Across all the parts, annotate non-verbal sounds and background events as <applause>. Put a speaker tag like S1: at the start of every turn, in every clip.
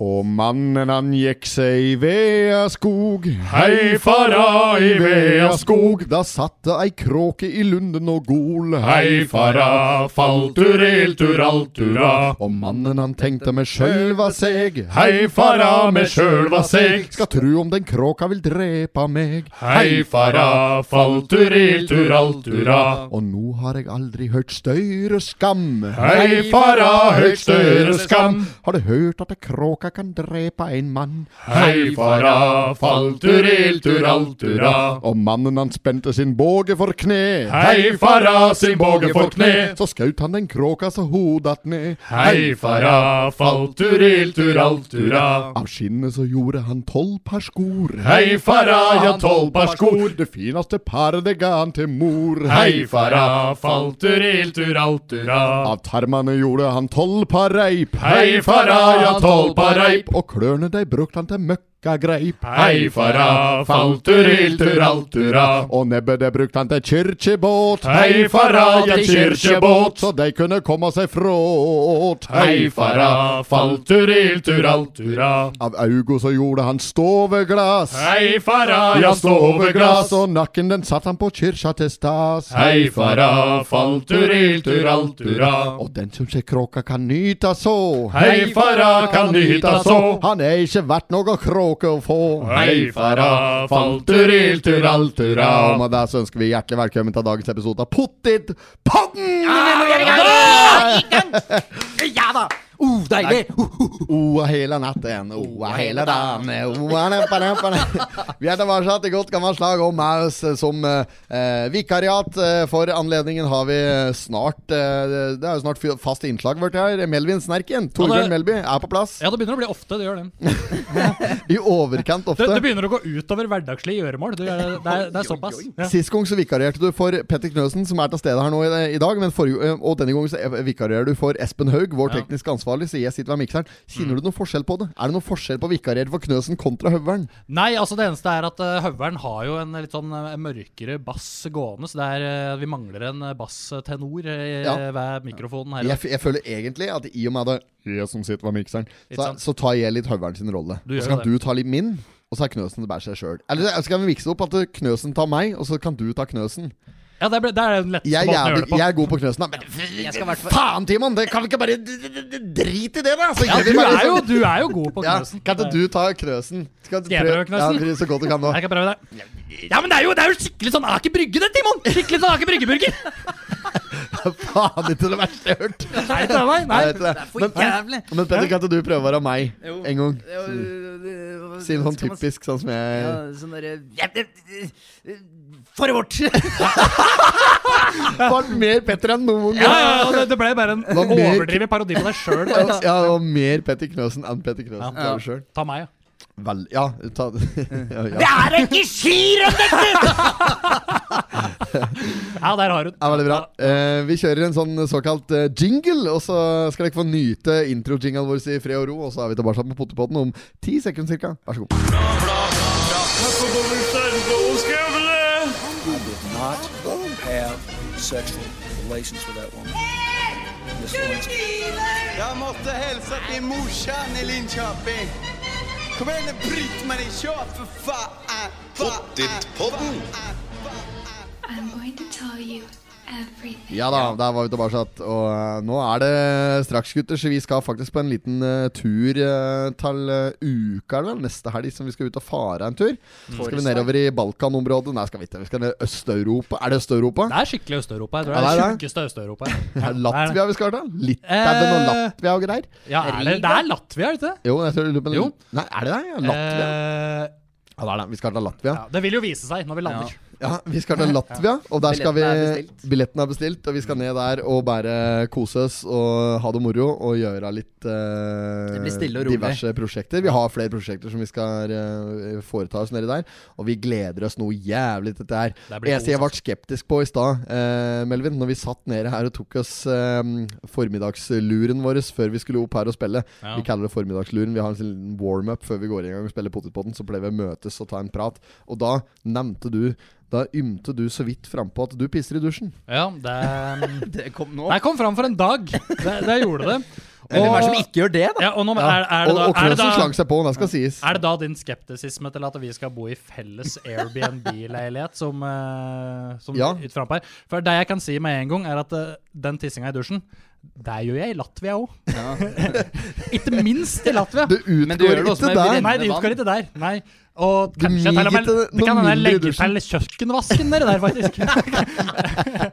S1: Og mannen han gikk seg i Veaskog.
S2: Hei, fara i Veaskog.
S1: Da satt det ei kråke i lunden og gol.
S2: Hei, fara, falltur, iltur, altura.
S1: Og mannen han tenkte med sjølva seg.
S2: Hei, fara, med sjølva seg.
S1: Skal tru om den kråka vil drepa meg.
S2: Hei, fara, falltur, iltur, altura.
S1: Og nå har jeg aldri hørt større skam.
S2: Hei, fara, høyt større skam.
S1: Har du hørt at ei kråke kan drepe en mann?
S2: Hei, fara, falltur, iltur, altura.
S1: Og mannen han spente sin båge for kne.
S2: Hei, fara, sin båge for kne.
S1: Så skaut han den kråka så hodet att ned.
S2: Hei, fara, falltur, iltur, altura.
S1: Av skinnet så gjorde han tolv par skor.
S2: Hei, fara, ja, tolv par skor.
S1: Det fineste paret det ga han til mor.
S2: Hei, fara, falltur, iltur, altura.
S1: Av tarmene gjorde han tolv par reip.
S2: Hei, fara, ja, tolv par reip.
S1: Og klørne de brukte han til møkkagreip.
S2: Hei, fara, falltur, iltur, altura.
S1: Og nebbet det brukte han til kirkebåt.
S2: Hei, fara, ja, kirkebåt.
S1: Så de kunne komme seg fråt.
S2: Hei, fara, falltur, iltur, altura.
S1: Av augo så gjorde han stoveglass.
S2: Hei, fara, ja, soveglass.
S1: Og nakken den satt han på kyrkja til stas.
S2: Hei, fara, falltur, iltur, altura.
S1: Og den som ser kråka kan nyta så.
S2: Hei, fara, kan nyta så.
S1: Han er ikke verdt noe kråke å få.
S2: Hei, fara, falltur, iltur, altura.
S1: Ja, og med det så ønsker vi hjertelig velkommen til dagens episode av Pottitpodden!
S3: Ja da! Uh, deilig! Uh, uh.
S1: Oa hele natten, oa hele dagen, oa neppa neppa neppa. Vi er tilbake til godt gammelt slag og med oss som eh, vikariat. Eh, For anledningen har vi snart eh, Det er jo snart fast innslag vårt her. Melvin Snerken, Torbjørn
S4: det-
S1: Melby, er på plass.
S4: Ja, det begynner å bli ofte. Det gjør det.
S1: I overkant
S4: Det, det
S1: ofte.
S4: begynner å gå utover hverdagslige gjøremål. Det, er- det, er, det er såpass. Ja.
S1: Sist gang så vikarierte du for Petter Knøsen, som er til stede her nå i, i dag. Men forrige, eh, og denne gangen så er- vikarierer du for Espen Haug, vår
S4: Ja. Mm.
S1: teknisk ansvarlig. Så jeg sitter ved mikseren. Kjenner du noen forskjell på det? Er det noen forskjell på å vikariere for Knøsen kontra Høveren?
S4: Nei, altså det eneste er at uh, Høveren har jo en litt sånn eh, mørkere bass gående. Så det er, eh, vi mangler en eh, basstenor eh,
S1: Ja.
S4: ved mikrofonen her. i
S1: Jeg,
S4: dag.
S1: f- jeg føler egentlig at i og med at det er jeg som sitter ved mikseren,
S4: Ikke
S1: så,
S4: sant?
S1: så tar jeg litt Høveren sin rolle.
S4: Du
S1: Og
S4: gjør
S1: så kan
S4: jo
S1: du ta litt min, og så er Knøsen det bærer seg sjøl. Eller så skal vi mikse opp at eh, Knøsen tar meg, og så kan du ta Knøsen.
S4: Ja, det er, ble- det er den letteste
S1: Jeg, er
S4: måten å gjøre
S1: jævlig,
S4: det på.
S1: jeg er god på Knøsen, da. Men
S3: Jeg skal i hvert fall-
S1: faen, Timon! Det kan vi ikke bare d- d- d- drite i det, da! Så
S4: Ja,
S1: gjør vi
S4: du
S1: bare
S4: er, jo,
S1: sånn.
S4: du er jo god på
S1: ja,
S4: knøsen.
S1: Kan ikke du ta Knøsen? Skal,
S4: Skal jeg prøve Knøsen?
S1: Ja, prøv så godt du
S4: <laughs>
S1: kan nå.
S4: Jeg kan prøve det. Ja, men det er jo, det er jo skikkelig sånn Aker Brygge, det, Timon! Skikkelig sånn Aker Brygge-burger.
S1: <laughs> faen, det er det verste jeg har hørt.
S4: Nei, det er meg. Nei.
S1: Jeg vet det.
S3: Det er for
S1: Men,
S3: jævlig.
S1: men Petter, kan ikke du prøve å være meg
S3: Jo.
S1: en gang?
S3: Ja, øh, øh,
S1: Si noe sånn
S3: skal man si-
S1: typisk, sånn som jeg
S3: Ja, sånn derre ja, det- det- det- For
S5: <laughs>
S3: vårt!
S1: Var mer Petter enn noen gang.
S4: Ja, ja, ja, det- det ble bare en
S1: var mer-
S4: overdrevet parodi på deg sjøl.
S1: Ja, ja, det var mer Petter Knøsen enn Petter Knøsen.
S4: Ja.
S1: Ja. Selv.
S4: Ta meg, ja.
S1: Vel, ja, ta, <laughs> ja,
S3: Det
S1: ja.
S3: er
S5: <laughs>
S3: ikke skyer om dette!
S4: Ja, der har hun.
S1: Ja, veldig bra. Eh, vi kjører en sånn såkalt eh, jingle, og så skal dere få nyte intro-jinglen vår i fred og ro. Og så er vi tilbake med Pottepotten om ti sekunder cirka Vær så god.
S6: not have sexual relations with that woman. Miss Lewinsky.
S7: Jeg måtte hilse til morsan i Linköping. Kom igjen, Britt-Marie, kjør, for faen! Pottit-podden!
S8: I'm going to tell you everything.
S1: Ja da, der var vi tilbake. Og eh, nå er det straks, gutter. Så vi skal faktisk på en liten eh, tur eh, til eh, uka, eller neste helg, som vi skal ut og fare en tur. Så skal vi nedover i Balkan-området. Nei, skal vi ikke. Vi skal ned i Øst-Europa. Er det Øst-Europa?
S4: Det er skikkelig Øst-Europa. Jeg tror
S1: Ja, det er
S4: det er det
S1: det.
S4: tjukkeste Øst-Europa.
S1: Er det Latvia vi skal ta? Litauen og
S4: Eh.
S1: Latvia og greier?
S4: Ja, er det, det er Latvia, er det ikke det?
S1: Jo, jeg tror jeg lurer på
S4: Jo.
S1: den- Nei, er det det? Ja, Latvia?
S4: Eh,
S1: Ja, det er det. Vi skal til Latvia.
S4: ja, det vil jo vise seg når vi lander.
S1: Ja, vi skal til Latvia, og der skal vi
S3: Billetten er bestilt.
S1: Billetten er bestilt, og vi skal ned der og bare kose oss og ha det moro og gjøre litt eh,
S3: Det blir stille og rolig.
S1: diverse prosjekter. Vi har flere prosjekter som vi skal eh, foreta oss nedi der, og vi gleder oss noe jævlig til dette her.
S4: Det blir
S1: Eneste jeg
S4: god
S1: ble skeptisk på i stad, eh, Melvin, når vi satt nede her og tok oss eh, formiddagsluren vår før vi skulle opp her og spille
S4: Ja.
S1: Vi kaller det formiddagsluren. Vi har en sånn warm-up før vi går i gang og spiller Potetpodden. Så pleier vi å møtes og ta en prat. Og da nevnte du Da ymte du så vidt frampå at du pisser i dusjen.
S4: Ja, det, um,
S3: Det kom nå.
S4: det kom fram for en dag. Det, det gjorde det.
S1: Eller
S4: Og-
S1: hva
S5: Hvem er det som ikke gjør det, da?
S4: Ja, og nå, er, er, det
S1: Og,
S4: da,
S1: og
S4: er, det
S1: Knutsen slang
S4: da,
S1: seg på, det skal sies.
S4: er det da din skeptisisme til at vi skal bo i felles Airbnb-leilighet som, eh, som
S1: Ja.
S4: ut frampe her? For det jeg kan si med en gang, er at eh, den tissinga i dusjen, der gjør jeg i Latvia òg. <laughs> ikke minst i Latvia.
S1: Det
S5: Men du
S1: utgår
S5: gjør det også
S1: ikke
S5: med
S1: der.
S4: Nei, det utgår ikke der. Nei. Og
S1: Du mig
S4: kanskje til og med,
S1: ikke
S4: det
S1: noe
S4: kan hende jeg
S1: mindre i
S4: legger til kjøkkenvasken der, der <laughs> faktisk.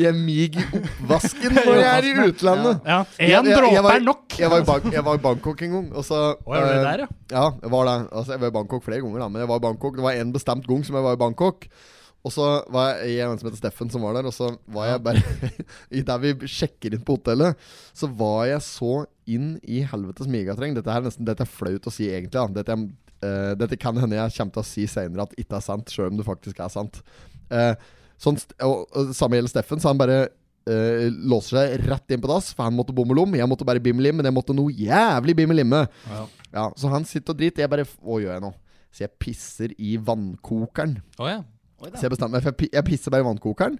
S1: Jeg mig i oppvasken når jeg er i utlandet.
S4: Ja,
S1: Jeg-
S4: Én
S1: jeg- jeg
S4: dråpe
S1: var-
S4: er nok.
S1: Jeg var i, Bang jeg var i Bangkok en gang. Og så,
S4: Å, gjør du det
S1: eh,
S4: der, ja?
S1: Ja, jeg var der. Altså, jeg var i Bangkok flere ganger, da, men jeg var i Bangkok. Det var en bestemt gang som jeg var i Bangkok. Og så var jeg jeg og en som heter Steffen, som var der. Og så var jeg bare <laughs> i Der vi sjekker inn på hotellet, så var jeg så inn i helvetes megatreng. Dette her er nesten Dette er flaut å si, egentlig. Da. Dette, er- eh, dette kan hende jeg kommer til å si seinere at ikke er sant, sjøl om det faktisk er sant. Eh, sånn, st- og, og Samme gjelder Steffen, så han bare eh, låser seg rett inn på dass, for han måtte bommelom. Jeg måtte bare bimmelim, men jeg måtte noe jævlig bimmelimme. Ja, så han sitter og driter. Jeg bare f- Hva gjør jeg nå? Så jeg pisser i vannkokeren.
S4: Å, ja.
S1: Så jeg bestemte meg for jeg pi- jeg pisser bare i vannkokeren.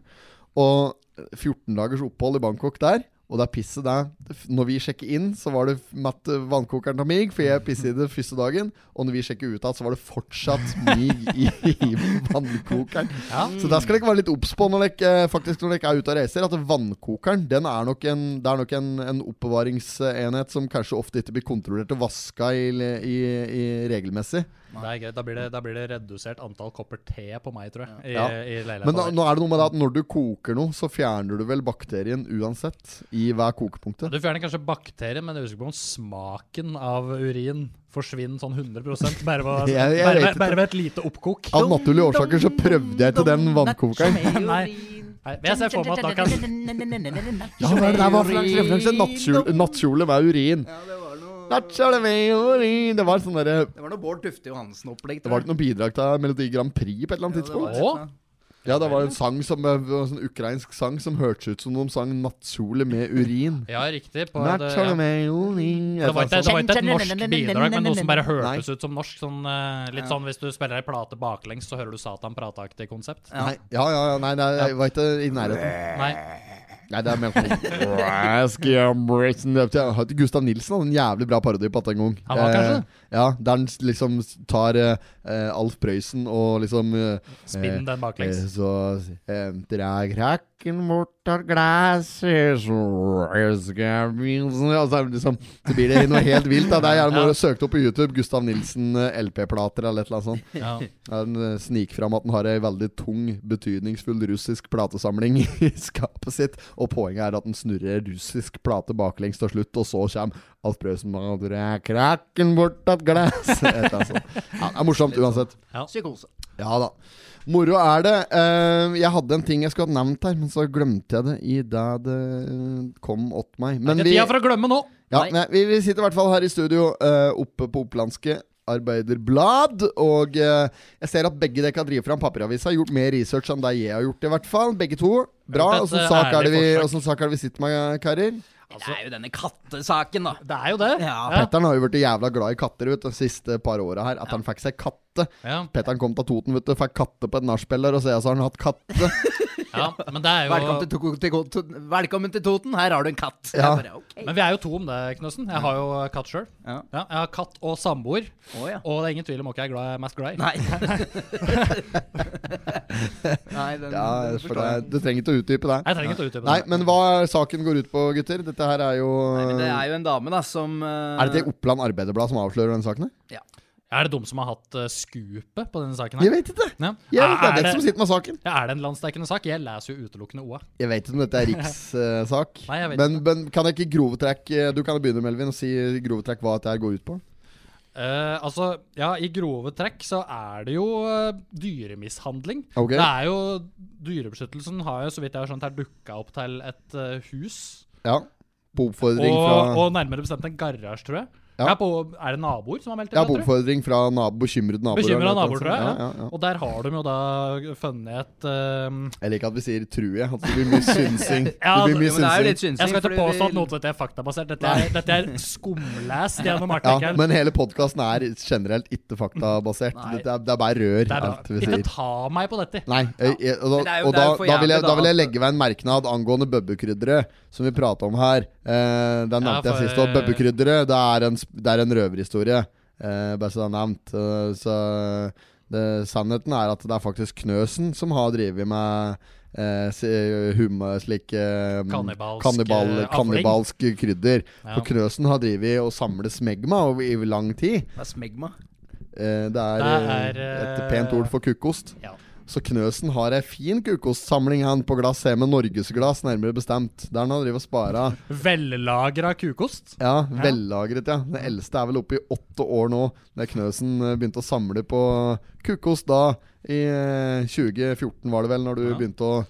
S1: Og 14 dagers opphold i Bangkok der. Og da pisset det f- Når vi sjekker inn, så var det f- matt eh, vannkokeren til mig, for jeg pisset i det første dagen. Og når vi sjekker ut igjen, så var det fortsatt mig i, i vannkokeren.
S4: Mm.
S1: Så der skal dere være litt obs på når dere eh, faktisk når dere er ute og reiser, at vannkokeren den er nok en, det er nok en, en oppbevaringsenhet som kanskje ofte ikke blir kontrollert og vaska i, i, i regelmessig.
S4: Det er greit. Da blir det, da blir det redusert antall kopper te på meg, tror jeg. I,
S1: Ja.
S4: i
S1: Men nå,
S4: leiligheten.
S1: nå er det noe med det at når du koker noe, så fjerner du vel bakterien uansett i hver kokepunktet.
S4: Du fjerner kanskje bakterier, men jeg er usikker på om smaken av urin forsvinner sånn 100 bare
S1: Jeg-
S4: ved,
S1: jeg
S4: bare,
S1: vet
S4: ved,
S1: ikke.
S4: bare ved et lite oppkok.
S1: Av naturlige årsaker så prøvde jeg ikke den vannkokeren.
S4: Nei. Nei, men jeg ser for meg at da kan
S1: Ja, hva er det der var for slags referanse? Nattkjole, nattkjole med urin.
S5: Ja, det var noe
S1: Nattkjole med urin Det var sånn derre
S5: Det var noe Bård Tufte Johansen-opplegg.
S1: Det var ikke noe bidrag til Melodi Grand Prix på et eller annet tidspunkt?
S4: Å,
S1: Ja, det var en sang som det var en sånn ukrainsk sang som hørtes ut som de sang 'Nattkjole med urin'.
S4: Ja, riktig. På det,
S1: Nattkjole
S4: ja.
S1: med urin Altså,
S4: det, var ikke, det var ikke et
S3: Kjenn-
S4: norsk bidrag, men noe som bare
S1: Nei.
S4: hørtes ut som norsk. Sånn, eh, litt sånn hvis du spiller ei plate baklengs, så hører du Satan prateaktig konsept.
S1: Nei, ja, ja, ja, nei, nei, jeg var ikke i nærheten.
S4: Nei.
S1: Nei, det er mer sånn Rask, ja, Britain, det er- Hørte Gustav Nilsen hadde en jævlig bra parodi på dette en gang.
S4: Han var kanskje det?
S1: Eh, ja, der han s- liksom s- tar eh, eh, Alf Prøysen og liksom eh,
S4: Spinn den
S1: eh,
S4: baklengs.
S1: Så eh, Drag rakken bort av glasset, så rask jeg Nilsen altså, det er liksom, Så blir det noe helt vilt. Da. Det er gjerne noe
S4: Ja.
S1: du søkte opp på YouTube. Gustav Nilsen eh, LP-plater eller et eller annet sånt. <laughs>
S4: Ja.
S1: Han eh, sniker fram at han har ei veldig tung, betydningsfull russisk platesamling <laughs> i skapet sitt, og poenget er at han snurrer russisk plate baklengs til slutt, og så kommer Alf Prøysen og drar krakken bort av glass. Et eller annet sånt. Ja, det er morsomt uansett.
S5: Psykose.
S1: Ja da. Moro er det. Eh, jeg hadde en ting jeg skulle hatt nevnt her, men så glemte jeg det i det det eh, kom åt meg. Men
S4: Ikke tida for å glemme nå!
S1: ja,
S5: Nei.
S1: nei, vi, vi sitter i hvert fall her i studio eh, oppe på Opplandske Arbeiderblad. Og eh, jeg ser at begge dere har drevet fram papiravisa. Har gjort mer research enn det jeg har gjort, i hvert fall. Begge to. Bra.
S4: Gjort et,
S1: Åssen
S4: eh,
S1: sak, er det vi-
S4: ærlig forsøk.
S1: åssen sak er det vi sitter med, karer?
S5: Det er jo denne kattesaken, da.
S4: Det er jo det.
S5: Ja.
S4: Ja.
S1: Petteren har jo blitt jævla glad i katter vet, du, de siste par åra her. At han fikk seg katte.
S4: Ja.
S1: Petteren kom til Toten, vet du, fikk katte på et nachspiel der, og så har han hatt katte.
S5: <laughs>
S4: ja, men det er jo
S5: Velkommen til, to til, to Velkommen til Toten, her har du en katt.
S1: Ja.
S5: Jeg bare, ok.
S4: Men vi er jo to om det, Knøsen. Jeg har jo eh, katt sjøl.
S5: Ja.
S4: Ja, jeg har katt og samboer.
S5: Å, ja.
S4: Og det er ingen tvil om hva jeg er glad, mest glad i.
S1: <laughs>
S5: Nei. Nei, den,
S1: Ja,
S5: den
S1: for
S5: forstår jeg.
S1: det, du trenger ikke å utdype det.
S4: Jeg trenger ikke å utdype det.
S1: Nei, men hva er saken går ut på, gutter? Dette her er jo
S5: Nei, men det er jo en dame, da, som eh,
S1: Er det til Oppland Arbeiderblad som avslører den saken? her?
S4: Er det de som har hatt uh, skupet på denne saken?
S1: Jeg
S4: her?
S1: vet ikke.
S4: Ja.
S1: Jeg vet, det
S4: er,
S1: er
S4: det,
S1: den som sitter med saken.
S4: ja, er det en landsdekkende sak? Jeg leser jo utelukkende OA.
S1: Jeg vet ikke om
S4: <laughs>
S1: dette er rikssak.
S4: Nei, jeg vet
S1: men, men kan jeg ikke i grove trekk eh, Du kan jo begynne, Melvin, og si i grove trekk hva dette her går ut på.
S4: Eh, altså, ja, I grove trekk så er det jo eh, dyremishandling.
S1: Ok.
S4: Det er jo, Dyrebeskyttelsen har jo, så vidt jeg har skjønt, her dukka opp til et eh, hus.
S1: Ja. På
S4: Og,
S1: oppfordring fra
S4: og nærmere bestemt en garasje, tror jeg.
S1: Ja.
S4: Ja, på, er det naboer som har meldt
S1: Ja,
S4: tror du?
S1: oppfordring fra nabo, bekymrede naboer.
S4: Bekymra
S1: eller noe
S4: naboer,
S1: sånt.
S4: tror jeg.
S1: Ja,
S4: Ja,
S1: ja, ja.
S4: Og der har de jo da funnet et eh,
S1: Jeg liker at vi sier 'true'. jeg, At det blir
S4: <laughs>
S1: mye synsing.
S4: Ja,
S1: det blir mye
S5: Men det er jo
S1: synsing.
S5: litt synsing.
S4: Jeg skal
S5: fordi
S4: ikke påstå at
S5: vi-
S4: noe av dette er faktabasert. Dette er, dette er
S1: <laughs>
S4: skumlest gjennom
S1: Ja,
S4: artikkelen.
S1: men hele podkasten er generelt ikke faktabasert.
S5: Nei.
S1: Det er, det er bare rør.
S4: Det er bra.
S1: alt vi
S4: Ikke
S1: sier.
S4: ta meg på dette.
S1: Nei, jeg- jeg- og
S5: Men det
S1: da,
S5: er jo-
S1: og da,
S5: det er jo for
S1: da, vil jeg,
S5: jævlig,
S1: da vil jeg
S5: da,
S1: legge ved en merknad angående bøbbekrydderet, som vi prata om her. Eh, den
S4: Ja,
S1: nevnte jeg
S4: for-
S1: sist. Og bøbbekrydderet, det er en, sp- det er en røverhistorie, eh, bare så det er nevnt. Eh, så det, sannheten er at det er faktisk Knøsen som har drevet med eh, si- humor, slik eh,
S4: Kannibalsk,
S1: kannibal,
S4: eh, avling.
S1: kannibalsk krydder.
S4: Ja.
S1: For Knøsen har drevet og samlet smegma over, i lang tid.
S5: Det er smegma.
S1: Eh, det er,
S4: Det er,
S1: eh, et
S4: eh,
S1: pent ord for kukkost.
S4: Ja.
S1: Så Knøsen har ei fin kukostsamling han på glass her, med norgesglass, nærmere bestemt. Der han har drevet og spara.
S4: <laughs> Vellagra kukost.
S1: Ja, vellagret, ja. Den eldste er vel oppe i åtte år nå. Det er Knøsen eh, begynte å samle på kukost da, i eh, 2014 var det vel, når du
S4: Ja.
S1: begynte å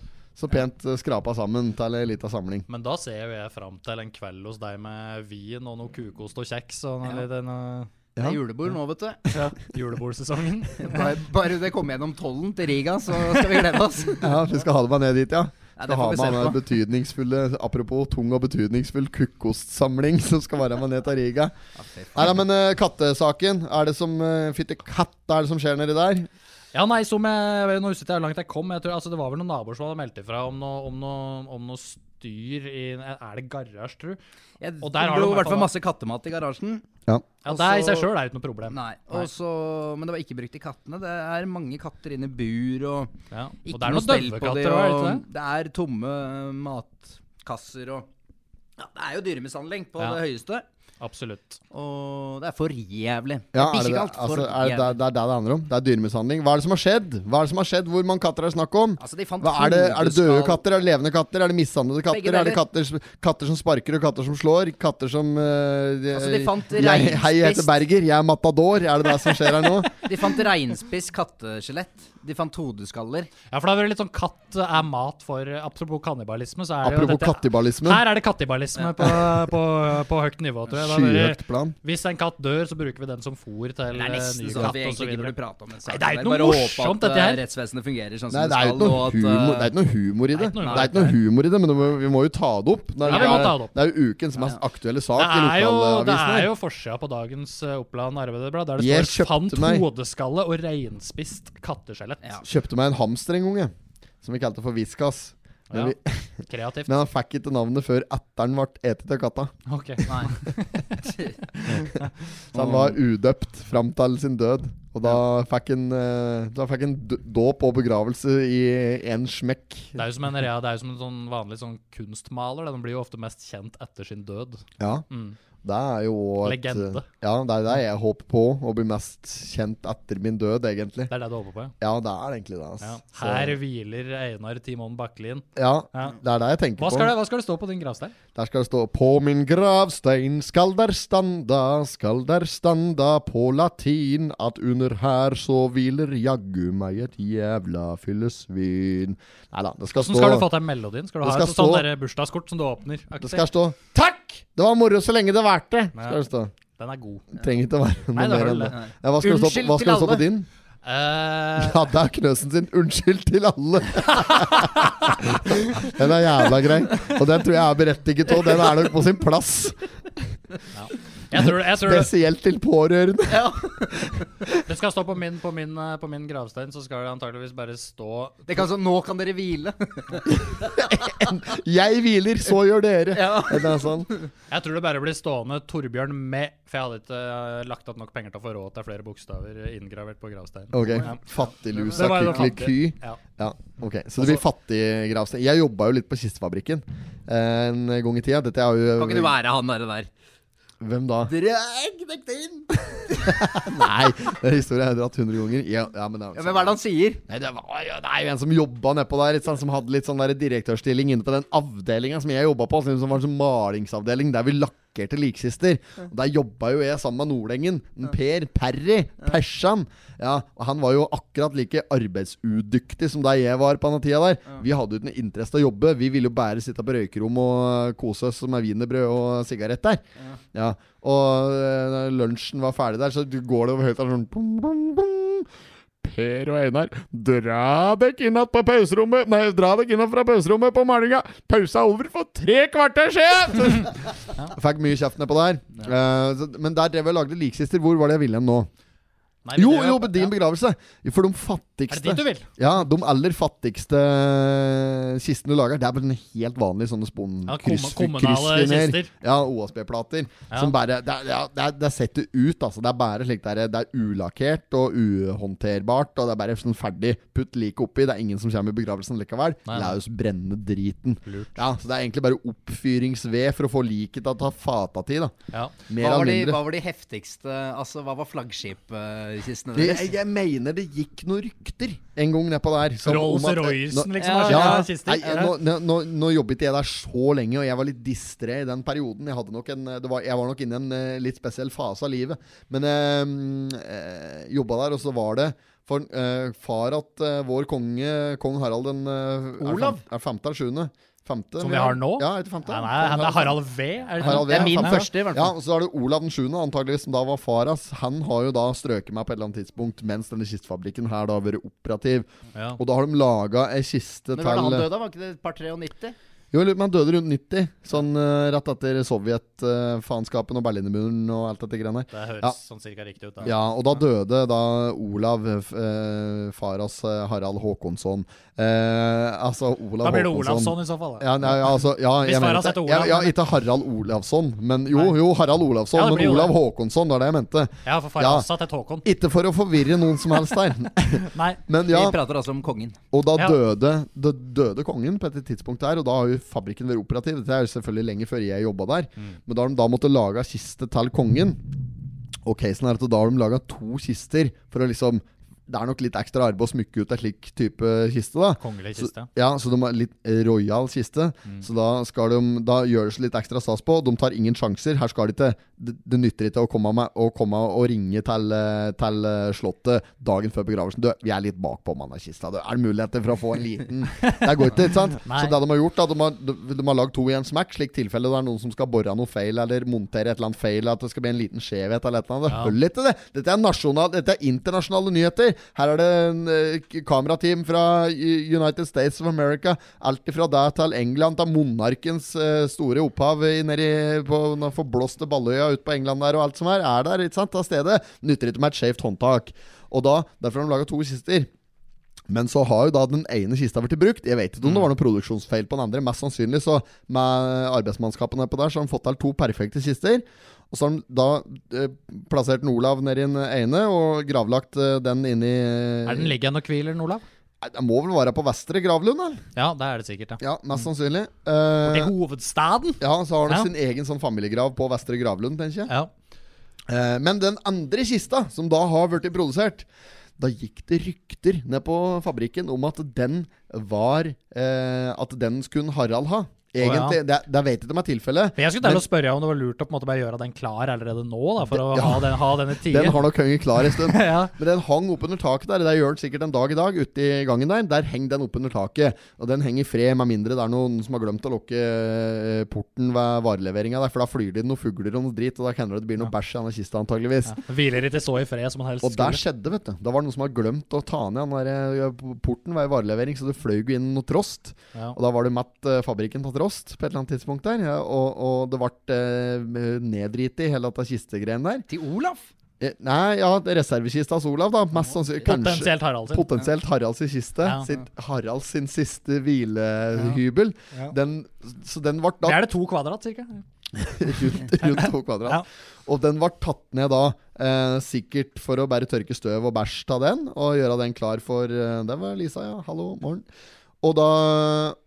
S1: så pent eh, skrapa sammen til ei lita samling.
S4: Men da ser jo jeg fram til en kveld hos deg med vin og noe kukost og kjeks og noe, litt, noe
S5: Det
S1: Ja.
S5: er julebord nå, vet du. <laughs>
S4: ja, julebordsesongen.
S5: Bare, bare det kommer gjennom tollen til Riga, så skal vi glede
S1: <laughs>
S5: oss.
S1: Ja, vi skal ha det med ned dit, ja. Skal
S5: Ja, det
S1: ha
S5: får vi
S1: med
S5: se
S1: han der
S5: på.
S1: betydningsfulle Apropos tung og betydningsfull <laughs> kukkostsamling som skal være med ned til Riga.
S5: fy faen.
S1: Nei da, men eh, kattesaken. Er det som uh, Fytti katt, er det som skjer nedi der?
S4: Ja, nei, som jeg, nå husker jeg ikke hvor langt jeg kom. Jeg tror, altså, det var vel noen naboer som hadde meldt ifra om noe, om noe, om noe styr i Er det garasje, tru?
S5: Jeg,
S4: Og der har du
S5: det ble i hvert
S4: hvertfall-
S5: fall masse kattemat i garasjen.
S4: Ja,
S5: Og
S4: det er i
S5: så-
S4: seg sjøl er det ikke noe problem.
S5: Altså, Nei. Og så- men det var ikke brukt til kattene. Det er mange katter inne i bur, og
S4: Ja. Og
S5: ikke
S4: det er
S5: noe
S4: noen
S5: stell på
S4: døvekatter
S5: dem.
S4: òg, er det
S5: Og
S4: ikke det?
S5: det er tomme eh, matkasser og ja, Det er jo dyremishandling på
S4: Ja.
S5: det høyeste.
S4: Absolutt.
S5: Og det er for jævlig.
S1: Ja, er
S5: det
S1: det,
S5: er
S1: det,
S5: bikkjekaldt.
S1: altså,
S5: for
S1: er det, det er
S5: jævlig.
S1: det er det det handler om. Det er dyremishandling. Hva er det som har skjedd? Hva er det som har skjedd? Hvor mange katter er det snakk om?
S5: Altså, de fant
S1: Hva er, det, er det døde
S5: hodeskall-
S1: katter? Er det levende katter? Er det mishandlede katter? Er det
S5: deler.
S1: katter, som- katter som sparker og katter som slår? Katter som eh, de-
S5: Altså, de fant
S1: jeg, Hei, jeg heter
S5: reinspist.
S1: Berger. Jeg er matador. Er det det som skjer her
S5: <laughs>
S1: nå?
S5: De fant reinspiss katteskjelett. De fant hodeskaller.
S4: Ja, for da blir det litt sånn katt er mat for Apropos kannibalisme, så er det
S1: Apropos
S4: jo dette
S1: kattibalismen.
S4: Her er det kattibalisme på, på, på høyt nivå, tror jeg. Da blir det-
S1: Skyhøyt plan.
S4: hvis en katt dør, så bruker vi den som fôr til
S5: Det er
S4: eh,
S5: nesten
S4: ny
S5: sånn at
S4: katt
S5: vi egentlig ikke burde
S4: osv.
S5: prate om en sak.
S4: Nei, det er jo
S5: Jeg
S4: ikke
S5: bare
S4: noe
S5: håper
S4: morsomt,
S5: at,
S4: dette her.
S5: eh, Rettsvesenet fungerer sånn
S1: Nei,
S5: som
S1: det er jo
S5: det
S1: ikke
S5: skal.
S1: noe humor, det er
S5: <laughs> og at, eh,
S1: ikke noe humor i det.
S4: det er ikke noe
S1: Det er ikke noe humor i det, men det må- vi må jo ta det opp. Det er,
S4: Ja, vi må ta det opp.
S1: det er jo ukens mest aktuelle sak
S4: Det er
S1: i
S4: jo, det er
S1: lokalavisene.
S4: jo forsida på dagens eh, Oppland Arbeiderblad, der det
S1: Jeg
S4: står
S1: kjøpte
S4: 'Fant
S1: meg-
S4: hodeskalle og reinspist katteskjelett'.
S5: Ja.
S1: Kjøpte meg en hamster en gang, jeg. Som vi kalte for Viskas. Men,
S4: Ja.
S1: vi,
S4: <laughs> Kreativt.
S1: men han fikk ikke navnet før etter den ble etet av katta.
S4: Ok.
S1: Så han var udøpt fram til sin død. Og da fikk han eh, Da fikk han d- dåp og begravelse i én smekk.
S4: Det er jo som en, rea- det er jo som en sånn vanlig sånn kunstmaler. da. Den blir jo ofte mest kjent etter sin død.
S1: Ja.
S4: Mm.
S1: Det er jo et,
S4: Legende.
S1: Ja, det er det jeg håper på. Å bli mest kjent etter min død, egentlig.
S4: Det er det du håper på? ja.
S1: Ja, det er egentlig det. ass.
S4: Ja.
S1: Så-
S4: Her hviler Einar Timon Bakkelien.
S1: ja,
S4: Ja.
S1: det er det jeg tenker
S4: Hva skal,
S1: på.
S4: det, hva skal det stå på din gravstein?
S1: Der skal det stå 'På min gravstein skal der standa, skal der standa på latin' 'at under her så hviler jaggu meg et jævla fyllesvin'. Nei da, det skal stå
S4: Hvordan skal du få til melodien? Skal du
S1: Det
S4: ha
S1: skal
S4: et sånn
S1: stå-
S4: der bursdagskort som du åpner? aktig?
S1: Det skal stå
S4: Takk!
S1: 'Det var moro så lenge det varte'. Skal det stå.
S4: Den er
S1: <laughs>
S4: god.
S1: Trenger ikke å være noe
S4: Nei, det
S1: mer enn
S4: er vel
S1: det.
S5: det.
S1: Ja, hva skal det stå,
S5: Unnskyld
S1: hva skal det
S5: til
S1: stå på
S5: alle.
S1: din?
S4: Eh,
S1: Ja, det er Knøsen sin 'Unnskyld til alle'. <laughs> den er jævla grei. Og den tror jeg er berettiget òg. Den er nok på sin plass.
S4: jeg tror, jeg tror det,
S1: Spesielt til pårørende.
S4: det skal stå på min, på, min, eh, på min gravstein, så skal det antageligvis bare stå
S5: det kan sånn, Nå kan
S1: <laughs>
S5: dere hvile.
S1: Jeg hviler, så gjør dere.
S5: Ja.
S1: Det er sånn.
S4: Jeg tror det bare blir stående Torbjørn med, for jeg hadde ikke eh, lagt opp nok penger til å få råd til flere bokstaver inngravet på gravsteinen.
S1: Ok,
S4: Ja.
S1: Fattiglusa
S4: Det var det
S1: kykeliky.
S4: fattige. Ja.
S1: Ja, ok
S5: Altså-
S1: Så det blir fattig gravstein. Jeg jobba jo litt på Kistefabrikken eh, en gang i tida. Dette er jo
S5: Kan ikke du være han derre der?
S1: Hvem da?
S5: Dreg deg inn!
S1: <laughs> Nei, den historien har jeg dratt 100 ganger. Ja, ja, men det er jo
S5: Ja, men hva er det han sier?
S1: Nei, det var jo det er jo en som jobba nedpå der, ikke sant, som hadde litt sånn der direktørstilling inne på den avdelinga som jeg jobba på, altså, som var en sånn malingsavdeling der vi lakkerte liksister. Og Der jobba jo jeg sammen med nordlengen. en Per Perry. Persan. Ja, og han var jo akkurat like arbeidsudyktig som deg jeg var på den tida der. Vi hadde jo ikke noe interesse av å jobbe, vi ville jo bare sitte på røykerom og kose oss med wienerbrød og sigarett der. Ja, og eh, lunsjen var ferdig der, så du går det over høyttaleren sånn bum, bum, bum. Per og Einar, dra dere inn på pauserommet Nei, dra dere inn fra pauserommet på malinga! Pausa over for tre kvarter <laughs> siden! Fikk mye kjeft nedpå der. Eh, så- men der drev jeg og lagde liksister. Hvor var det jeg ville hen nå?
S4: Nei, men
S1: Jo,
S4: det er-
S1: jo, på din
S4: ja.
S1: begravelse! For de
S4: Er det
S1: fattigste.
S4: dit du vil?
S1: Ja, de aller fattigste kistene du lager, det er bare sånne helt vanlige sånne
S4: Ja, kommu- kommunale
S1: sponkrysskvinner.
S4: kister.
S1: Ja, OSB-plater.
S4: Ja.
S1: Som bare Det, er- ja, det, er- det setter ut, altså. Det er bare slik det er. Det er ulakkert og uhåndterbart. Og det er bare sånn ferdig. Putt liket oppi. Det er ingen som kommer i begravelsen likevel.
S4: Nei, nei.
S1: La oss brenne driten.
S4: Lurt.
S1: Ja, Så det er egentlig bare oppfyringsved for å få liket til å ta fata tid, da.
S4: Ja.
S1: Mer
S5: Hva
S1: eller
S5: var, de,
S1: mindre.
S5: hva var de heftigste Altså, hva var flaggskipkistene
S1: Det,
S5: deres?
S1: jeg, jeg mener det gikk noen rykter en gang nedpå der. som om at- eh, Nå-
S4: Rolls-Roycen, liksom?
S5: Ja,
S4: er
S1: Ja,
S4: sånn, kister.
S1: nei, nå, nå, nå, nå jobbet ikke jeg der så lenge, og jeg var litt distré i den perioden. Jeg, hadde nok en, det var, jeg var nok inne i en eh, litt spesiell fase av livet. Men eh, eh, jobba der, og så var det for eh, far at eh, vår konge, kong Harald den eh, er
S4: Olav?
S1: fem- Er femte eller sjuende? Femte?
S4: Som vi har nå?
S1: Ja, heter femte.
S4: Nei, nei, han er Harald V. Er
S1: Harald
S4: det sånn?
S1: V
S5: Det er min
S1: femte.
S5: første, i hvert fall.
S1: Ja, og så er det Olav den 7., antageligvis, som da var far hans. Han har jo da strøket meg på et eller annet tidspunkt, mens denne kistefabrikken her da har vært operativ.
S4: Ja.
S1: Og da har de laga ei kiste
S5: Men var det
S1: til
S5: han døde av? Var ikke det et par 93?
S1: jo, eller, men han døde rundt 90, sånn eh, rett etter Sovjet-faenskapen og Berlinmuren og alt dette greiene der.
S4: Det høres
S1: Ja.
S4: sånn cirka riktig ut. Da.
S1: Ja, og da døde da Olav eh, f- eh, Faras eh, Harald Håkonsson. Eh, altså Olav
S4: da blir det
S1: Håkonsson.
S4: Olavsson i så fall. Da.
S1: Ja, nei, ja, altså, ja,
S4: Hvis
S1: jeg
S4: Faras
S1: mente
S4: heter
S1: ja,
S4: Olav,
S1: ja,
S4: men-
S1: Ikke Harald Olavsson, men jo,
S4: Nei.
S1: jo Harald Olavsson.
S4: Ja, det blir
S1: men
S4: jo
S1: Olav
S4: det.
S1: Håkonsson, det var det jeg mente.
S4: Ja, for far
S1: Ja.
S4: hans satt et Håkon.
S1: Ikke for å forvirre noen som helst
S5: <laughs>
S1: der.
S4: Nei.
S1: Men ja,
S5: Vi prater altså om kongen.
S1: Og da
S4: Ja.
S1: døde, da døde kongen på et tidspunkt der, og da har jo fabrikken vært operativ. Dette er jo selvfølgelig lenge før jeg jobba der, men da har de da måttet lage kiste til kongen. Og casen er at da har de laga to kister for å liksom Det er nok litt ekstra arbeid å smykke ut ei slik type kiste, da.
S4: Kongelig
S1: Så,
S4: kiste.
S1: ja, så de har litt royal kiste. Så da, skal de, da gjør det seg litt ekstra stas på. De tar ingen sjanser. Her skal de ikke Det, det nytter ikke å komme, med, å komme og ringe til, eh, til eh, Slottet dagen før begravelsen. Du, vi er litt bakpå med denne kista. Du, er det muligheter for å få en liten Det går ikke, ikke sant?
S4: <laughs> Nei.
S1: Så det de har gjort, da, de har, de, de har lagd to i en smack, slik tilfelle det er noen som skal bore noe feil, eller montere et eller annet feil, at det skal bli en liten skjevhet eller et eller annet. Det
S4: Ja.
S1: holder litt til det. Dette er, nasjonal, dette er internasjonale nyheter. Her er det en eh, k- kamerateam fra U- United States of America. Alt ifra der til England, til monarkens eh, store opphav i- nedi på den forblåste Balløya ute på England der, og alt som er, er der, ikke sant, av stedet. Nytter ikke med et skjevt håndtak. Og da, derfor har de laga to kister. Men så har jo da den ene kista blitt brukt. Jeg vet ikke
S4: Mm.
S1: om det var noen produksjonsfeil på den andre. Mest sannsynlig så med eh, arbeidsmannskapene på der, så har de fått til to perfekte kister. Og så har de da eh, plassert den Olav nedi den ene, og gravlagt eh, den inni
S4: Er den liggende og hviler, den, Olav?
S1: Den må vel være på Vestre gravlund, eller?
S4: Ja, det er det sikkert. Ja.
S1: Ja, mest sannsynlig.
S4: Mm. I
S1: Eh,
S4: hovedstaden?
S1: ja, så har de
S4: Ja.
S1: sin egen sånn familiegrav på Vestre gravlund, tenker jeg.
S4: Ja.
S1: Eh, Men den andre kista, som da har blitt produsert da gikk det rykter ned på fabrikken om at den var eh, At den skulle Harald ha. Egentlig. Det, det vet jeg ikke om er tilfellet.
S4: Men jeg skulle til å spørre om det var lurt å på en måte bare gjøre den klar allerede nå, da, for å
S1: Ja.
S4: ha, den, ha den i tide.
S1: <laughs> Den har nok hengt klar en stund.
S4: <laughs> ja.
S1: Men den hang oppunder taket der. Det gjør den sikkert en dag i dag. Ute i gangen der. Der henger den oppunder taket. Og den henger i fred, med mindre det er noen som har glemt å lukke eh, porten ved vareleveringa der. For da flyr det inn noen fugler og noe drit, og da kan det det blir noe bæsj i denne kista antageligvis.
S4: Den Hviler ikke så i fred som han helst
S1: Og der
S4: skulle.
S1: skjedde, vet du. Da var det noen som hadde glemt å ta ned den der eh, porten ved varelevering, så det fløy jo inn noe trost.
S4: Ja.
S1: Og da var det matt eh, fabrikken på trost på et eller annet tidspunkt der. Ja, og, og det ble eh, nedriti, hele dette kistegreien der.
S5: Til Olaf?
S1: Eh, Nei, ja, det er reservekista hos Olav, da. Mest sannsynlig. Kanskje.
S4: Potensielt Harald sin.
S1: Potensielt Haralds kiste.
S4: Ja.
S1: Sitt, Haralds sin siste hvilehybel.
S4: Ja.
S1: Den, så den ble da
S4: Det er det to kvadrat, cirka.
S1: rundt, rundt to kvadrat.
S4: Ja.
S1: Og den var tatt ned da, eh, sikkert for å bare tørke støv og bæsj av den, og gjøre den klar for eh, Det var Lisa, ja. Hallo, morgen. Og da,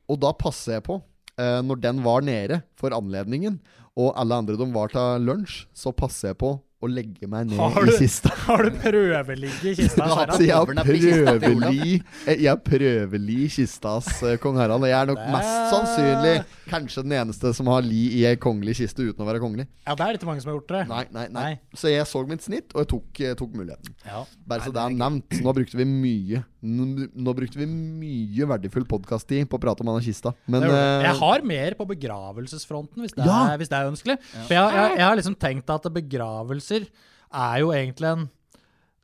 S1: og da passer jeg på, eh, når den var nede for anledningen, og alle andre de var til lunsj, så passer jeg på å legge meg
S4: Har
S1: ned
S4: du-
S1: i kista.
S4: Har du prøveligge i
S1: <laughs>
S4: kista?
S5: Ja,
S4: Harald?
S1: Så jeg
S5: overnapp i kista til
S1: prøvelig Jeg prøvelig kistas eh, kong Harald. Og jeg er nok mest sannsynlig kanskje den eneste som har li i ei kongelig kiste uten å være kongelig.
S4: Ja, det er det ikke mange som har gjort det.
S1: Nei, nei, nei.
S4: Nei.
S1: Så jeg så mitt snitt, og jeg tok, eh, tok muligheten.
S4: Ja.
S1: Bare så det er nevnt. Nå brukte vi mye N- Nå brukte vi mye verdifull podkast-tid på å prate om anarkista, men
S4: Det gjorde
S1: eh,
S4: det. Jeg har mer på begravelsesfronten, hvis det,
S1: Ja.
S4: er, hvis det er ønskelig. For jeg, jeg, jeg har liksom tenkt at begravelser er jo egentlig en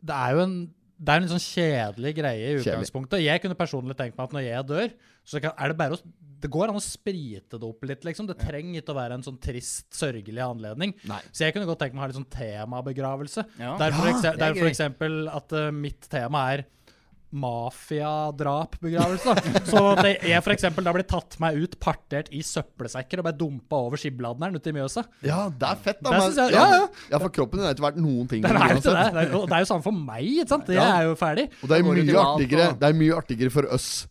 S4: Det er jo en det er en litt sånn kjedelig greie i
S1: Kjedelig.
S4: utgangspunktet. Jeg kunne personlig tenkt meg at når jeg dør, så kan, er det bare å Det går an å sprite det opp litt, liksom. Det trenger ikke å være en sånn trist, sørgelig anledning.
S5: Nei.
S4: Så jeg kunne godt tenke meg å ha litt sånn temabegravelse.
S5: Ja.
S4: Der for,
S5: Ja,
S4: ekse-
S5: det
S4: der
S5: er
S4: for
S5: gøy.
S4: eksempel at eh, mitt tema er mafiadrapbegravelse. da. <laughs> Så at jeg- jeg for eksempel da blir tatt meg ut partert i søppelsekker og ble dumpa over skibladneren ute i Mjøsa.
S1: Ja, det er fett, da.
S4: Det
S1: men-
S4: synes jeg- ja, ja.
S1: ja, for kroppen din er ikke verdt noen ting.
S4: Det er, jo ikke
S1: uansett.
S4: det. Det er, jo- det er jo samme for meg, ikke sant? Jeg
S1: Ja.
S4: er jo ferdig.
S1: Og det er,
S5: Da går det
S1: mye
S5: til alt,
S1: artigere,
S5: da.
S1: det er mye artigere for oss.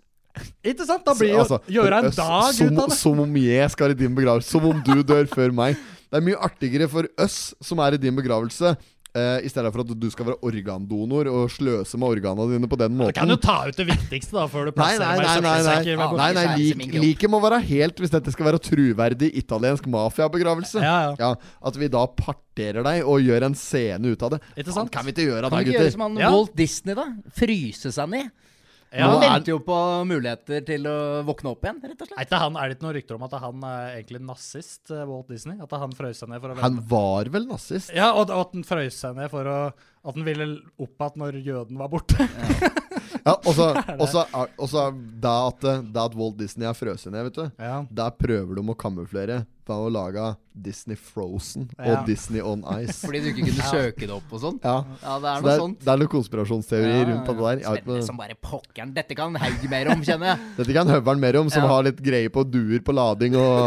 S4: Ikke sant? Da blir jo
S1: Altså,
S4: gjøre en
S1: oss
S4: dag
S1: som,
S4: ut av det.
S1: Som om jeg skal i din begravelse. Som om du dør før meg. Det er mye artigere for oss som er i din begravelse, eh, i stedet for at du skal være organdonor og sløse med organene dine på den
S4: Du kan jo
S1: måten.
S4: ta ut det viktigste da, før du
S1: Nei,
S4: plasserer
S1: nei,
S4: meg i
S1: nei. nei, nei,
S4: søppelsekker. med
S1: nei,
S4: bo-
S1: nei lik,
S5: Skjære seg
S1: Liket må være helt hvis dette skal være truverdig italiensk mafiabegravelse.
S4: Ja, ja.
S1: at vi da parterer deg og gjør en scene ut av det.
S4: Ikke
S1: Faen,
S4: sant?
S1: kan vi ikke gjøre det,
S5: Kan vi ikke gjøre
S1: gutter?
S5: som han
S4: Ja.
S5: Walt Disney, da? Fryse seg ned?
S4: Ja.
S5: han
S1: Nå er-
S5: venter jo på muligheter til å våkne opp igjen, rett og slett.
S4: Er, ikke han, er det ikke noen rykter om at han er egentlig nazist, eh, Walt Disney? At han frøs seg ned for å
S1: Han var vel
S4: <laughs>
S1: nazist?
S4: Ja, og, og at den frøys seg ned for å At den ville opp igjen når jøden var borte.
S1: Ja, og så og så er- og så er det at, det at Walt Disney er frøset ned, vet du.
S4: Ja.
S1: Der prøver de å kamuflere ved å lage Disney Frozen
S4: Ja.
S1: og Disney On
S4: <laughs>
S1: Ice.
S5: Fordi du ikke kunne søke det opp og sånn.
S1: Ja.
S5: Ja, det
S1: Så
S5: er
S1: det
S5: noe
S1: er,
S5: sånt.
S1: det er noen konspirasjonsteorier
S5: Ja,
S1: rundt det der. Jeg vet
S5: Spennende
S1: ikke.
S5: som bare pokkeren. Dette kan Haug mer om, kjenner jeg.
S1: Dette kan Høveren mer om, som
S5: Ja.
S1: har litt greie på duer på lading og,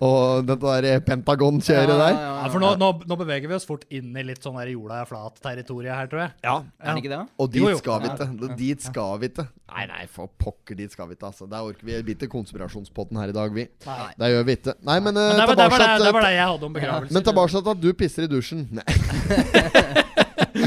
S1: og dette der Pentagon-kjøret
S5: Ja,
S1: der.
S5: ja,
S4: Ja,
S5: ja.
S4: for nå, nå, nå beveger vi oss fort inn i litt sånn der jorda er flat-territoriet her, tror jeg.
S5: Er det ikke det? da?
S1: Og dit
S4: Jo, jo.
S1: skal vi ikke. Dit skal vi ikke. Nei, nei, for pokker, dit skal vi ikke. Altså. Der orker vi vi er ikke konspirasjonspodden her i dag, vi.
S4: Nei.
S1: Det gjør vi ikke. Nei, men, eh,
S4: Men det var det,
S1: tilbake
S4: var det, det, var
S1: til-
S4: det jeg hadde om begravelser.
S1: men tilbake til at du pisser i dusjen. Nei.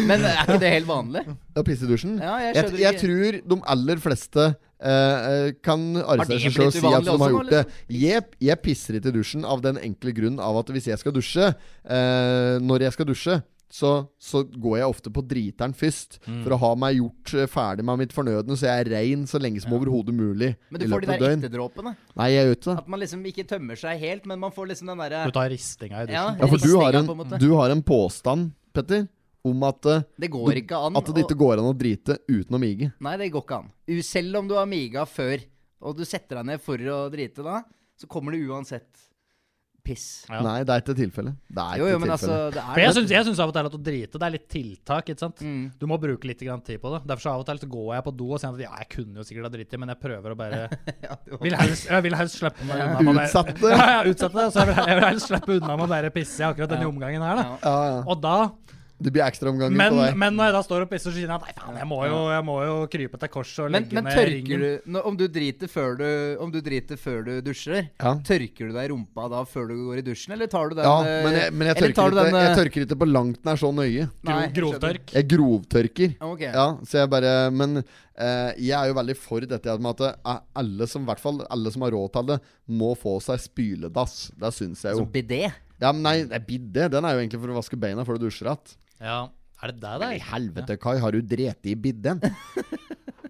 S5: Men er ikke det helt vanlig?
S1: Å pisse i dusjen?
S5: Ja, jeg
S1: jeg,
S5: skjønner
S1: jeg
S5: ikke.
S1: tror de aller fleste eh, eh, kan arrestere
S5: det
S1: seg selv og
S5: blitt
S1: si at
S5: uvanlig
S1: de har
S5: også nå,
S1: gjort det. Jeg, jeg pisser ikke i dusjen av den enkle grunn av at hvis jeg skal dusje eh, Når jeg skal dusje, så, så går jeg ofte på driteren først.
S5: Mm.
S1: For å ha meg gjort eh, ferdig med mitt fornødne, så jeg er rein så lenge som overhodet mulig.
S5: Men du
S1: i
S5: får
S1: løpet
S5: de
S1: av
S5: der
S1: døgn.
S5: etterdråpene.
S1: Nei, jeg gjør ikke det.
S5: At man liksom ikke tømmer seg helt, men man får liksom den derre
S4: Du tar ristinga i
S5: ja,
S4: dusjen.
S1: Ja, for du
S5: ristinga,
S1: har en,
S5: på en måte.
S1: du har en påstand, Petter, om at, eh,
S5: Det går ikke an.
S1: at det
S5: å-
S1: ikke går an å drite uten å mige.
S5: Nei, det går ikke an. U- Selv om du har miga før, og du setter deg ned for å drite da, så kommer det uansett piss.
S4: Ja.
S1: Nei, det er ikke tilfellet. Det er
S5: Jo,
S1: ikke
S5: jo, men
S1: tilfellet.
S5: altså, det
S4: For jeg
S5: er
S4: syns, jeg syns av og til at å drite det er litt tiltak. ikke sant?
S5: Mm.
S4: Du må bruke litt grann tid på det. Derfor så av og til så går jeg på do og sier at ja, jeg kunne jo sikkert ha driti, men jeg prøver å bare Vil helst, jeg vil helst slippe meg unna med å bare- <laughs>
S1: Utsette.
S4: Ja, ja, utsette det. Så jeg vil, jeg vil helst slippe unna med å bare pisse i akkurat denne omgangen her, da.
S1: Ja, ja.
S4: Og da
S1: Det blir ekstraomganger
S4: Men,
S1: på deg.
S4: men når jeg da står og pisser, så kjenner jeg at nei, faen, jeg må jo, jeg må jo krype til korset og
S5: Men,
S4: legge
S5: men
S4: ned
S5: tørker
S4: ringen.
S5: du nå- Om du driter før du, om du, driter før du dusjer,
S1: Ja.
S5: tørker du deg i rumpa da før du går i dusjen, eller tar du den
S1: ja,
S5: eh,
S1: men jeg, men jeg,
S5: eller
S1: tørker
S5: tar du
S1: ikke,
S5: den,
S1: jeg
S5: eh,
S1: tørker ikke på langt nær så nøye.
S4: Gro,
S5: Nei,
S4: grovtørk?
S1: Jeg grovtørker.
S5: Ok.
S1: Ja, så jeg bare Men eh, jeg er jo veldig for dette med at eh, alle som, i hvert fall alle som har råd til det, må få seg spyledass. Det syns jeg jo.
S5: Som bidé?
S1: Ja, men nei, det er bidde. Den er jo egentlig for å vaske beina før du dusjer igjen.
S4: Ja. Er det deg,
S1: I
S4: det?
S1: helvete, Kai, har du dreti i bidden?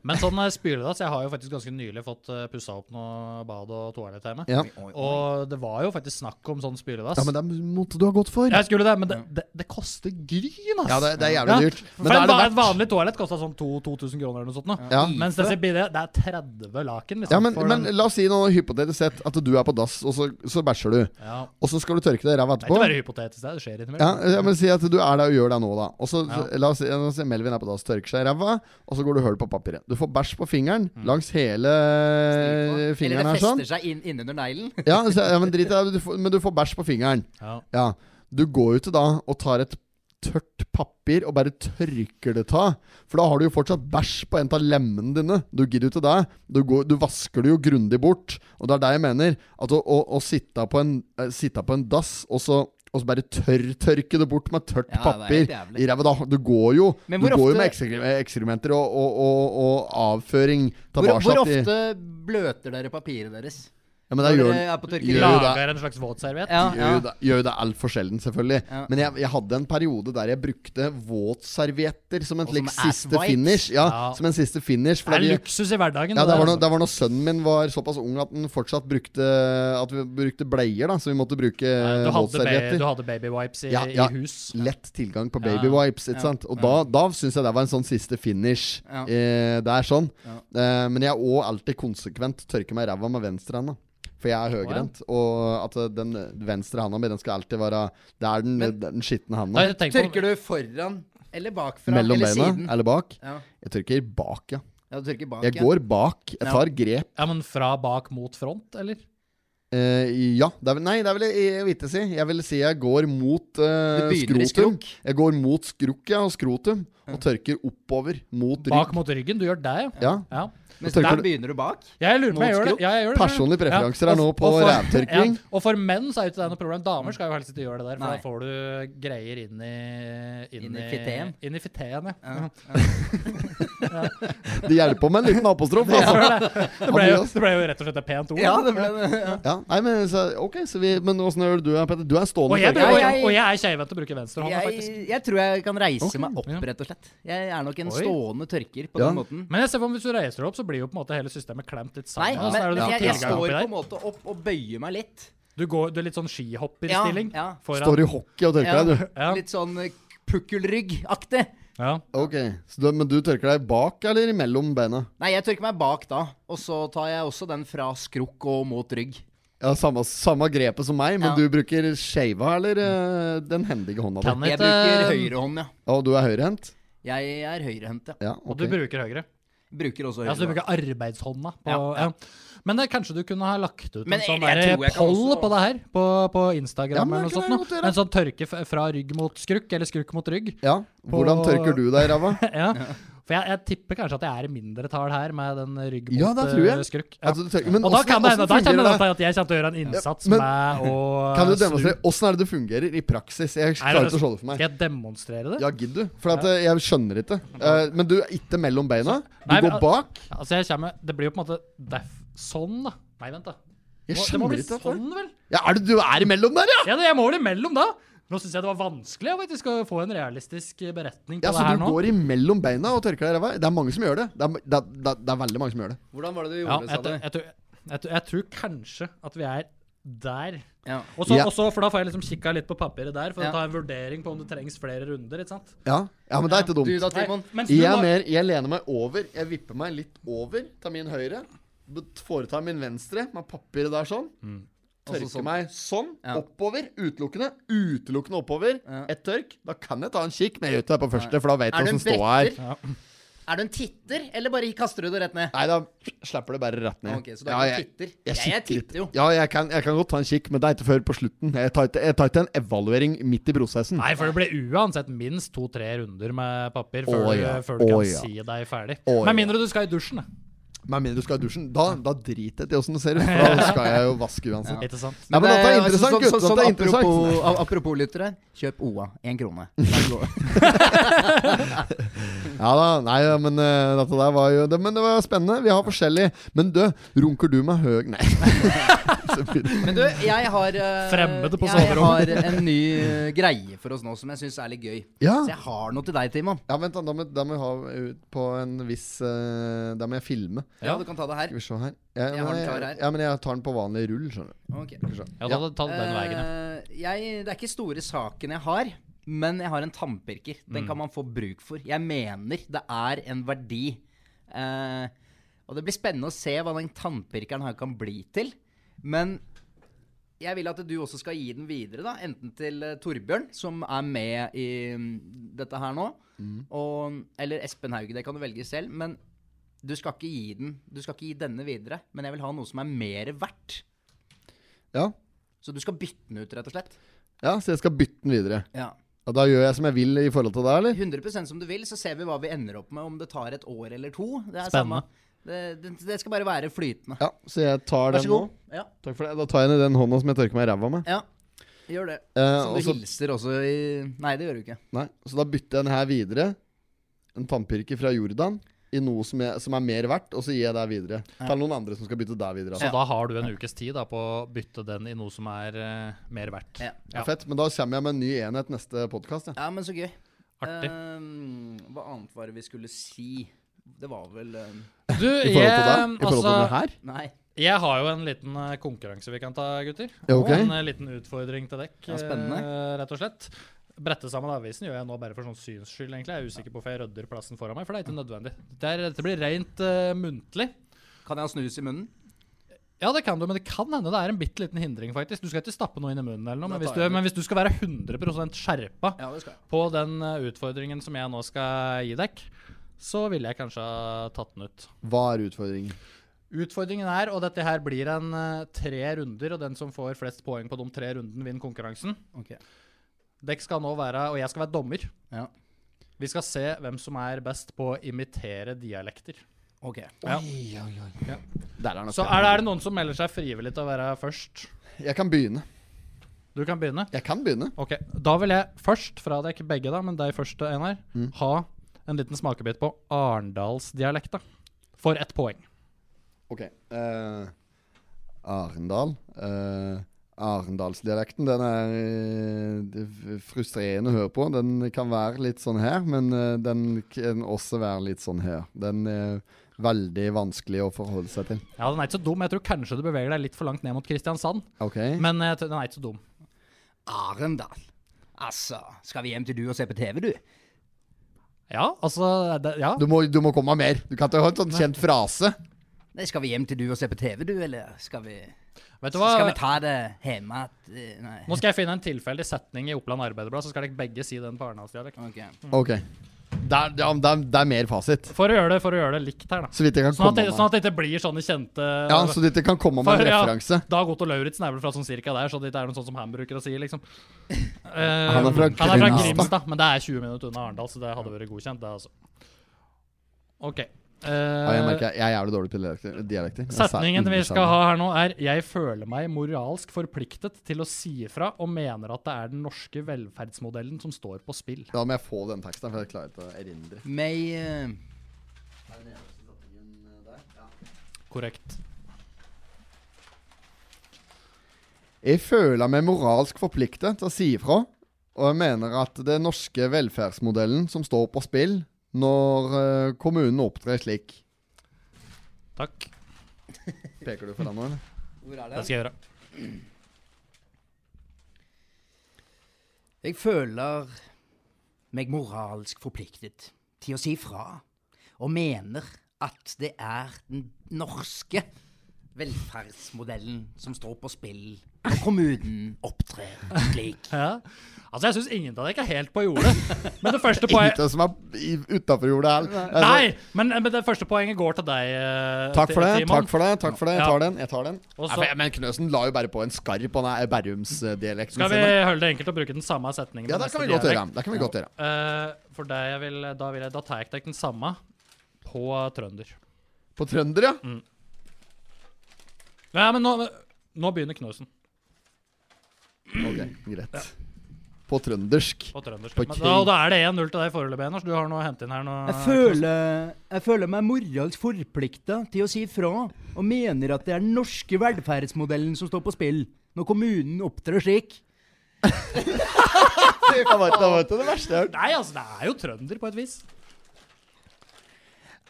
S4: Men sånn eh, spyledass Jeg har jo faktisk ganske nylig fått uh, pussa opp noe bad og toalett hjemme.
S1: Ja.
S4: Og det var jo faktisk snakk om sånn spyledass.
S1: ja, men det måtte du ha gått for.
S4: jeg skulle det, men det, det, det koster gryn, ass!
S1: Ja, det, det er jævlig dyrt. Men
S4: For
S1: det
S4: en,
S1: er det
S4: va- et
S1: verdt.
S4: vanlig toalett kosta sånn 2000 kroner eller noe sånt. Nå.
S1: Ja.
S4: Mens det, det er 30 laken. Liksom,
S1: Ja, men,
S4: for
S1: men
S4: den-
S1: la oss si noe hypotetisk sett at du er på dass, og så, så bæsjer du.
S4: ja.
S1: Og så skal du tørke deg i ræva
S4: Det er
S1: etterpå.
S4: ikke bare hypotetisk, det er- det skjer
S1: Ja,
S4: innimellom.
S1: jeg vil si at du er der og gjør det nå, da. Og så
S4: Ja.
S1: La oss si, la oss si Melvin er på dass, tørker seg i ræva, og så går du hull på papiret. Du får bæsj på fingeren langs hele
S5: Eller
S1: fingeren
S5: det
S1: her sånn.
S5: fester seg inn innunder neglen?
S1: Ja, så, ja, men drit i det, du får- men du får bæsj på fingeren.
S4: Ja.
S1: Ja. Du går jo ikke da og tar et tørt papir og bare tørker det av. For da har du jo fortsatt bæsj på en av lemmene dine. Du gidder jo ikke det. Du, går, du vasker det jo grundig bort. Og det er det jeg mener. At å, å, å sitte, på en, eh, sitte på en dass og så og så bare tørrtørke det bort med tørt
S5: Ja,
S1: papir
S5: det er helt jævlig.
S1: i ræva. da. Du går jo Du
S5: Men
S1: går
S5: hvor
S1: jo
S5: ofte-
S1: med ekskre- ekskrementer og, og, og, og avføring
S5: Hvor,
S1: tilbake
S5: hvor
S1: i
S5: ofte bløter dere papiret deres?
S1: Ja, Ja, men da gjør
S5: Når det er på tørkeland.
S1: gjør jo det-
S4: Lager en slags våtserviett.
S5: Ja,
S1: gjør
S5: ja.
S1: jo det- Gjør jo det altfor sjelden, selvfølgelig.
S5: Ja.
S1: Men jeg, jeg hadde en periode der jeg brukte våtservietter som en
S5: Og som
S1: slik
S5: er
S1: siste
S5: white.
S1: finish. Ja,
S4: Ja.
S1: som en siste finish.
S4: Det er
S1: fordi-
S4: luksus i hverdagen.
S1: ja, det var,
S4: der,
S1: når, det var når sønnen min var såpass ung at han fortsatt brukte At vi brukte bleier, da, så vi måtte bruke
S4: altså. du, hadde ba- du
S1: våtservietter.
S4: hadde baby wipes i,
S1: Ja, ja.
S4: i hus.
S1: Lett tilgang på
S4: Ja.
S1: baby wipes, ikke
S5: Ja.
S1: sant. Og da, da syns jeg det var en sånn siste finish.
S5: Ja.
S1: Eh, det er sånn. Eh, men jeg òg alltid konsekvent tørker meg i ræva med venstrehanda. For jeg er høyrehendt, og at eh, den venstre handa mi, den skal alltid være Det er den, den skitne handa.
S5: Tørker du foran eller bakfra?
S1: Mellom
S5: eller
S1: beina
S5: siden?
S1: eller bak.
S5: Ja.
S1: Jeg tørker bak, ja.
S5: ja, du tørker bak.
S1: Jeg
S5: ja.
S1: går bak. Jeg
S5: Ja.
S1: tar grep.
S4: Ja, men fra bak mot front, eller?
S1: Eh, ja. Det er, vel- nei, det er vel jeg, jeg vil ikke si. Jeg vil si jeg går mot eh,
S5: Du begynner i
S1: skrotum.
S5: skrok.
S1: Jeg går mot skrukk ja, og skrotum, og tørker oppover mot
S4: Bak
S1: rygg.
S4: mot ryggen. Du gjør det, ja.
S1: Ja.
S4: ja.
S5: Mens
S1: tørker
S5: der
S1: du-
S5: begynner du bak.
S4: Jeg lurer på om jeg gjør det.
S1: Motskrot.
S4: Ja, jeg gjør det
S1: Personlige preferanser er nå
S4: Og-
S1: på
S4: og for-
S1: rævtørking.
S4: Ja. Og for menn så er jo ikke det noe problem. Damer skal jo helst ikke gjøre det der, for
S5: Nei.
S4: da får du greier inn i
S5: Inn i fiteen.
S4: Inn i
S1: <laughs>
S4: fiteen, ja.
S5: Ja.
S1: Det hjelper med en liten
S4: <laughs>
S1: apostrof. Altså.
S4: Det ble, jo,
S1: Andreas.
S4: det ble jo rett og slett et pent ord.
S5: Ja, det ble det. Ja.
S1: Ja, nei, men så, Ok, så vi, men åssen gjør du det, Petter? Du er stående
S4: Og jeg,
S1: tørker.
S4: bruker,
S5: Ja, jeg-
S4: og jeg er keivhendt og bruker venstrehånda,
S5: Jeg,
S4: faktisk.
S5: jeg tror jeg kan reise meg opp,
S4: ja.
S5: rett og slett. Jeg er nok en
S4: Oi.
S5: stående tørker på
S1: Ja.
S5: den måten.
S4: Men jeg ser for meg hvis du reiser deg opp, så blir jo på en måte hele systemet klemt litt
S5: Nei,
S4: sammen. og så
S5: men,
S4: er det
S5: men
S4: litt
S5: jeg, jeg
S4: tilgang oppi
S5: står på
S4: der.
S5: en måte opp og bøyer meg litt.
S4: Du, går, du er litt sånn skihopperstilling.
S5: Ja, ja.
S4: foran.
S1: Står i hockey og tørker
S5: Ja.
S1: deg, du.
S4: Ja.
S5: Litt sånn eh, pukkelrygg-aktig.
S4: Ja.
S1: Ok, så du, Men du tørker deg bak eller mellom beina?
S5: Nei, jeg tørker meg bak da, og så tar jeg også den fra skrukk og mot rygg.
S1: Ja, Samme, samme grepet som meg, men
S5: Ja.
S1: du bruker skeiva eller eh, den hendige hånda di?
S4: Kan
S5: Jeg
S4: ikke-
S5: bruker høyrehånd, ja.
S1: Og du er høyrehendt?
S5: Jeg er høyrehendt, ja.
S1: Ja,
S4: Og du
S1: ok.
S4: bruker høyre.
S5: Bruker også
S4: Ja, så du
S5: høyrehånd.
S4: bruker arbeidshånda. På, ja,
S5: Ja, ja.
S4: Men eh, kanskje du kunne ha lagt ut
S5: Men
S4: en sånn
S5: jeg- jeg
S4: der
S5: tror jeg kan
S4: poll
S5: også-
S4: på det her, på, på
S1: Ja,
S4: Instagram
S1: men
S4: eller
S1: det kan
S4: noe sånt.
S1: jeg
S4: nå.
S1: godt gjøre.
S4: En sånn tørke f- fra rygg mot skrukk, eller skrukk mot rygg. <laughs>
S1: Ja, Hvordan
S4: På-
S1: tørker du deg, ræva?
S4: Ja. For jeg, jeg tipper kanskje at jeg er i mindretall her, med den rygg mot
S1: Ja, det tror jeg.
S4: eh, skrukk. <laughs> Ja.
S1: Altså, du tørker- men
S4: og da
S1: åssen-
S4: kan det hende
S1: åssen
S4: da
S1: fungerer det?
S4: kjenner jeg at jeg kommer til å gjøre en innsats
S1: men-
S4: med å
S1: <laughs>
S4: eh,
S1: Kan du
S4: snu.
S1: demonstrere åssen er det det fungerer i praksis? Jeg
S4: Nei,
S1: klarer ikke
S4: det-
S1: å se det for meg.
S4: Skal jeg demonstrere det?
S1: Ja, gidd du. For at, eh, jeg skjønner ikke. Eh, men du er ikke mellom beina. Du
S4: Nei, men-
S1: går bak.
S4: Altså, jeg kommer Det blir jo på en måte def, Sånn, da. Nei, vent, da.
S1: Jeg
S4: Må- Det må
S1: skjønner
S4: bli
S1: ikke dette.
S4: sånn, vel?
S1: Ja, er det du er imellom der, ja?
S4: Ja, det- jeg må vel imellom da. Nå syns jeg det var vanskelig jeg vet, vi skal få en realistisk eh, beretning på
S1: Ja,
S4: det
S1: Så
S4: her
S1: Altså, du
S4: nå.
S1: går imellom beina og tørker deg i ræva? Det er mange som gjør det. Det er, det, er- det, er- det er veldig mange som gjør det.
S5: Hvordan var det du
S4: Ja,
S5: gjorde,
S4: jeg,
S5: sa
S4: tror-
S5: du?
S4: jeg, tror- jeg, tror- jeg tror kanskje at vi er der.
S5: Ja.
S4: Og så,
S1: Ja.
S4: og så- for da får jeg liksom kikka litt på papiret der, for
S5: Ja.
S4: å ta en vurdering på om det trengs flere runder. ikke sant?
S1: Ja, ja men det er ikke
S5: Du
S1: dumt.
S5: da, Timon?
S4: Mens du
S1: Jeg, er
S4: da-
S1: mer, jeg lener meg over. Jeg vipper meg litt over. Tar min høyre. bet- Foretar min venstre med papiret der sånn.
S5: Og så
S1: Tørker
S5: sånn.
S1: meg sånn.
S5: Ja.
S1: Oppover. Utelukkende. Utelukkende oppover.
S5: Ja.
S1: Ett tørk. Da kan jeg ta en kikk, men jeg gjør ikke det på første, for da vet
S5: Er
S1: jeg
S5: du en
S1: hvordan ståa er.
S5: bretter? Er du en titter, eller bare kaster du det rett ned?
S1: Nei, da slipper det bare rett ned.
S5: Ok, så du er ikke titter? Jeg, jeg,
S1: kikker litt.
S5: titter jo.
S1: Ja, jeg kan, jeg kan godt ta en kikk, men det er ikke før på slutten. Jeg tar ikke, jeg tar ikke en evaluering midt i prosessen.
S4: Nei, for det blir uansett minst to-tre runder med papir før,
S1: Å,
S4: du-
S1: ja.
S4: før du kan
S1: Å, ja.
S4: si deg ferdig.
S1: Å,
S4: Med
S1: ja.
S4: mindre du skal i dusjen, da.
S1: Med mindre du skal i dusjen. Da, da driter jeg til åssen det
S5: <laughs>
S1: ser ut, for da skal jeg jo vaske uansett.
S4: Ikke sant?
S1: Nei, men dette er
S5: altså,
S1: interessant,
S5: sånn-
S1: gutt.
S5: sånn-
S1: Dette er
S5: sånn
S1: interessant.
S5: Apropos, a- apropos lyttere, kjøp OA. Én krone. Der går-
S1: Ja da, nei, ja, men eh, dette der var jo det, Men det var spennende. Vi har forskjellig. Men du, runker du med høg Nei. <laughs> Selvfølgelig.
S5: Men du, jeg har eh,
S4: Fremmede på
S5: Jeg
S4: soverommet.
S5: har en ny eh, greie for oss nå som jeg syns er litt gøy.
S1: ja.
S5: Så jeg har noe til deg, Timon.
S1: ja, vent, da. Da må, da må jeg ha ut på en viss eh, Da må jeg filme.
S5: Ja, du kan ta det her.
S1: Skal vi se her. Ja,
S5: Jeg har
S1: men
S5: den klar her.
S1: ja, men jeg tar den på vanlig rull, skjønner du.
S5: Ok.
S1: Skal vi se.
S4: Ja, da ta den veien, ja.
S5: Eh, jeg, det er ikke store saken jeg har, men jeg har en tannpirker.
S4: Mm.
S5: Den kan man få bruk for. Jeg mener det er en verdi. Eh, og det blir spennende å se hva den tannpirkeren her kan bli til. Men jeg vil at du også skal gi den videre, da. Enten til eh, Torbjørn, som er med i mm, dette her nå,
S4: Mm.
S5: og, eller Espen Hauge. Det kan du velge selv. Men du skal ikke gi den Du skal ikke gi denne videre. Men jeg vil ha noe som er mer verdt.
S1: Ja.
S5: Så du skal bytte den ut, rett og slett?
S1: ja, så jeg skal bytte den videre.
S5: Ja.
S1: Og da gjør jeg som jeg vil i forhold til deg, eller?
S5: 100 som du vil, så ser vi hva vi ender opp med om det tar et år eller to. Det er
S4: Spennende.
S5: Samme. Det, det, det skal bare være flytende.
S1: Ja, så jeg tar
S5: Vær
S1: den
S5: så
S1: nå.
S5: god. Ja,
S1: Takk for det. Da tar jeg den i den hånda som jeg tørker meg i ræva med.
S5: ja. Gjør det.
S1: Eh,
S5: Som
S1: og
S5: du
S1: så,
S5: hilser også i Nei, det gjør du ikke.
S1: nei, så da bytter jeg den her videre. En tannpirker fra Jordan. i noe som er, som er mer verdt, og så gir jeg deg videre. Til noen andre som skal bytte deg videre.
S4: Så
S1: Altså.
S4: da har du en ukes tid da, på å bytte den i noe som er eh, mer verdt.
S5: Ja.
S4: Ja.
S1: Fett, men da kommer jeg med en ny enhet neste podkast. Ja.
S5: Ja, men så gøy.
S4: Artig.
S5: Ehm, hva annet var det vi skulle si? Det var vel ehm,
S4: Eh, Du,
S1: I
S4: jeg,
S1: forhold til deg? I forhold til
S4: altså,
S1: det her?
S5: Nei.
S4: jeg har jo en liten eh, konkurranse vi kan ta, gutter.
S1: Ja, ok.
S4: En eh, liten utfordring til dekk,
S5: Ja, spennende.
S4: eh, rett og slett. Brette sammen avisen gjør jeg nå bare for sånn syns skyld, egentlig. Jeg er usikker på hvorfor jeg rydder plassen foran meg, for det er ikke nødvendig. Det er, dette blir rent eh, muntlig.
S5: Kan jeg ha snus i munnen?
S4: Ja, det kan du, men det kan hende det er en bitte liten hindring, faktisk. Du skal ikke stappe noe inn i munnen eller noe,
S5: Da
S4: men hvis du,
S5: tar jeg det.
S4: men hvis du skal være 100 skjerpa
S5: Ja, det skal jeg.
S4: på den eh, utfordringen som jeg nå skal gi dekk, så ville jeg kanskje ha tatt den ut.
S1: Hva er utfordringen?
S4: Utfordringen er, og dette her blir en eh, tre runder, og den som får flest poeng på de tre rundene, vinner konkurransen.
S5: Ok.
S4: Dekk skal nå være, og jeg skal være dommer.
S5: Ja.
S4: Vi skal se hvem som er best på å imitere dialekter.
S5: Ok.
S4: Ja.
S1: Der er den
S4: Så
S1: oppe.
S4: er det, er det noen som melder seg frivillig til å være først?
S1: Jeg kan begynne.
S4: Du kan begynne.
S1: Jeg kan begynne.
S4: Ok, Da vil jeg først, fra deg, ikke begge, da, men deg først, Einar,
S5: Mm.
S4: ha en liten smakebit på arendalsdialekta. For ett poeng.
S1: Ok. eh, Arendal. eh, Arendalsdialekten, den er eh, det er frustrerende å høre på. Den kan være litt sånn her, men eh, den kan også være litt sånn her. Den er veldig vanskelig å forholde seg til.
S4: Ja, Den er ikke så dum. Jeg tror kanskje du beveger deg litt for langt ned mot Kristiansand.
S1: Ok.
S4: Men eh, den er ikke så dum.
S5: Arendal. Altså, skal vi hjem til du og se på TV, du?
S4: Ja, altså det, Ja.
S1: Du må, du må komme med mer. Du kan ikke ha en sånn kjent frase.
S5: Nei, skal vi hjem til du og se på TV, du, eller skal vi
S4: Vet du hva?
S5: Skal vi ta det hjemme? at- eh, Nei.
S4: Nå skal jeg finne en tilfeldig setning i Oppland Arbeiderblad, så skal dere begge si den på arendalsdialekt.
S5: Ok.
S1: Ok. Det er, ja, men det er, det er mer fasit.
S4: For å gjøre det for å gjøre det likt her, da.
S1: Så vidt jeg kan
S4: Sånn at,
S1: komme
S4: det, sånn at det ikke blir sånne kjente
S1: Ja, altså- så vidt jeg kan komme med
S4: For,
S1: en
S4: ja,
S1: referanse.
S4: Dag Otto Lauritzen er vel fra sånn cirka der, så det ikke er noe sånt som han bruker å si, liksom. Eh,
S1: <laughs> Han er fra
S4: han er fra
S1: Grimstad.
S4: Grimstad, men det er 20 minutter unna Arendal, så det hadde vært godkjent, det, altså. OK.
S1: Ja, jeg
S4: Eh,
S1: merker jeg er jævlig dårlig på dialekter. dialekter. Jeg sa-
S4: setningen vi
S1: Mm,
S4: skal ha her nå, er 'Jeg føler meg moralsk forpliktet til å si ifra' og mener at det er den norske velferdsmodellen som står på spill.
S1: Da må jeg få den teksten, for jeg klarer ikke å erindre.
S5: Meg eh,
S4: Korrekt.
S1: Jeg føler meg moralsk forpliktet til å si ifra, og jeg mener at det er norske velferdsmodellen som står på spill når eh, kommunen opptrer slik.
S4: Takk.
S1: Peker du for den nå, eller?
S5: Hvor er
S4: Det skal jeg gjøre.
S5: Jeg føler meg moralsk forpliktet til å si fra, og mener at det er den norske velferdsmodellen som står på spill når kommunen opptrer slik.
S4: Ja. Altså, jeg syns ingen av dere ikke er helt på jordet.
S1: <laughs>
S4: Men det første poenget
S1: Ikke som er utafor jordet her. Altså,
S4: Nei! Men, men det første poenget går til deg, eh,
S1: Takk for det,
S4: Timon.
S1: takk for det. takk for det Jeg
S4: Ja.
S1: tar den. jeg tar den
S4: Og
S1: ja,
S4: så-
S1: for, jeg- Men Knøsen la jo bare på en skarp på den Berrumsdialekten
S4: Skal vi
S1: sin.
S4: holde det enkelt og bruke den samme setningen?
S1: Ja,
S4: på
S1: det
S4: neste
S1: kan vi godt
S4: dialekt?
S1: gjøre. Det kan vi godt gjøre.
S4: Eh, for deg jeg vil, da, vil jeg, da tar jeg ikke den samme på trønder.
S1: På trønder, ja.
S4: Nei, men nå, nå begynner Knøsen Mm.
S1: Ok, greit. På trøndersk.
S4: på trøndersk.
S1: På
S4: Men,
S1: krig.
S4: da, da er det 1-0 til deg foreløpig, Einar. så Du har noe å hente inn her nå.
S5: Jeg føler, jeg føler meg moralsk forplikta til å si fra, og mener at det er den norske velferdsmodellen som står på spill når kommunen opptrer slik.
S1: Det var ikke- det var ikke det verste jeg har hørt.
S4: Nei, altså, det er jo trønder, på et vis.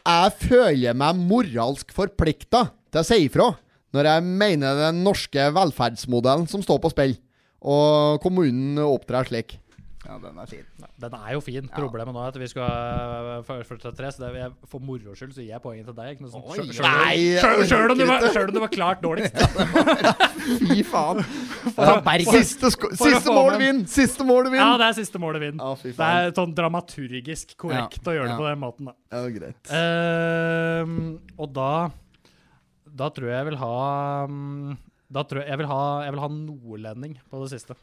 S1: Jeg føler meg moralsk forplikta til å si ifra når jeg mener den norske velferdsmodellen som står på spill, og kommunen opptrer slik.
S5: Ja, den er fin.
S4: Den er jo fin. Problemet nå er at vi skal eh, ha første tre, så det er, jeg- for moro skyld så gir jeg poenget til deg. Knudsen. Sjøl- sjøl-
S1: Nei,
S4: sjøl- Sjøl om, du var- sjøl om du var klart
S5: <laughs>
S4: dårligst.
S1: fy faen.
S5: Fra Bergen.
S1: Siste, sko-
S4: for å
S1: siste
S4: få
S1: mål
S4: med-
S1: vinner! Siste mål
S4: Ja,
S1: vinner!
S4: det er siste målet vinner.
S1: Ja, fy
S4: det
S1: faen.
S4: er sånn dramaturgisk korrekt
S5: Ja,
S4: å gjøre det
S5: ja.
S4: på den måten, da.
S1: Ja, greit.
S4: Ehm, og da Da tror jeg jeg vil ha mm, Da tror jeg jeg vil ha, jeg vil ha nordlending på det siste.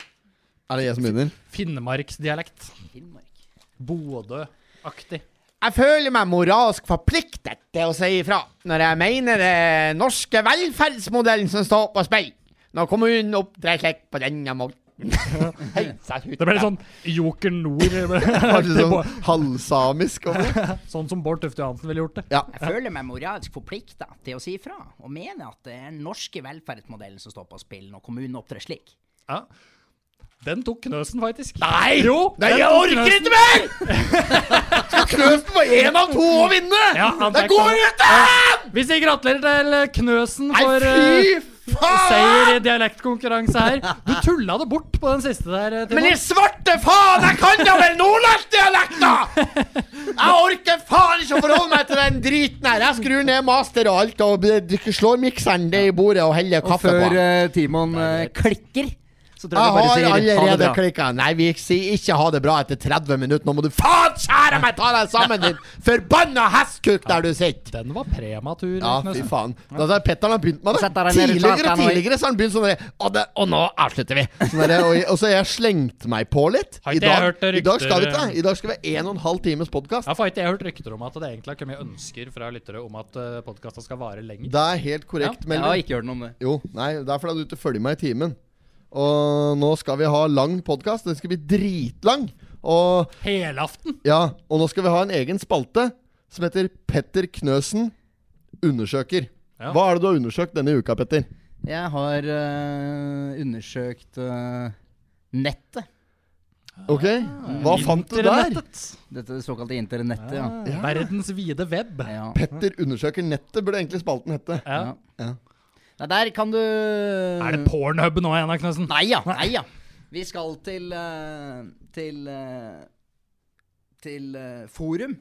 S1: Er det jeg som begynner?
S4: Finnmarksdialekt. Bodø-aktig.
S1: Jeg føler meg moralsk forpliktet til å si ifra når jeg mener
S4: <laughs>
S1: den norske velferdsmodellen som står på spill, når kommunen opptrer slik på denne måten.
S4: Det ble litt sånn Joker <laughs> Nord.
S1: Kanskje
S4: til Bård-
S1: sånn halvsamisk over
S5: <laughs>
S1: det.
S4: sånn som Bård Tufte Johansen ville gjort det.
S1: Ja.
S5: Jeg føler meg moralsk forplikta til å si ifra, og mener at det er den norske velferdsmodellen som står på spill når kommunen opptrer slik.
S4: Ja. Den tok Knøsen, faktisk. Nei! Jo,
S1: Nei,
S4: den
S1: jeg
S4: tok
S1: orker
S4: Knøsen.
S1: ikke mer! Skal Knøsen få én av to å vinne?
S4: Ja, han
S1: det
S4: tar
S1: går
S4: Knøsen.
S1: ut! da!
S4: Vi sier gratulerer til eh, Knøsen
S1: Nei,
S4: for eh,
S1: fy faen!
S4: seier i dialektkonkurranse her. Du tulla det bort på den siste der. eh, Timon.
S1: Men i svarte faen, jeg kan da vel nordlandsdialekta! Jeg orker faen ikke å forholde meg til den driten her. Jeg skrur ned master og alt og b- slår mikseren ned i bordet og heller
S5: Og
S1: kaffe
S5: før
S1: på.
S5: eh, Timon eh, klikker, så tror
S1: Jeg
S5: jeg,
S1: har
S5: jeg bare sier ha det
S1: allerede
S5: bra.
S1: klikka. Nei, vi sier ikke ha det bra etter 30 minutter. Nå må du faen skjære meg ta deg sammen, din forbanna hestkuk der du sitter!
S4: Den var prematur.
S1: Ja, fy
S4: Knøsen.
S1: faen. Da har Petter har begynt med det.
S5: Sett deg ned i
S1: Tidligere
S5: starten, og-
S1: tidligere så har han begynt sånn der, og, det, og nå avslutter vi. Sånn der, og, og så har jeg slengt meg på litt.
S4: Har
S1: I
S4: ikke
S1: dag,
S4: jeg hørt rykter-
S1: I
S4: eh?
S1: dag skal vi ikke det. I dag skal vi ha en og en halv times podkast.
S4: Ja, for ikke jeg har hørt rykter om at det egentlig har kommet ønsker fra lyttere om at uh, podkasten skal vare lenger.
S1: Det er helt korrekt,
S5: Jeg har
S1: Melvin.
S5: ikke hørt noe om det.
S1: Jo, nei, det er fordi du ikke følger meg i timen. Og nå skal vi ha lang podkast. Den skal bli dritlang. Og
S4: Helaften!
S1: Ja, og nå skal vi ha en egen spalte som heter Petter Knøsen undersøker.
S4: Ja.
S1: Hva er det du har undersøkt denne uka, Petter?
S5: Jeg har eh, undersøkt eh, nettet.
S1: Ok, Hva fant du der?
S4: Internettet.
S5: Dette såkalte internettet, ja.
S4: Ja. Verdens vide web.
S5: ja.
S1: Petter undersøker nettet, burde egentlig spalten hette.
S4: Ja.
S5: Ja.
S1: Ja.
S5: Nei, der kan du
S4: Er det pornhub nå igjen, da, Knøsen?
S5: Nei ja, nei ja. Vi skal til eh, Til eh, Til eh, Forum.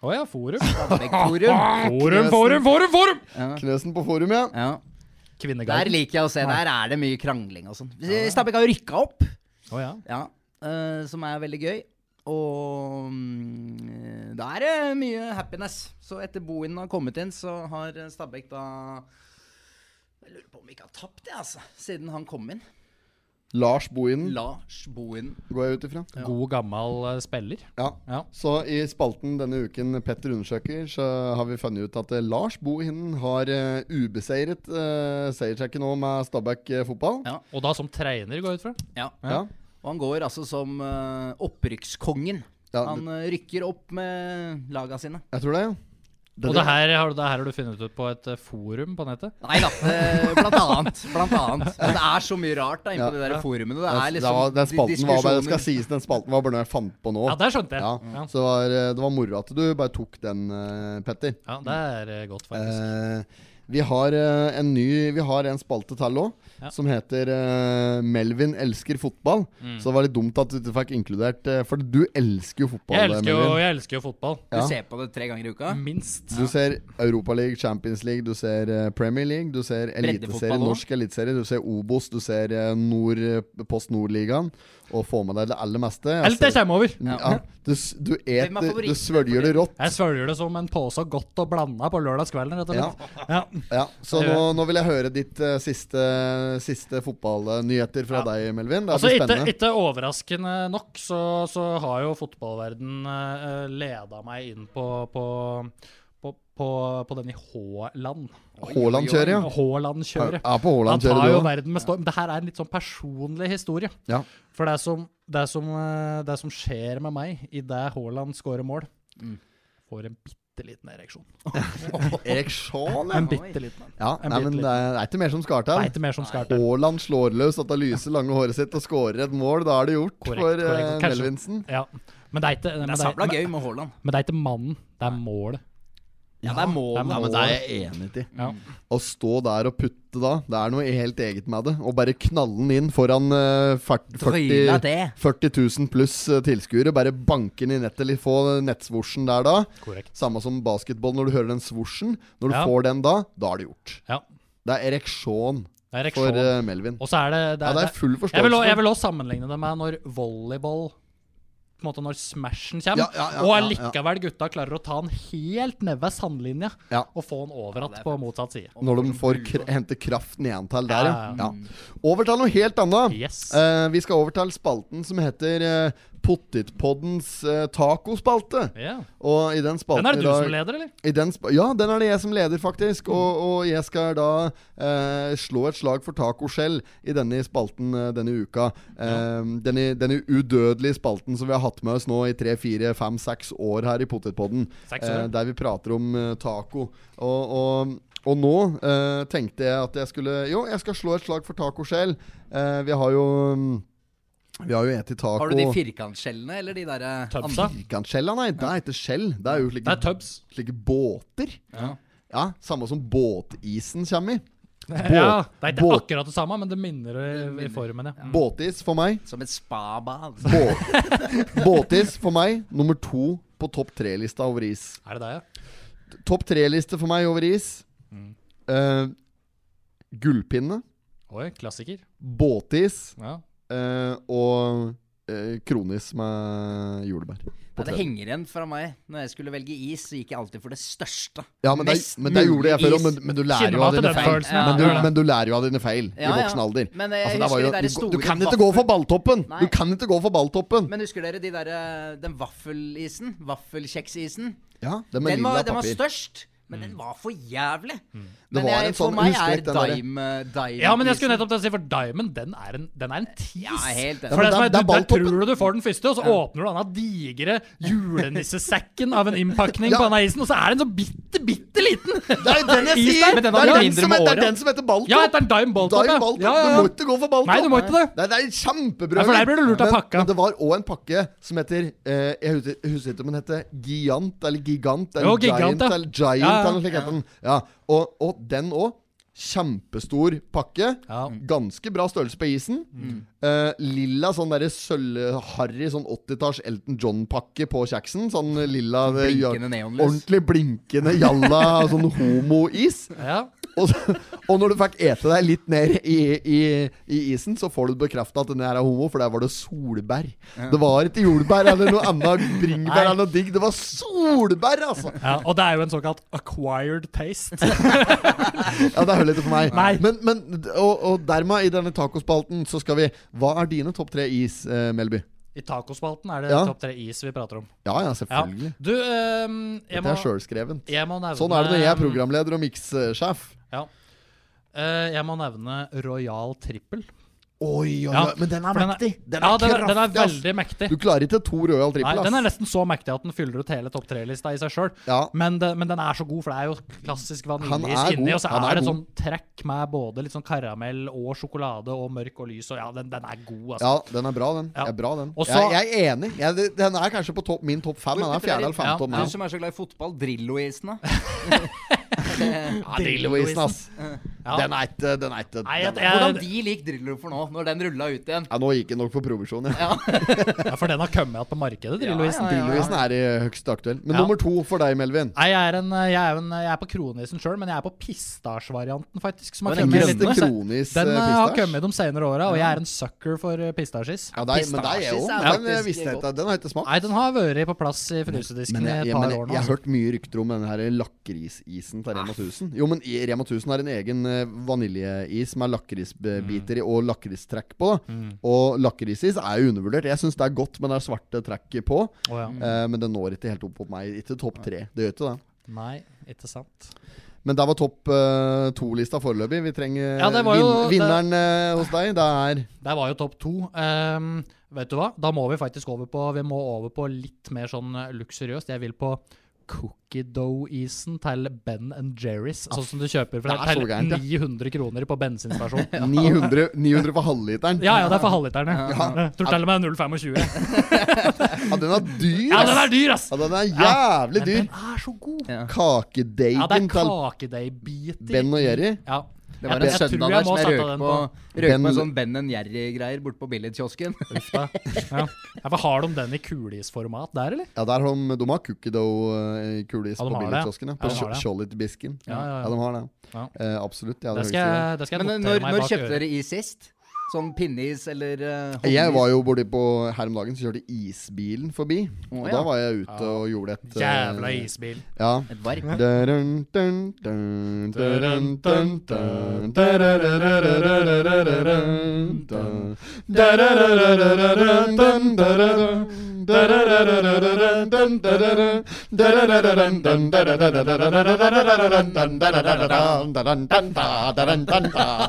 S4: Å ja, forum.
S5: <laughs> Stabbekk-forum.
S4: Forum, forum, forum! forum
S1: Knøsen på forum, ja.
S5: Ja. Der
S4: Kvinneguiden.
S5: liker jeg å se. Der er det mye krangling og sånn. Stabæk har jo rykka opp,
S4: Å ja.
S5: ja, eh, som er veldig gøy. Og mm, da er det mye happiness. Så etter Bohin har kommet inn, så har Stabæk da Jeg lurer på om vi ikke har tapt, det, altså. Siden han kom inn.
S1: Lars Bohinen,
S5: Lars Bohin.
S1: går jeg ut ifra.
S4: God, gammel eh, spiller.
S1: Ja.
S4: Ja.
S1: Så i spalten denne uken Petter undersøker, så har vi funnet ut at eh, Lars Bohinen har eh, ubeseiret uh, seierstrekket nå med Stabæk eh, fotball.
S5: Ja.
S4: Og da som trener, går jeg ut fra.
S5: Ja.
S1: Ja.
S5: Og han går altså som eh, opprykkskongen.
S1: Ja,
S5: han eh, rykker opp med laga sine.
S1: Jeg tror det, ja.
S4: Og det her har du, det her har du funnet ut på et eh, forum på nettet?
S5: Nei <laughs> da, eh, blant annet. Blant annet. Men det er så mye rart da inne på de der forumene. Det er
S1: Det
S5: liksom
S1: var, den
S5: di-
S1: spalten var bare, det skal
S5: diskusjoner.
S1: sies, den spalten var bare noe jeg fant på nå.
S4: Ja, der skjønte jeg.
S1: Ja,
S4: Ja,
S1: så var, eh, det var moro at du bare tok den, eh, Petter.
S4: ja det er eh, godt, faktisk.
S1: Eh, vi har eh, en ny Vi har en spalte til òg,
S4: Ja.
S1: som heter eh, 'Melvin elsker fotball'.
S4: Mm.
S1: Så det var litt dumt at du ikke fikk inkludert eh, For du elsker jo fotball.
S4: Jeg elsker jo,
S1: Melvin.
S4: jeg elsker jo fotball.
S1: Ja.
S5: Du ser på det tre ganger i
S4: Mm.
S5: uka?
S4: Minst.
S1: Du ser Europaliga, Champions League, du ser eh, Premier League, du ser eliteserie,
S5: også.
S1: norsk eliteserie, du ser Obos, du ser eh, Nord, Post Nord-ligaen, og får med deg det aller meste. Jeg
S4: Alt jeg
S1: ser-
S4: kommer over.
S1: ja, du, s- du
S5: Hvem er
S1: eter, du
S5: favoritten?
S1: svølger det rått.
S4: Jeg svølger det som en pose godt og blanda på lørdagskvelden, rett og slett. Ja.
S1: Ja, så
S4: Det
S1: nå,
S4: gjør
S1: nå vil jeg høre ditt eh, siste, siste fotballnyheter fra deg, Melvin. Det er
S4: Altså,
S1: så
S4: ikke,
S1: spennende.
S4: ikke overraskende nok, så, så har jo fotballverden uh, leda meg inn på, på, på, på, på den i Haaland.
S1: Haaland kjører, ja.
S4: Haaland-kjøret.
S1: Ja, på Haaland
S4: Han tar
S1: kjører
S4: jo
S1: du òg.
S4: verden med storm. Det her er en litt sånn personlig historie.
S1: Ja.
S4: For det som, det som, eh, det som skjer med meg idet Haaland scorer mål, får en bitte liten ereksjon.
S1: Erik Sjål, ja.
S4: En bitte liten en.
S1: ja. Nei,
S4: bit
S1: men
S4: litt.
S1: det er, det er ikke mer som skal til.
S4: Det er ikke mer som skal til.
S1: Haaland slår løs at han lyser lange håret sitt og skårer et mål. Da er det gjort
S4: Korrekt,
S1: for eh,
S4: korrekt. Kanskje-
S1: Melvinsen.
S4: Ja. Men det er ikke men
S5: Det
S4: det
S5: er
S4: er-
S5: sabla
S4: men-
S5: gøy med Haaland.
S4: Men det er ikke mannen, det er målet.
S5: Ja, det er
S4: det
S5: målet.
S4: er målet.
S1: jeg enig i.
S4: Ja.
S1: Å stå der og putte da, det er noe helt eget med det. Å bare knalle den inn foran eh, fert- 40
S5: Trylla det.
S1: 40 000 pluss eh, tilskuere. Bare banke den i nettet, eller få nettsvosjen der da.
S4: Korrekt.
S1: Samme som basketball, når du hører den svosjen. Når du
S4: Ja.
S1: får den da, da er det gjort.
S4: Ja.
S1: Det er ereksjon
S4: Det er
S1: for
S4: ereksjon.
S1: eh, Melvin.
S4: Og så er det, det,
S1: Ja, det
S4: er,
S1: er full
S4: jeg vil, også,
S1: forståelse.
S4: jeg vil også sammenligne det med når volleyball på en måte Når smashen kommer,
S1: Ja, ja, ja, ja,
S4: og
S1: ja.
S4: allikevel gutta klarer å ta den helt ned ved sandlinja
S1: Ja.
S4: og få den over att på motsatt side.
S1: Når de får kr hente kraften igjen til der, ja.
S4: Ja,
S1: ja.
S4: ja,
S1: Over til noe helt annet.
S4: Yes.
S1: Eh, vi skal over til spalten som heter eh, Pottitpoddens eh, tacospalte.
S4: Ja.
S1: Og i den spalten
S4: Den
S1: i
S4: er det du
S1: dag-
S4: som leder, eller?
S1: i den spa- ja, den er det jeg som leder, faktisk. Og, og jeg skal da eh, slå et slag for taco selv i denne spalten eh, denne uka. Eh, denne, denne udødelige spalten som vi har hatt med oss nå i tre, fire, fem, seks år her i Potetpodden.
S4: Seks år.
S1: eh, der vi prater om eh, taco. Og, og, og nå eh, tenkte jeg at jeg skulle Jo, jeg skal slå et slag for taco selv. Eh, vi har jo mm, Vi har jo et i taco
S5: Har du de firkantskjellene, eller de eh, derre
S4: Tubsa.
S1: Firkantskjella, nei. Det heter skjell. Det er jo slike
S4: Det er tubs.
S1: slike båter.
S5: Ja.
S1: Ja, Samme som båtisen kommer i. Båt,
S4: <laughs> Ja, det er ikke
S1: båt-
S4: akkurat det samme, men det minner i, i formen, ja.
S1: Båtis for meg.
S5: Som et spabad.
S1: Båt, <laughs> båtis for meg nummer to på topp tre-lista over is.
S4: Er det det, ja?
S1: Topp tre-liste for meg over is. Eh, gullpinne,
S4: Oi, klassiker.
S1: båtis
S4: Ja.
S1: eh, og eh, kronis med jordbær.
S5: Ja, det henger igjen fra meg. Når jeg skulle velge is, så gikk jeg alltid for det største.
S1: Ja, men det,
S5: Mest
S1: men det gjorde jeg
S5: mulig
S1: før
S5: is.
S1: òg, men, men du lærer
S4: Kjenner
S1: jo av
S4: meg til
S1: dine
S4: den
S1: feil.
S4: følelsen, ja.
S1: Men du,
S4: Ja, ja.
S1: men du lærer jo av dine feil
S5: Ja,
S1: i
S5: ja.
S1: voksen alder.
S5: Men jeg
S1: Altså, det
S5: Eh, husker
S1: var
S5: de
S1: du,
S5: der
S1: du
S5: store
S1: kan ikke gå for balltoppen!
S5: Nei.
S1: Du kan ikke gå for balltoppen!
S5: Men husker dere de der, eh, den vaffelisen? Vaffelkjeksisen?
S1: Ja, den med
S5: Den, var-
S1: lilla
S5: den var
S1: papir.
S5: størst, men
S4: Mm.
S5: den var for jævlig.
S1: Det
S5: Men
S1: var
S5: jeg,
S1: en
S5: for
S1: sånn-
S5: meg
S1: husker
S5: er
S1: dere den derre-
S5: dime, dime
S4: Ja, men jeg skulle nettopp til å si, for Diamond, den er en, den er en tis.
S5: Ja, helt enig.
S4: For det
S1: Ja,
S4: som
S1: men det er
S4: er, du, der
S1: balltoppen.
S4: tror du du får den første, og så åpner du denne digre julenissesekken av en innpakning
S1: Ja.
S4: på denne isen, og så er den så bitte, bitte liten!
S1: Det er den jeg
S4: Is der,
S1: sier!
S4: men
S1: Det
S4: den
S1: er
S4: har blitt
S1: den
S4: mindre
S1: som
S4: med
S1: heter, det er
S4: året.
S1: den som heter Baltop.
S4: Ja, heter den Dime Balltop,
S1: Dime
S4: ja.
S1: Baltop.
S4: Ja, ja, ja.
S1: Du må ikke gå for Baltop.
S4: Nei, du må ikke det.
S1: Nei, det er kjempebrød.
S4: Nei, for der blir du lurt av
S1: Men-
S4: pakka.
S1: Men det var òg en pakke som heter eh, Jeg husker jeg husker ikke om den heter Giant eller Gigant eller
S4: Jo, Gigant,
S1: Giant
S4: ja.
S1: eller Giant
S4: Ja, ja.
S1: eller noe slikt. heter den. Ja. Og, og den òg. Kjempestor pakke.
S4: Ja. Mm.
S1: Ganske bra størrelse på isen. Eh, lilla sånn derre sølvharry sånn 80-talls Elton John-pakke på kjeksen. Sånn lilla
S5: Blinkende neonlys.
S1: Ordentlig blinkende jalla sånn homo-is.
S4: Ja.
S1: Og, så, og når du fikk ete deg litt ned i, i, i isen, så får du bekrefta at den her er homo, for der var det solbær. Det var ikke jordbær eller noe annet bringebær eller noe digg. Det var solbær, altså!
S4: Ja, og det er jo en såkalt acquired taste.
S1: Ja, det holder ikke for meg.
S4: Nei.
S1: Men, men og, og dermed, i denne tacospalten, så skal vi Hva er dine topp tre is, eh, Melby?
S4: I tacospalten er det
S1: Ja.
S4: topp tre is vi prater om.
S1: Ja ja,
S4: Ja.
S1: selvfølgelig.
S4: Du, ehm,
S1: Det
S4: jeg, må,
S1: er sjølskrevent.
S4: jeg må nevne
S1: Sånn er det når jeg er programleder og mikssjef.
S4: Ja. Eh, jeg må nevne Royal Trippel.
S1: Oi, oi, oi.
S4: Ja,
S1: Men den er
S4: for den er-
S1: mektig! Den
S4: Ja,
S1: er
S4: den er, den er
S1: kraftig, ass.
S4: veldig mektig.
S1: Du klarer ikke to Royal
S4: Nei,
S1: Trippel,
S4: den er
S1: ass.
S4: nesten så mektig at den fyller ut hele topp tre-lista i seg sjøl.
S1: Ja.
S4: Men, det- men den er så god, for det er jo klassisk
S1: Han
S4: vaniljeis
S1: er
S4: inni.
S1: god,
S4: Og så
S1: han
S4: er,
S1: er
S4: det
S1: god.
S4: sånn trekk med både litt sånn karamell og sjokolade og mørk og lys, og ja, den, den er god, altså.
S1: Ja, den er bra, den.
S4: Ja.
S1: Er bra, den.
S4: Og så-
S1: jeg, jeg er enig. Jeg, det- den er kanskje på topp, min topp fem. Den er fjerde eller femte
S4: Ja,
S1: om
S5: Du
S1: meg.
S5: som er så glad i fotball, Drillo-isen, da?
S1: Ja, Drillo-isen, ass. Den er ikke Den er ikke
S4: Nei, jeg,
S1: den er-
S5: Hvordan
S4: jeg,
S5: de liker Drillo for nå, når den rulla ut igjen.
S1: ja, Nå gikk det nok for provisjon, ja.
S4: ja, for den har kommet igjen på markedet, Drillo-isen.
S1: Drillo-isen er i høyst aktuell. Men
S4: Ja.
S1: nummer to for deg, Melvin.
S4: Nei, jeg er, en, jeg, er jo en, jeg er på kronisen sjøl, men jeg er på pistasjevarianten, faktisk. Som har
S1: Den
S4: kommet
S1: grønne
S4: litt nå. Så-
S1: kronis,
S4: Den
S1: eh,
S4: eh, har
S1: pistasj.
S4: kommet de senere åra, og jeg er en sucker for eh, pistasjis.
S1: Ja, deg, men deg er jo
S5: Pistasjes er
S1: Den
S5: faktisk
S1: visste jeg ikke. Den har jeg ikke smakt.
S4: Nei, den har vært på plass i frysedisken
S1: Men
S4: i
S1: jeg,
S4: et
S1: jeg, men
S4: par
S1: jeg,
S4: år
S1: jeg
S4: nå.
S1: har
S4: altså. Ah.
S1: hørt mye rykter om den her lakrisisen til Rema 1000. Jo, men i- Rema 1000 har en egen eh, vaniljeis med lakrisbiter i
S4: Mm.
S1: og lakristrekk på. Da. Og lakrisis er jo undervurdert. Jeg syns det er godt med det svarte trekket på.
S4: Å ja.
S1: Eh, men den når ikke helt opp mot meg. Ikke topp tre. Det gjør ikke det.
S4: Nei, ikke sant.
S1: Men der var topp eh, to-lista foreløpig. Vi trenger
S4: Ja, det var jo-
S1: vin vinneren eh, hos deg. Det er
S4: <laughs> Der var jo topp to. Ehm, vet du hva? Da må vi faktisk over på Vi må over på litt mer sånn eh, luksuriøst. Jeg vil på cookie dough-isen til Ben Jerry's, sånn som du kjøper fra
S1: det er så
S4: til
S1: gærent, ja.
S4: 900 kroner på bensinstasjon.
S1: 900, 900 for halvliteren.
S4: Ja, ja, det er for halvliterne. Jeg Tror til og med det er 0,25.
S1: Ja, den er dyr!
S4: Ja,
S1: ass.
S4: den er dyr, ass!
S1: Ja, den er jævlig
S4: Men
S1: dyr.
S4: den er så god. Ja, det
S1: Kakedeigen
S4: er
S1: til
S4: kakedeigbiter.
S1: Ben og Jerry.
S4: Ja.
S5: Det var en
S4: tror jeg
S5: søndag der
S4: må
S5: som jeg
S4: sette
S5: røk
S4: den
S5: på, røk
S1: Ben-
S5: på en sånn Ben Jerry-greier borte på billigkiosken.
S4: Uff da. Ja. Ja, for har de den i kuleisformat der, eller?
S1: Ja, der har de, de har cookie dough-kulis
S4: Ja, de
S1: på
S4: har det.
S1: billigkiosken. Ja.
S4: Ja,
S1: På
S4: de har det.
S1: Chollitbisken.
S4: Ja, ja, ja.
S1: de har det.
S4: Ja.
S1: Eh, absolutt. Ja,
S4: Det
S1: det
S4: skal,
S1: høres jo-
S4: jeg- det skal jeg
S5: Men eh,
S4: notere
S5: når,
S4: meg
S5: når
S4: bak øret.
S5: kjøpte dere is sist? Sånn pinnis eller uh,
S1: Jeg var jo borti på her om dagen, så kjørte isbilen forbi. Og
S5: ja.
S1: da var jeg ute og gjorde et eh,
S4: Jævla isbil.
S1: Ja.
S5: Et varp.
S1: Dun, dun, dun, dun, dun, dun, dun, dun. Ja,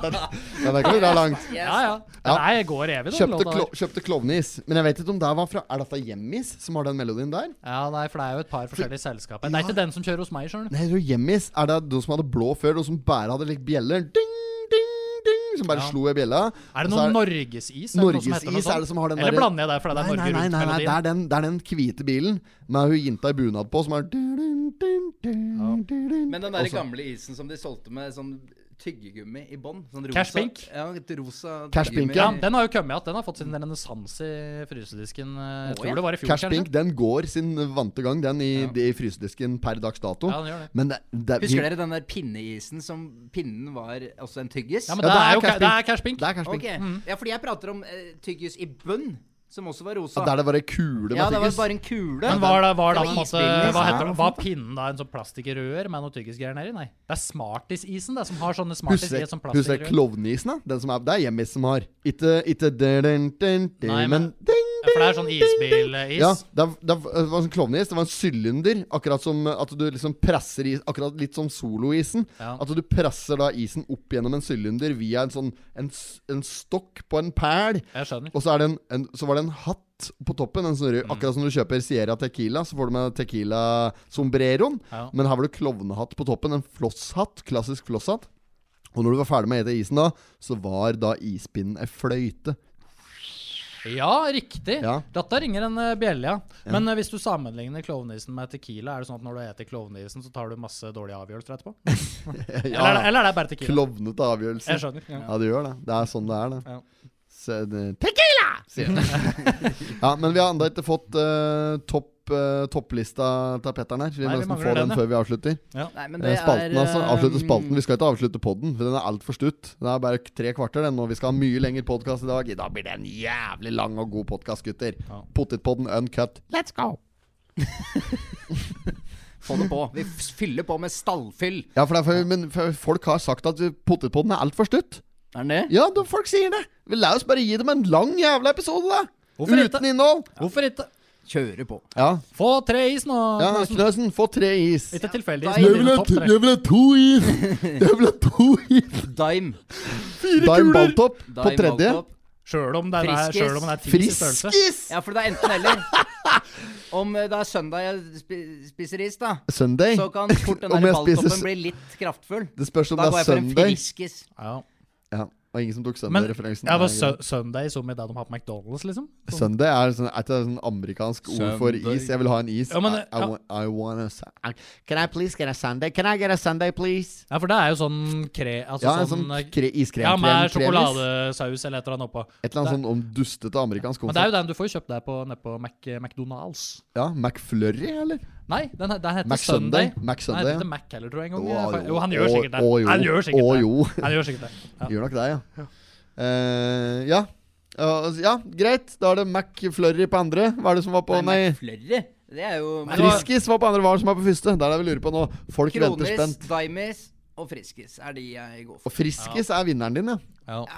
S1: det kan du dra langt.
S4: Ja, ja.
S1: Ja.
S4: Nei, jeg går evig, den
S1: Kjøpte, klo kjøpte klovneis. Men jeg vet ikke om det var fra Er dette Hjemmis som har den melodien der?
S4: Ja, nei, for det er jo et par forskjellige selskaper. Det er ikke den som kjører hos meg, skjønner du.
S1: Nei, jeg tror Hjemmis er det de som hadde blå før, og som bare hadde litt bjeller. Ding, ding, ding, som bare slo i bjella.
S4: Er det
S1: Og så
S4: noe Norgesis? Er det noe som heter noe
S1: Norgesis
S4: sånt?
S1: er det som har den
S4: Eller
S1: derre-
S4: blander jeg det fordi
S1: Nei,
S4: det er
S1: nei, nei, nei, nei, det
S4: Norge
S1: er den, det er den hvite bilen med hun jenta i bunad på, som er
S5: Men den der
S1: Også-
S5: gamle isen som de solgte med sånn tyggegummi i bånn sånn rosa-
S4: Cash pink?
S5: Ja, et rosa
S1: Cash pink,
S5: tyggegummi.
S4: Ja, den har jo kommet igjen. Den har fått sin renessanse i frysedisken. eh, Jeg
S5: ja.
S4: tror det var i fjor,
S1: Cash Pink
S4: kanskje.
S1: den går sin vante gang, den i, i frysedisken per dags dato.
S4: Ja, den gjør det.
S1: Men det, det,
S5: Husker dere den der pinneisen som pinnen var også en tyggis?
S4: Ja, men
S1: Ja,
S4: det,
S1: det er
S4: er jo,
S1: Cash
S4: det
S1: Pink.
S4: er Cash Pink.
S1: Det er Cash Pink.
S5: Ok,
S4: Mm.
S5: ja, fordi jeg prater om eh, tyggis i bunn, som også var rosa.
S1: Ja, der det var ei kule med
S5: Ja, det var
S1: tyggis.
S5: bare en kule.
S4: Men var det, var det,
S5: Det var
S4: på en måte, hva
S5: isbilen, liksom.
S4: heter det? Var pinnen da en sånn plastikkrør med noe tyggisgreier nedi? Nei. Det er Smartis-isen det, som har sånne Smartis i et sånt
S1: Husker husker
S4: plastikkrør.
S1: klovneisen, da? Den som er, det er Hjemmis som har. Ikke, ikke dun, dun, dun, dun,
S4: Nei,
S1: men
S4: men-
S1: ding,
S4: Ja, For det er sånn
S1: ding.
S4: isbilis.
S1: Ja, det, er- det er- det var sånn klovneis. Det var en sylinder. Akkurat som at du liksom presser is Akkurat litt som soloisen.
S4: Ja.
S1: At du presser da isen opp gjennom en sylinder via en sånn En, s- en stokk på en pæl.
S4: Jeg skjønner.
S1: Og så, er det en, en, så var det en hatt på toppen. En sånn rød,
S4: Mm.
S1: Akkurat som du kjøper Sierra Tequila, så får du med Tequila Sombreroen.
S4: Ja.
S1: Men her var det klovnehatt på toppen. En flosshatt. Klassisk flosshatt. Og når du var ferdig med å ete isen, da, så var da ispinnen ei fløyte.
S4: Ja, riktig.
S1: Ja.
S4: Dette ringer en eh, bjelle, ja. Men eh, hvis du sammenligner klovneisen med Tequila, er det sånn at når du eter klovneisen, så tar du masse dårlige avgjørelser etterpå? Eller, er det, eller er det bare Tequila?
S1: Klovnete avgjørelse.
S4: Jeg skjønner. Ja.
S1: Ja, det gjør det. Det er sånn det er, det.
S4: Ja.
S1: Så det Tequila! sier jeg.
S4: <laughs>
S1: ja, men vi har ennå ikke fått eh, topp, eh, topplista til Petter'n her. Vi
S4: Nei,
S1: må
S4: vi
S1: nesten
S4: mangler
S1: få den
S4: den, ja.
S1: før vi avslutter.
S5: Nei, men
S1: Eh,
S5: det
S1: Spalten,
S5: er,
S1: altså.
S5: eh,
S1: Avslutte spalten. Vi skal ikke avslutte podden, for den er altfor stutt. Det er bare tre kvarter den, og vi skal ha mye lengre podkast i dag. I dag blir det en jævlig lang og god podkast, gutter. Potetpodden uncut. Let's go!
S5: Få det på. Vi f- fyller på med stallfyll.
S1: Ja, for det er for, men for, folk har sagt at potetpodden er altfor stutt.
S5: Er den det?
S1: Ja, da, folk sier det. Men La oss bare gi dem en lang jævla episode, da.
S4: Hvorfor
S1: Uten
S4: ikke?
S1: innhold.
S4: Hvorfor ikke?
S5: Kjører på.
S1: Ja,
S4: Få tre is nå!
S1: ja
S4: Knutsen.
S5: sånn-
S1: Knøsen, få tre is.
S4: Ikke tilfeldig.
S5: Ja,
S4: som
S5: jeg
S4: blir topp tre.
S1: vil ha to is! Jeg vil ha to
S5: <laughs>
S1: is!
S5: Dime.
S1: Dime balltopp
S5: Dime
S1: på tredje.
S5: Maltop.
S4: Sjøl om den er,
S5: Friskis.
S4: selv om den er tis i størrelse.
S1: Friskis!
S5: Ja, for det er enten eller. <laughs> Om eh, det er søndag jeg spi spiser is, da,
S1: Sunday.
S5: så kan fort den
S1: Om
S5: der
S1: jeg spiser
S5: balltoppen
S1: s-
S5: bli litt kraftfull.
S1: Det spørs om
S5: Da
S1: det er
S5: går jeg for en
S1: Sunday.
S5: friskis.
S4: Ja.
S1: Ja, og ingen som tok
S4: Men
S1: Sunday-referansen.
S4: ja, det var
S1: Nei,
S4: sø Sunday som i det de har på McDonald's, liksom?
S1: greit. Sunday er sånn, er ikke det sånn amerikansk ord for
S5: Sunday.
S1: is. Jeg vil ha en is.
S4: Ja, men,
S1: I, I,
S4: ja.
S1: want- I want a sun- I- Can I please get a Sunday? Can I get a Sunday, please?
S4: Ja, for det er jo sånn kre... Altså
S1: Ja, en
S4: sånn,
S1: sånn
S4: eh,
S1: kre, iskrem.
S4: Ja, med
S1: krem- kremis.
S4: sjokoladesaus eller et eller annet oppå.
S1: Et eller annet sånn om dustete amerikansk
S4: Men det er
S1: konsept.
S4: jo den du får jo kjøpt der på, nede på Mac, McDonald's.
S1: Ja, McFlurry, eller?
S4: Nei, den, he- den heter
S1: Mac
S4: Sunday.
S1: Sunday. Mac
S4: Nei,
S1: Sunday,
S4: den
S1: ja.
S4: heter Mac heller, tror jeg. en gang.
S1: Å,
S4: Jeg fa-
S1: jo.
S4: Jo, han gjør
S1: Å,
S4: sikkert det.
S1: å, jo.
S4: Han gjør sikkert
S1: Å,
S4: det.
S1: jo.
S4: Han gjør sikkert det. Ja.
S1: Gjør nok det, ja. Eh, ja. Eh, ja, greit. Da er det McFlurry på andre. Hva er det som var på Nei,
S5: Flørre. Det er jo
S1: Friskis var på andre. Hva er det som er på første? Det er det vi lurer på nå. Folk venter
S5: Kronis,
S1: spent.
S5: Dimes og Friskis er de jeg går
S1: Og
S5: for.
S1: Friskis er vinneren din, ja.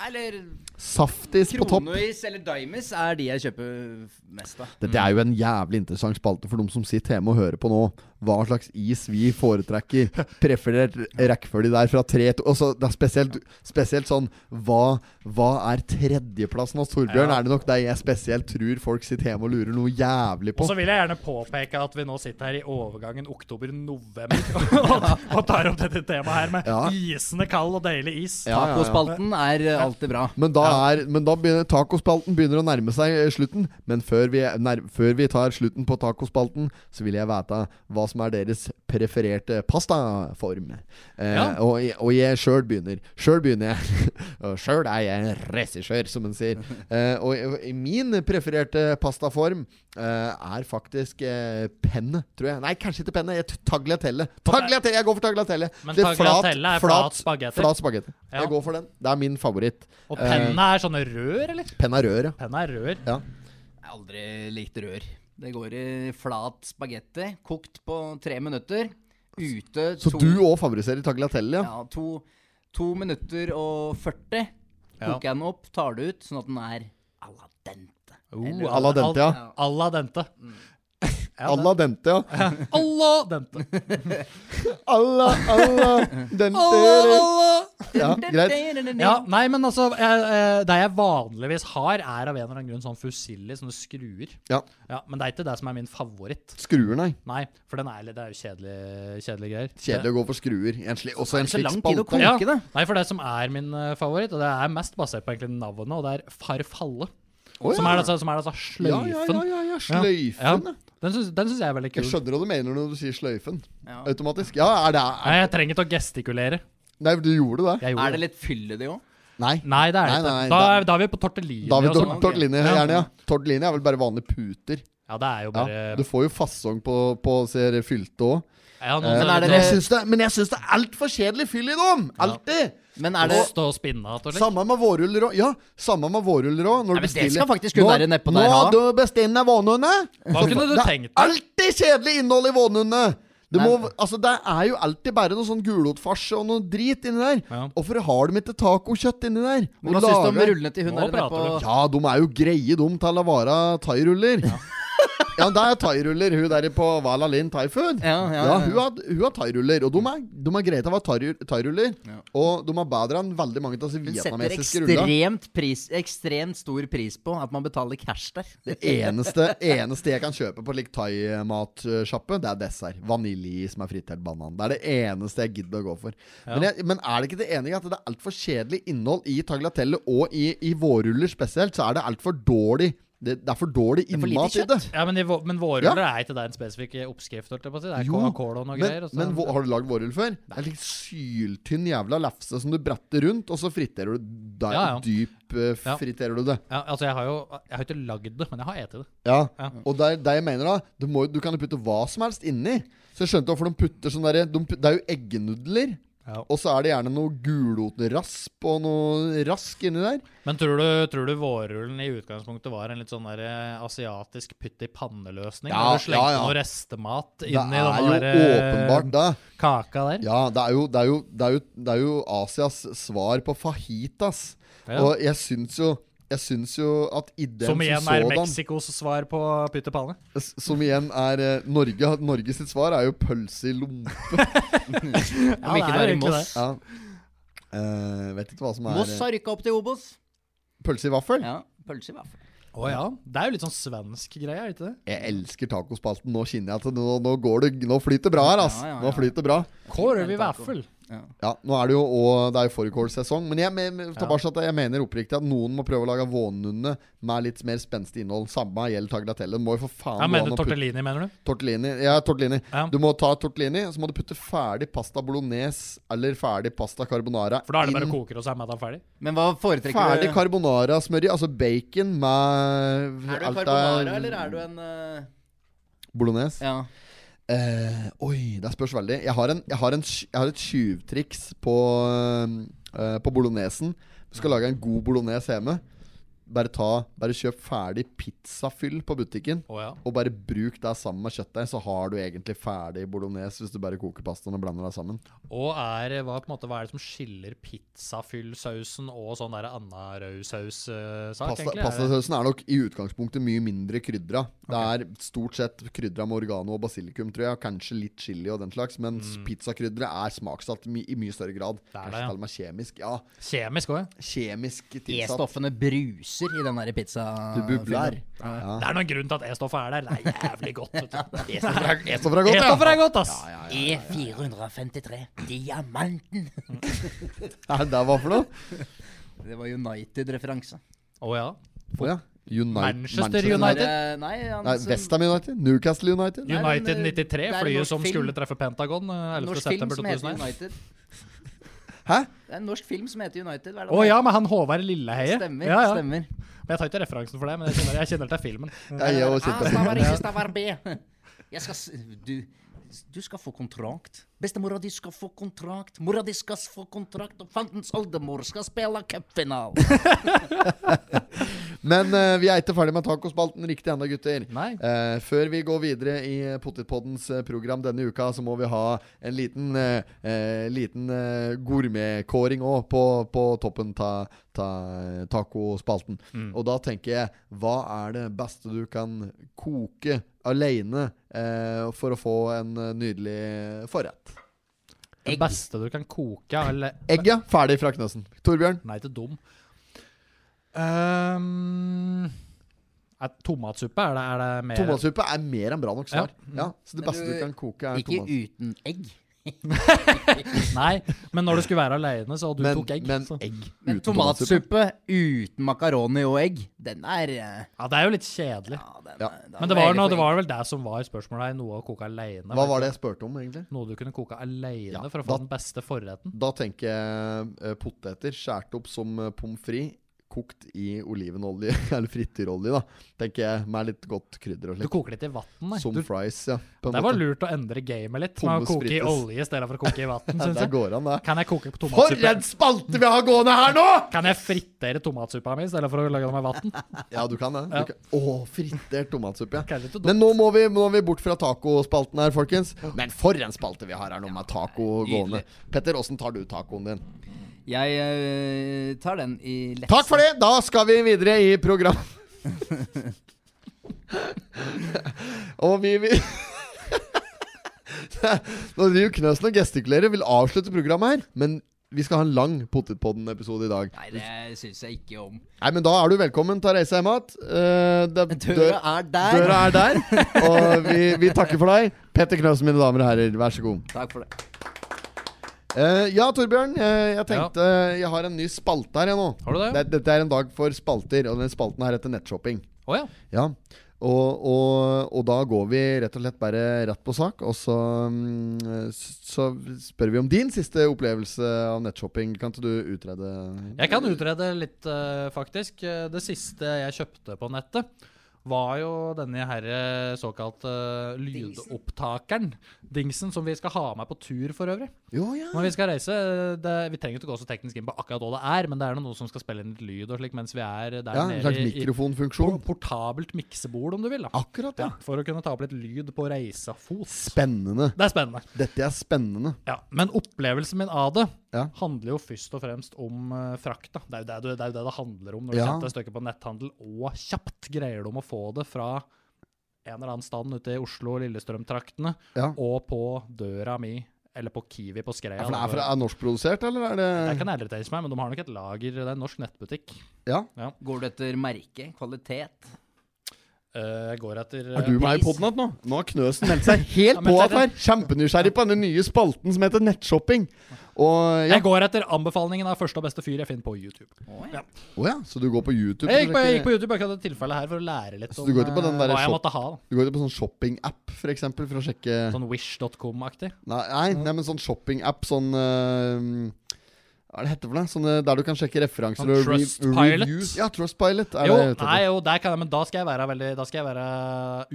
S5: Eller
S1: Saftis på topp.
S5: Kronois eller Dimes er de jeg kjøper mest av.
S1: Dette
S4: Mm.
S1: er jo en jævlig interessant spalte for dem som sitter hjemme og hører på nå. Hva slags is vi
S4: <laughs>
S1: foretrekker. Preferert rekkefølge der fra tre til Og så det er spesielt, spesielt sånn Hva, hva er tredjeplassen hos Torbjørn? Er det nok det jeg spesielt tror folk sitter hjemme og lurer noe jævlig
S4: Og
S1: på?
S4: så vil jeg gjerne påpeke at vi nå sitter her i overgangen oktober-november <laughs> og, og tar opp dette temaet her med
S1: Ja.
S4: isende kald og deilig is.
S1: Ja, ja, ja.
S5: Tacospalten er eh, alltid bra.
S1: Men da, er, men da begynner tacospalten begynner å nærme seg eh, slutten. Men før vi, nær, før vi tar slutten på tacospalten, så vil jeg vite hva som er deres preferert eh, pastaform. Eh,
S4: Ja.
S1: og, jeg- og jeg sjøl begynner. Sjøl begynner jeg. <laughs> og sjøl er jeg en regissør, som en
S4: <laughs>
S1: sier. Eh, og jeg- og min prefererte pastaform eh, er faktisk eh, penne, tror jeg. Nei, kanskje ikke penne. Jeg t- Tagliatelle. Tagliatelle! Jeg går for tagliatelle.
S4: Men
S1: Det er
S4: tagliatelle er flat spagetti.
S1: Flat spagetti.
S4: Ja.
S1: Jeg går for den. Det er min favoritt.
S4: Og penna er sånne rør, eller?
S1: Penn er rør, ja.
S4: Penna er rør.
S5: Jeg har aldri likt rør. Det går i flat spagetti, kokt på tre minutter. Ute
S1: Så
S5: to,
S1: du òg favoriserer tagliatelle, ja?
S5: ja, to, to minutter og 40.
S4: Ja.
S5: Koker jeg den opp, tar det ut, sånn at den er à la dente.
S4: Oh,
S1: Alla Uh, dente, ja.
S4: Alla dente.
S1: <laughs> Alla dente, ja.
S4: Alla dente.
S1: <laughs> Alla,
S5: <laughs>
S1: alla
S4: Alla,
S1: dente
S4: alla.
S1: Ja, greit.
S4: Ja, nei, men altså jeg, eh, Det jeg vanligvis har, er av en eller annen grunn sånn fusilli, sånne skruer.
S1: Ja.
S4: Ja, men det er ikke det som er min favoritt.
S1: Skruer, nei.
S4: Nei, for den er, litt- det er jo kjedelige, kjedelige greier.
S1: Kjedelig å gå for skruer. En sli, også en
S5: Det er
S1: slik
S5: så lang tid å
S1: spalte.
S5: koke det.
S4: Nei, for det som er min eh, favoritt, og det er mest basert på egentlig navnet, og det er farfalle.
S1: Å,
S4: Som
S1: ja.
S4: er altså, som er altså
S1: Ja,
S4: sløyfen.
S1: ja, ja, ja, ja. Sløyfen, ja.
S4: Den syns, den syns jeg er veldig
S1: Jeg
S4: kul. Jeg,
S1: skjønner hva du mener når du sier sløyfen.
S5: Ja.
S1: Automatisk. Ja, er det
S4: Nei, jeg trenger ikke å gestikulere.
S1: Nei, du gjorde det?
S4: Jeg gjorde
S5: Er det
S4: det.
S5: litt fyll i det òg?
S1: Nei.
S4: Nei, det er det
S1: Nei,
S4: ikke.
S1: nei, nei,
S4: Da,
S1: da-
S4: er- da er vi på tortellini.
S1: Da har vi
S4: og
S1: tor-
S4: sånn.
S1: tortellini,
S4: Ja.
S1: gjerne. ja. Tortellini er vel bare vanlige puter.
S4: ja, det er eh, jo bare
S1: Ja. Du får jo fasong på, på ser fylte òg.
S4: Ja, noen
S1: Men,
S4: som-
S1: jeg syns det- men jeg syns det er altfor kjedelig fyll i dem! Alltid!
S5: Men er det
S4: noen Stå og spinne og slikt.
S1: Samme med vårruller òg. Ja, samme med vårruller òg.
S5: Nei, men det skal faktisk kunne være nedpå der,
S1: Nå
S5: ha.
S1: du bestemmer vånene.
S4: Hva kunne du
S1: Det er
S4: tenkt deg?
S1: alltid kjedelig innhold i vånene. Det,
S5: Nei.
S1: må, altså, det er jo alltid bare noe sånn gulotfarse og noe drit inni der.
S4: Ja.
S1: Hvorfor har de ikke tacokjøtt inni der?
S5: Men Hva
S1: Og
S5: syns du om
S1: lager-
S5: rullene til hun
S4: Nå
S5: der nede
S4: prater
S5: på
S1: Ja, de er jo greie, de, til å være thairuller. Ja. <laughs> ja, det er thairuller, hun der på Vala Linn Thai Food.
S5: Ja, ja, ja,
S1: Ja,
S5: ja. Mm.
S1: hun har, hun har thairuller, og de er, de er greie til å være thai- thairuller. Og de er bedre enn veldig mange av disse
S5: Hun setter
S1: vietnamesiske rullene.
S5: ekstremt, pris, ekstremt stor pris på at man betaler cash
S1: <laughs>
S5: der.
S1: Eneste, eneste jeg kan kjøpe på like thaimatsjappe, det er dessert. Vaniljeis med fritert banan. Det er det eneste jeg gidder å gå for. Men, jeg, men er det ikke det enige at det er altfor kjedelig innhold i tagliatelle og i, i vårruller spesielt? Så er det altfor dårlig det, det er for dårlig
S5: for lite
S1: innmat i det.
S5: kjøtt.
S4: Ja, men, i vå- men vårruller er ikke det en spesifikk oppskrift? holdt jeg på å si. Det er
S1: Jo,
S4: Coca-Cola og noe greier.
S1: Men,
S4: og så-
S1: men hvor- har du lagd vårrull før? Det er litt syltynn jævla lefse som du bretter rundt, og så friterer du der,
S4: Ja, ja.
S1: dyp eh,
S4: Ja.
S1: friterer du det.
S4: ja, altså, jeg har jo jeg har ikke lagd det, men jeg har spist det.
S1: Ja,
S4: Ja.
S1: og det er det jeg mener da du, må, du kan jo putte hva som helst inni Så jeg skjønte hvorfor de putter sånn der de, put- Det er jo eggenudler
S4: Ja.
S1: Og så er det gjerne noe gulotrasp Og noe rask inni der
S4: Men tror du, tror du vårrullen i utgangspunktet var en litt sånn der eh, asiatisk pytt i panne-løsning?
S1: Ja,
S4: Ja, du slengte
S1: ja, ja.
S4: noe restemat
S1: Det
S4: inn i
S1: er
S4: den
S1: jo
S4: der eh,
S1: åpenbart det
S4: kaka der?
S1: Ja, det er jo, det er jo, det er jo, det er jo Asias svar på fajitas
S4: Ja.
S1: Og jeg syns jo jeg syns jo at ideen
S4: Som
S1: som,
S4: igjen er
S1: sådan
S4: Mexicos svar på pytt i panne?
S1: s- Som igjen er eh, Norge Norge sitt svar er jo pølse i
S4: <laughs>
S1: lompe
S4: Ja,
S5: Om ikke det er i Moss.
S1: ja. Eh, Vet ikke hva som er
S5: Moss
S1: eh,
S5: har rykka opp til Obos.
S1: Pølse i vaffel
S5: Ja, pølse i hvert fall.
S4: Å ja. Det er jo litt sånn svensk greie, er det ikke det?
S1: Jeg elsker tacospalten. Nå kjenner jeg at nå, nå går det Nå flyter det bra her, ass.
S5: Ja, ja, ja.
S1: Nå flyter det bra.
S4: Korv i
S5: taco.
S4: vaffel.
S1: Ja, nå er det jo og Det er jo fårikålsesong. Men jeg, men, tilbake, til at jeg mener oppriktig at noen må prøve å lage vånunne med litt mer spenstig innhold. Samme gjelder tagliatelle. Må jo for faen
S4: Ja,
S1: gå an
S4: mener du
S1: å putte-
S4: tortellini, mener du?
S1: tortellini. Ja, tortellini.
S4: Ja.
S1: Du må ta tortellini, og så må du putte ferdig pasta bolognese eller ferdig pasta carbonara
S4: For da er det bare
S1: inn.
S4: å koke og så er middagen ferdig?
S5: Men hva foretrekker
S1: Ferdig
S5: du?
S1: carbonara-smørje, altså bacon med
S5: Er du en
S1: alt av-
S5: carbonara, eller er du en eh,
S1: Bolognese.
S5: Ja.
S1: Eh, oi, det spørs veldig. Jeg har, en, jeg har, en, sky- jeg har et tjuvtriks på, eh, på bolognesen. Du skal lage en god bolognese hjemme. Bare, ta, bare kjøp ferdig pizzafyll på butikken.
S4: Å ja.
S1: Og bare bruk det sammen med kjøttdeig, så har du egentlig ferdig bolognese. Hvis du bare koker pastaen og blander det sammen.
S4: Og er, hva, på en måte, hva er det som skiller pizzafyllsausen og sånn der anarausaus-sak,
S1: Pasta,
S4: egentlig? Er det-
S1: pastasausen er nok i utgangspunktet mye mindre krydra. Det er stort sett krydra med oregano og basilikum, tror jeg. og Kanskje litt chili og den slags. Mens pizzakrydderet er smaksatt my i mye større grad.
S4: er
S1: Kanskje
S4: Mm. det, ja.
S1: til og med kjemisk. Ja.
S4: Kjemisk òg, ja.
S1: kjemisk tilsatt. Ah,
S5: E-stoffene bruser i den der pizza...
S1: Du bubler.
S4: Det er noen grunn til at E-stoff er der. Det er jævlig
S1: <laughs>
S4: godt. vet du.
S1: E-stoff er godt,
S4: E-stoffer
S1: ja.
S4: er godt, ass! E-
S5: E453. Diamanten.
S1: Nei, det var for noe?
S5: Det var United-referanse.
S4: Å ja.
S1: Å ja. Uni-
S4: Manchester
S1: Manchester
S4: United.
S5: Der, eh, Nei, han
S1: Nei,
S5: som-
S1: Westham United? Newcastle United?
S5: er en,
S4: United
S5: eh,
S4: 93,
S5: det er en
S4: flyet
S5: norsk
S4: som
S5: film.
S4: skulle treffe Pentagon eh, 11.
S5: en norsk film
S4: september
S5: som heter
S4: 2001.
S5: United.
S1: Hæ?
S5: Det er en norsk film som heter United. Hva er det
S4: Å ja, med han Håvard Lilleheie.
S5: Stemmer.
S4: ja, ja.
S5: stemmer.
S4: Men jeg tar ikke referansen for det, men jeg kjenner, jeg kjenner til filmen.
S1: Jeg er jo
S5: Ah,
S1: sitter
S5: Stavar ikke, Stavar B. Jeg skal s- Du, du skal få kontrakt. Bestemora di skal få kontrakt. Mora di skal få kontrakt. Og fantens oldemor skal spille cupfinale.
S1: Men eh, vi er ikke ferdig med tacospalten riktig ennå, gutter.
S4: Nei.
S1: Eh, før vi går videre i Pottitpoddens eh, program denne uka, så må vi ha en liten, eh, eh, liten eh, gourmetkåring òg på, på toppen av ta, eh, tacospalten.
S5: Mm.
S1: Og da tenker jeg, hva er det beste du kan koke aleine eh, for å få en eh, nydelig forrett?
S4: Det beste du kan koke, eller
S1: Egg, ja. Ferdig fra Knøsen. Torbjørn?
S4: Nei, til dum. Ehm, er tomatsuppe er det, er det mer
S1: Tomatsuppe er mer enn bra nok svar. Ja. så det
S5: Eh, Men
S1: beste
S5: du-
S1: du kan koke, er
S5: Ikke
S1: tomat.
S5: uten egg.
S4: Nei, men når du skulle være aleine, så og du
S1: Men-
S4: tok egg.
S1: men
S4: så.
S5: Men
S1: Uten tomatsuppe.
S5: tomatsuppe uten makaroni og egg, den er eh,
S4: Ja, det er jo litt kjedelig.
S5: Ja, den, eh,
S1: Ja.
S5: den
S4: Men det var,
S5: veldig
S4: noe,
S5: for
S4: det var vel det som var spørsmålet her. Noe å koke aleine.
S1: Hva var det jeg spurte om, egentlig?
S4: Noe du kunne koke aleine
S1: Ja,
S4: for å
S1: da-
S4: få den beste forretten.
S1: Da tenker jeg eh, poteter skåret opp som eh, pommes frites, kokt i olivenolje, <laughs> eller frityrolje, da. Tenker jeg, med litt godt krydder og
S4: Du
S1: slikt.
S4: koker litt i vann,
S1: Som
S4: nei. Du,
S1: fries, ja. På en
S4: det var
S1: måte.
S4: lurt å endre gamet litt. Med
S1: Pommes
S4: å koke i
S1: frites.
S4: olje i stedet for å koke i vann,
S1: <laughs> Ja,
S4: syns
S1: der
S4: jeg.
S1: går han, det.
S4: Kan jeg koke
S1: For
S4: tomatsuppe?
S1: en spalte vi har gående her nå!
S4: Kan jeg fritere tomatsuppa mi i stedet for å lage den med vann?
S1: Ja, du kan det. Du
S4: Ja.
S1: kan. Å, fritert tomatsuppe, ja.
S4: Kanskje ikke dumt.
S1: Men nå må, vi, nå må vi bort fra tacospalten her, folkens. Men for en spalte vi har her nå, med taco gående. Petter, åssen tar du tacoen din?
S5: egg. Jeg eh, tar den i lefse.
S1: Takk for det! Da skal vi videre i
S5: <laughs>
S1: program. og vi vil Nå driver Knøsen og gestikulerer, vil avslutte programmet her. Men vi skal ha en lang Potetpodden-episode i dag.
S5: Nei, det syns jeg ikke om.
S1: Nei, men da er du velkommen til å reise hjem igjen.
S5: Døra er
S1: Eh,
S5: der.
S1: Døra er
S5: <laughs>
S1: der. Og vi, vi takker for deg. Petter Knøsen, mine damer og herrer, vær så god.
S5: Takk for det.
S1: Eh, ja, Torbjørn. eh, jeg tenkte Jeg har en ny spalte her, jeg nå.
S4: Har du det?
S1: Det- Dette er en dag for spalter, og den spalten her heter nettshopping.
S4: Å ja.
S1: Ja. Og, og, og da går vi rett og slett bare rett på sak, og så, mm, s- så spør vi om din siste opplevelse av nettshopping. Kan ikke du utrede
S4: Jeg kan utrede litt, eh, faktisk. Eh, Det siste jeg kjøpte på nettet, var jo denne her eh, såkalte lydopptakeren. Dingsen, som vi skal ha med på tur for øvrig.
S1: Jo, ja.
S4: Når vi skal reise eh, det, Vi trenger ikke gå så teknisk inn på akkurat hva det er, men det er noe som skal spille inn litt lyd og slik mens vi er der
S1: ja en
S4: nede.
S1: slags
S4: i- i-
S1: mikrofonfunksjon.
S4: Portabelt miksebord, om du vil. da.
S1: Akkurat, ja.
S4: Ja, for å kunne ta opp litt lyd på reisefot.
S1: Spennende.
S4: Det er spennende.
S1: Dette er spennende.
S4: Ja, Men opplevelsen min av det
S1: Ja.
S4: handler jo først og fremst om eh, frakt. da. Det er jo det, du- det er jo det det handler om når du
S1: Ja.
S4: setter et stykke på netthandel, og kjapt greier du om å få det fra en eller annen stand ute i Oslo og Lillestrøm-traktene,
S1: Ja.
S4: og på døra mi, eller på Kiwi på Skreia.
S1: Ja, for det er, fra, er norskprodusert, eller er det
S4: det kan jeg irritere meg, men de har nok et lager. Det er en norsk nettbutikk.
S1: Ja.
S5: Går du etter merke? Kvalitet?
S4: Eh, Jeg går etter
S1: Er du
S4: eh,
S1: med i
S4: pris.
S1: podden igjen nå? Nå har Knøsen meldt seg helt på at her. Kjempenysgjerrig på denne nye spalten som heter nettshopping. Og ja.
S4: eh, Jeg går etter anbefalingen av første og beste fyr jeg finner på YouTube.
S1: Å ja, så du går på YouTube?
S4: Jeg gikk på,
S1: så
S4: jeg
S1: det er
S4: gikk på YouTube akkurat i dette tilfellet her for å lære litt
S1: Så
S4: om
S1: du går ikke på den
S4: eh,
S1: der
S4: hva jeg
S1: shop-
S4: måtte ha. da.
S1: ikke- Du går ikke på sånn shoppingapp, for eksempel, for å sjekke
S4: Sånn wish.com-aktig.
S1: Nei, nei, nei men sånn shoppingapp, sånn eh, Hva er det hette for noe? Sånn, eh, der du kan sjekke referanser
S4: Sånn
S1: og re-
S4: Trustpilot?
S1: reviews. Ja, Trustpilot. Er
S4: Jo,
S1: det jeg er ute
S4: nei,
S1: etter.
S4: jo, der kan jeg, men da skal jeg være veldig Da skal jeg være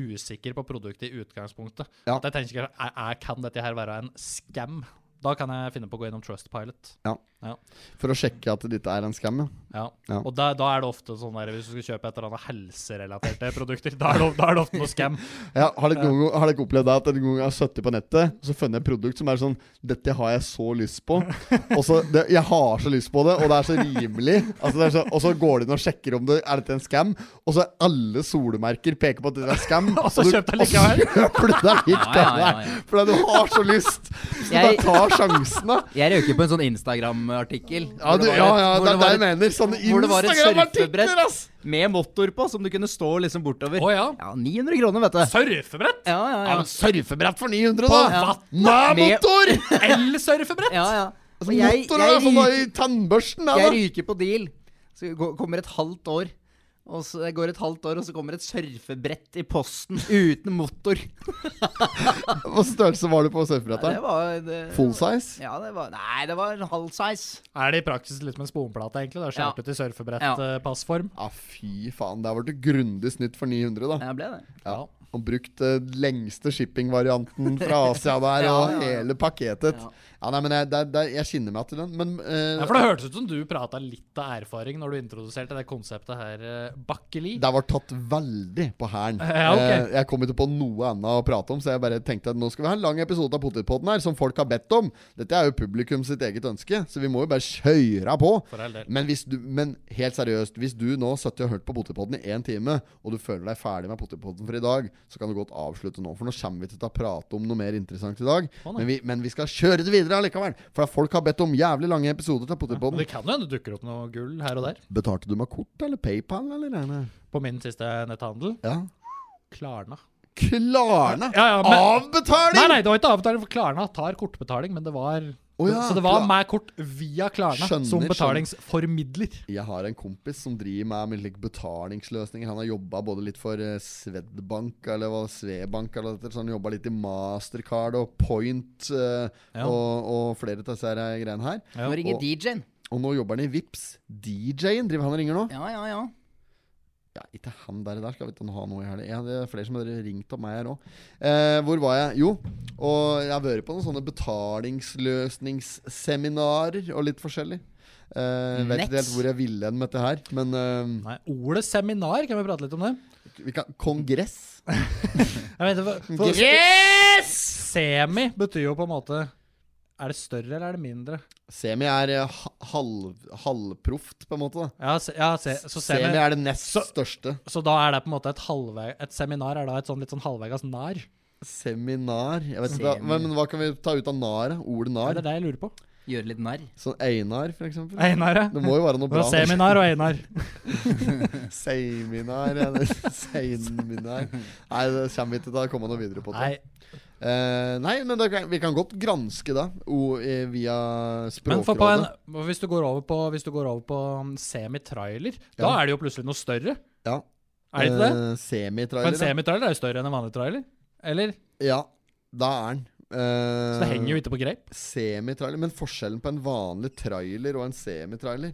S4: usikker på produktet i utgangspunktet.
S1: Ja.
S4: At jeg tenker ikke, er, er, Kan dette her være en scam? Da kan jeg finne på å gå innom Trustpilot.
S1: For å sjekke at dette er en scam, ja.
S4: Ja.
S1: Ja.
S4: Og da, da er det ofte sånn der, hvis du skal kjøpe et eller annet helserelaterte produkter, da er, det, da er det ofte noe scam.
S1: ja har dere noen gang- har dere opplevd det at dere noen gang har sittet på nettet og så funnet et produkt som er sånn Dette har jeg så lyst
S4: <laughs>
S1: på. Og så det, Jeg har så lyst på det, og det er så rimelig. Altså, det er så, og så går du inn og sjekker om det er dette en scam, og så alle solemerker peker på at det er scam.
S4: <laughs> Og så
S1: du-
S4: kjøper jeg
S1: <laughs> og så kjøper du deg
S5: Ja, ja, ja,
S1: likevel.
S5: ja.
S1: Fordi du har så lyst. Så
S5: Jeg-
S1: bare ta sjansen, da.
S5: Jeg røyker på en sånn Instagram-artikkel.
S1: Ja,
S5: hvor
S1: du,
S5: det var
S1: ja,
S5: et-
S1: ja,
S5: hvor
S1: det er det jeg
S5: var et-
S1: mener. Sånne
S5: hvor det var et
S1: Instagram-artikler,
S5: surfebrett.
S1: ass!
S5: Med motor på, som du kunne stå liksom bortover.
S4: Å ja.
S5: 900 kroner, vet du.
S4: Surfebrett!
S5: Ja, ja,
S1: Ja,
S5: ja.
S1: men surfebrett for 900,
S4: På
S1: da!
S4: vatt!
S1: Med
S5: Med-
S1: motor!
S4: Elsurfebrett!
S5: ja, ja. Og
S1: Altså,
S5: jeg, sånn
S1: motor er i hvert fall da i
S5: ryker,
S1: tannbørsten. da,
S5: jeg
S1: da.
S5: ryker på deal. Så det går- kommer et halvt år. Og så det går et halvt år, og så kommer et surfebrett i <laughs> posten uten motor.
S1: Hva størrelse var du på
S5: Det
S1: surfebrettet?
S5: var eh, det,
S1: Full size?
S5: Ja, det var Nei, det var en halv size.
S4: Er det i praksis litt som en sponplate, egentlig? Det er skjært
S5: Ja.
S4: ut i eh,
S5: Ja.
S4: surfebrettpassform.
S1: Ja, fy faen. Det har vært grundig snytt for 900, da.
S5: Ja, ble det.
S1: Ja. Og brukt eh, lengste shipping-varianten fra Asia
S5: <laughs>
S1: der,
S5: Ja,
S1: og
S5: ja, ja.
S1: hele pakketet.
S5: Ja.
S1: Ja, nei, men jeg, det, det, jeg kjenner meg til den. Men eh,
S4: Ja, for Det hørtes ut som du prata litt av erfaring når du introduserte det konseptet her, eh, Bakkeli.
S1: det var tatt veldig på hælen.
S4: Ja, ok.
S1: Eh, Jeg kom ikke på noe annet å prate om, så jeg bare tenkte at nå skal vi ha en lang episode av Potetpodden her, som folk har bedt om. Dette er jo publikum sitt eget ønske, så vi må jo bare kjøre på.
S4: For all del.
S1: Men, hvis du, men helt seriøst, hvis du nå satt og hørt på Potetpodden i én time, og du føler deg ferdig med Potetpodden for i dag, så kan du godt avslutte nå, for nå kommer vi ikke til å prate om noe mer interessant i dag.
S4: nei.
S1: men, vi, men vi skal kjøre det videre allikevel, for da folk har bedt om jævlig lange episoder av
S4: Men
S1: Potetpodden.
S4: det kan jo hende det dukker opp noe gull her og der.
S1: Betalte du med kort eller PayPal, eller? Reine?
S4: På min siste netthandel.
S1: Ja.
S4: Klarna.
S1: Klarne!
S4: Ja, ja, men-
S1: Avbetaling!
S4: Nei, nei, det var ikke avbetaling, for Klarna tar kortbetaling, men det var
S1: Å ja,
S4: Så det var
S1: klar-
S4: med kort via Klarna
S1: Skjønner,
S4: som
S1: skjønner.
S4: betalingsformidler.
S1: Jeg har en kompis som driver med, med like betalingsløsninger. Han har jobba både litt for eh, Swedbank eller hva, Svebank, eller dette, så han jobba litt i Mastercard og Point eh,
S4: Ja.
S1: og, og flere av disse her eh, greiene her.
S4: Ja,
S5: Nå ringer
S1: og-
S5: DJ-en.
S1: Og nå jobber han i Vips. DJ-en driver han og ringer nå.
S5: Ja, ja, ja.
S1: Ja, ikke han der, der skal vi ikke ha noe i helga. Ja, det er flere som har ringt om meg her òg. Eh, hvor var jeg? Jo, og jeg har vært på noen sånne betalingsløsningsseminarer og litt forskjellig. Eh, vet
S5: Nett.
S1: ikke helt hvor jeg ville hen med dette her, men eh,
S4: Nei, Ordet seminar, kan vi prate litt om det?
S1: vi kan, Kongress.
S4: Jeg vet, ikke, for, for, semi betyr jo på en måte Er det større eller er det mindre?
S1: Semi er eh, ha- halv, halvproft, på en måte. da
S4: Ja, se, ja, se, Eh, så semi,
S1: Semi er det nest
S4: Så-
S1: største.
S4: Så da er det på en måte et halvvei Et seminar er da et sånn litt sånn halvveis nar?
S1: Seminar Jeg vet ikke, hva- men, men hva kan vi ta ut av nar? da? Ordet
S4: Er
S1: nar?
S4: det det jeg lurer på?
S5: Gjøre litt narr.
S1: Sånn Einar, for eksempel.
S4: Einar, ja.
S1: Det må jo være noe
S4: Det
S1: bra.
S4: var seminar og Einar.
S1: <laughs> Seminar ja, <laughs> det- Seminar Nei, det kommer vi ikke til å komme noe videre på. tror
S4: Nei,
S1: jeg. Eh, nei, men det, kan- vi kan godt granske det o- eh, via
S4: men for på en,
S1: Språkrådet.
S4: hvis du går over på, hvis du går over på um, semi-trailer, da
S1: Ja.
S4: er det jo plutselig noe større.
S1: Ja.
S4: Er det
S1: Eh,
S4: ikke det? For en
S1: Semitrailer.
S4: semitrailer er jo større enn en vanlig trailer. Eller?
S1: ja. Ja, da er den.
S4: Så
S1: Eh.
S4: det henger jo ikke på greip.
S1: semitrailer Men forskjellen på en vanlig trailer og en semitrailer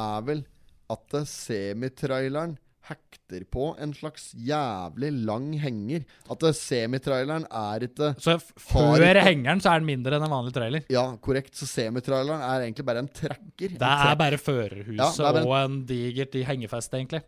S1: er vel at det- semitraileren hekter på en slags jævlig lang henger. At det- semitraileren er ikke
S4: Så f-
S1: Har
S4: før
S1: ikke-
S4: hengeren så er den mindre enn en vanlig trailer.
S1: Ja, korrekt. Så semitraileren er egentlig bare en trekker. En
S4: Det er
S1: trekk- Ja,
S4: bare
S1: det
S4: førerhuset
S1: er bare-
S4: og en digert i hengefest, egentlig.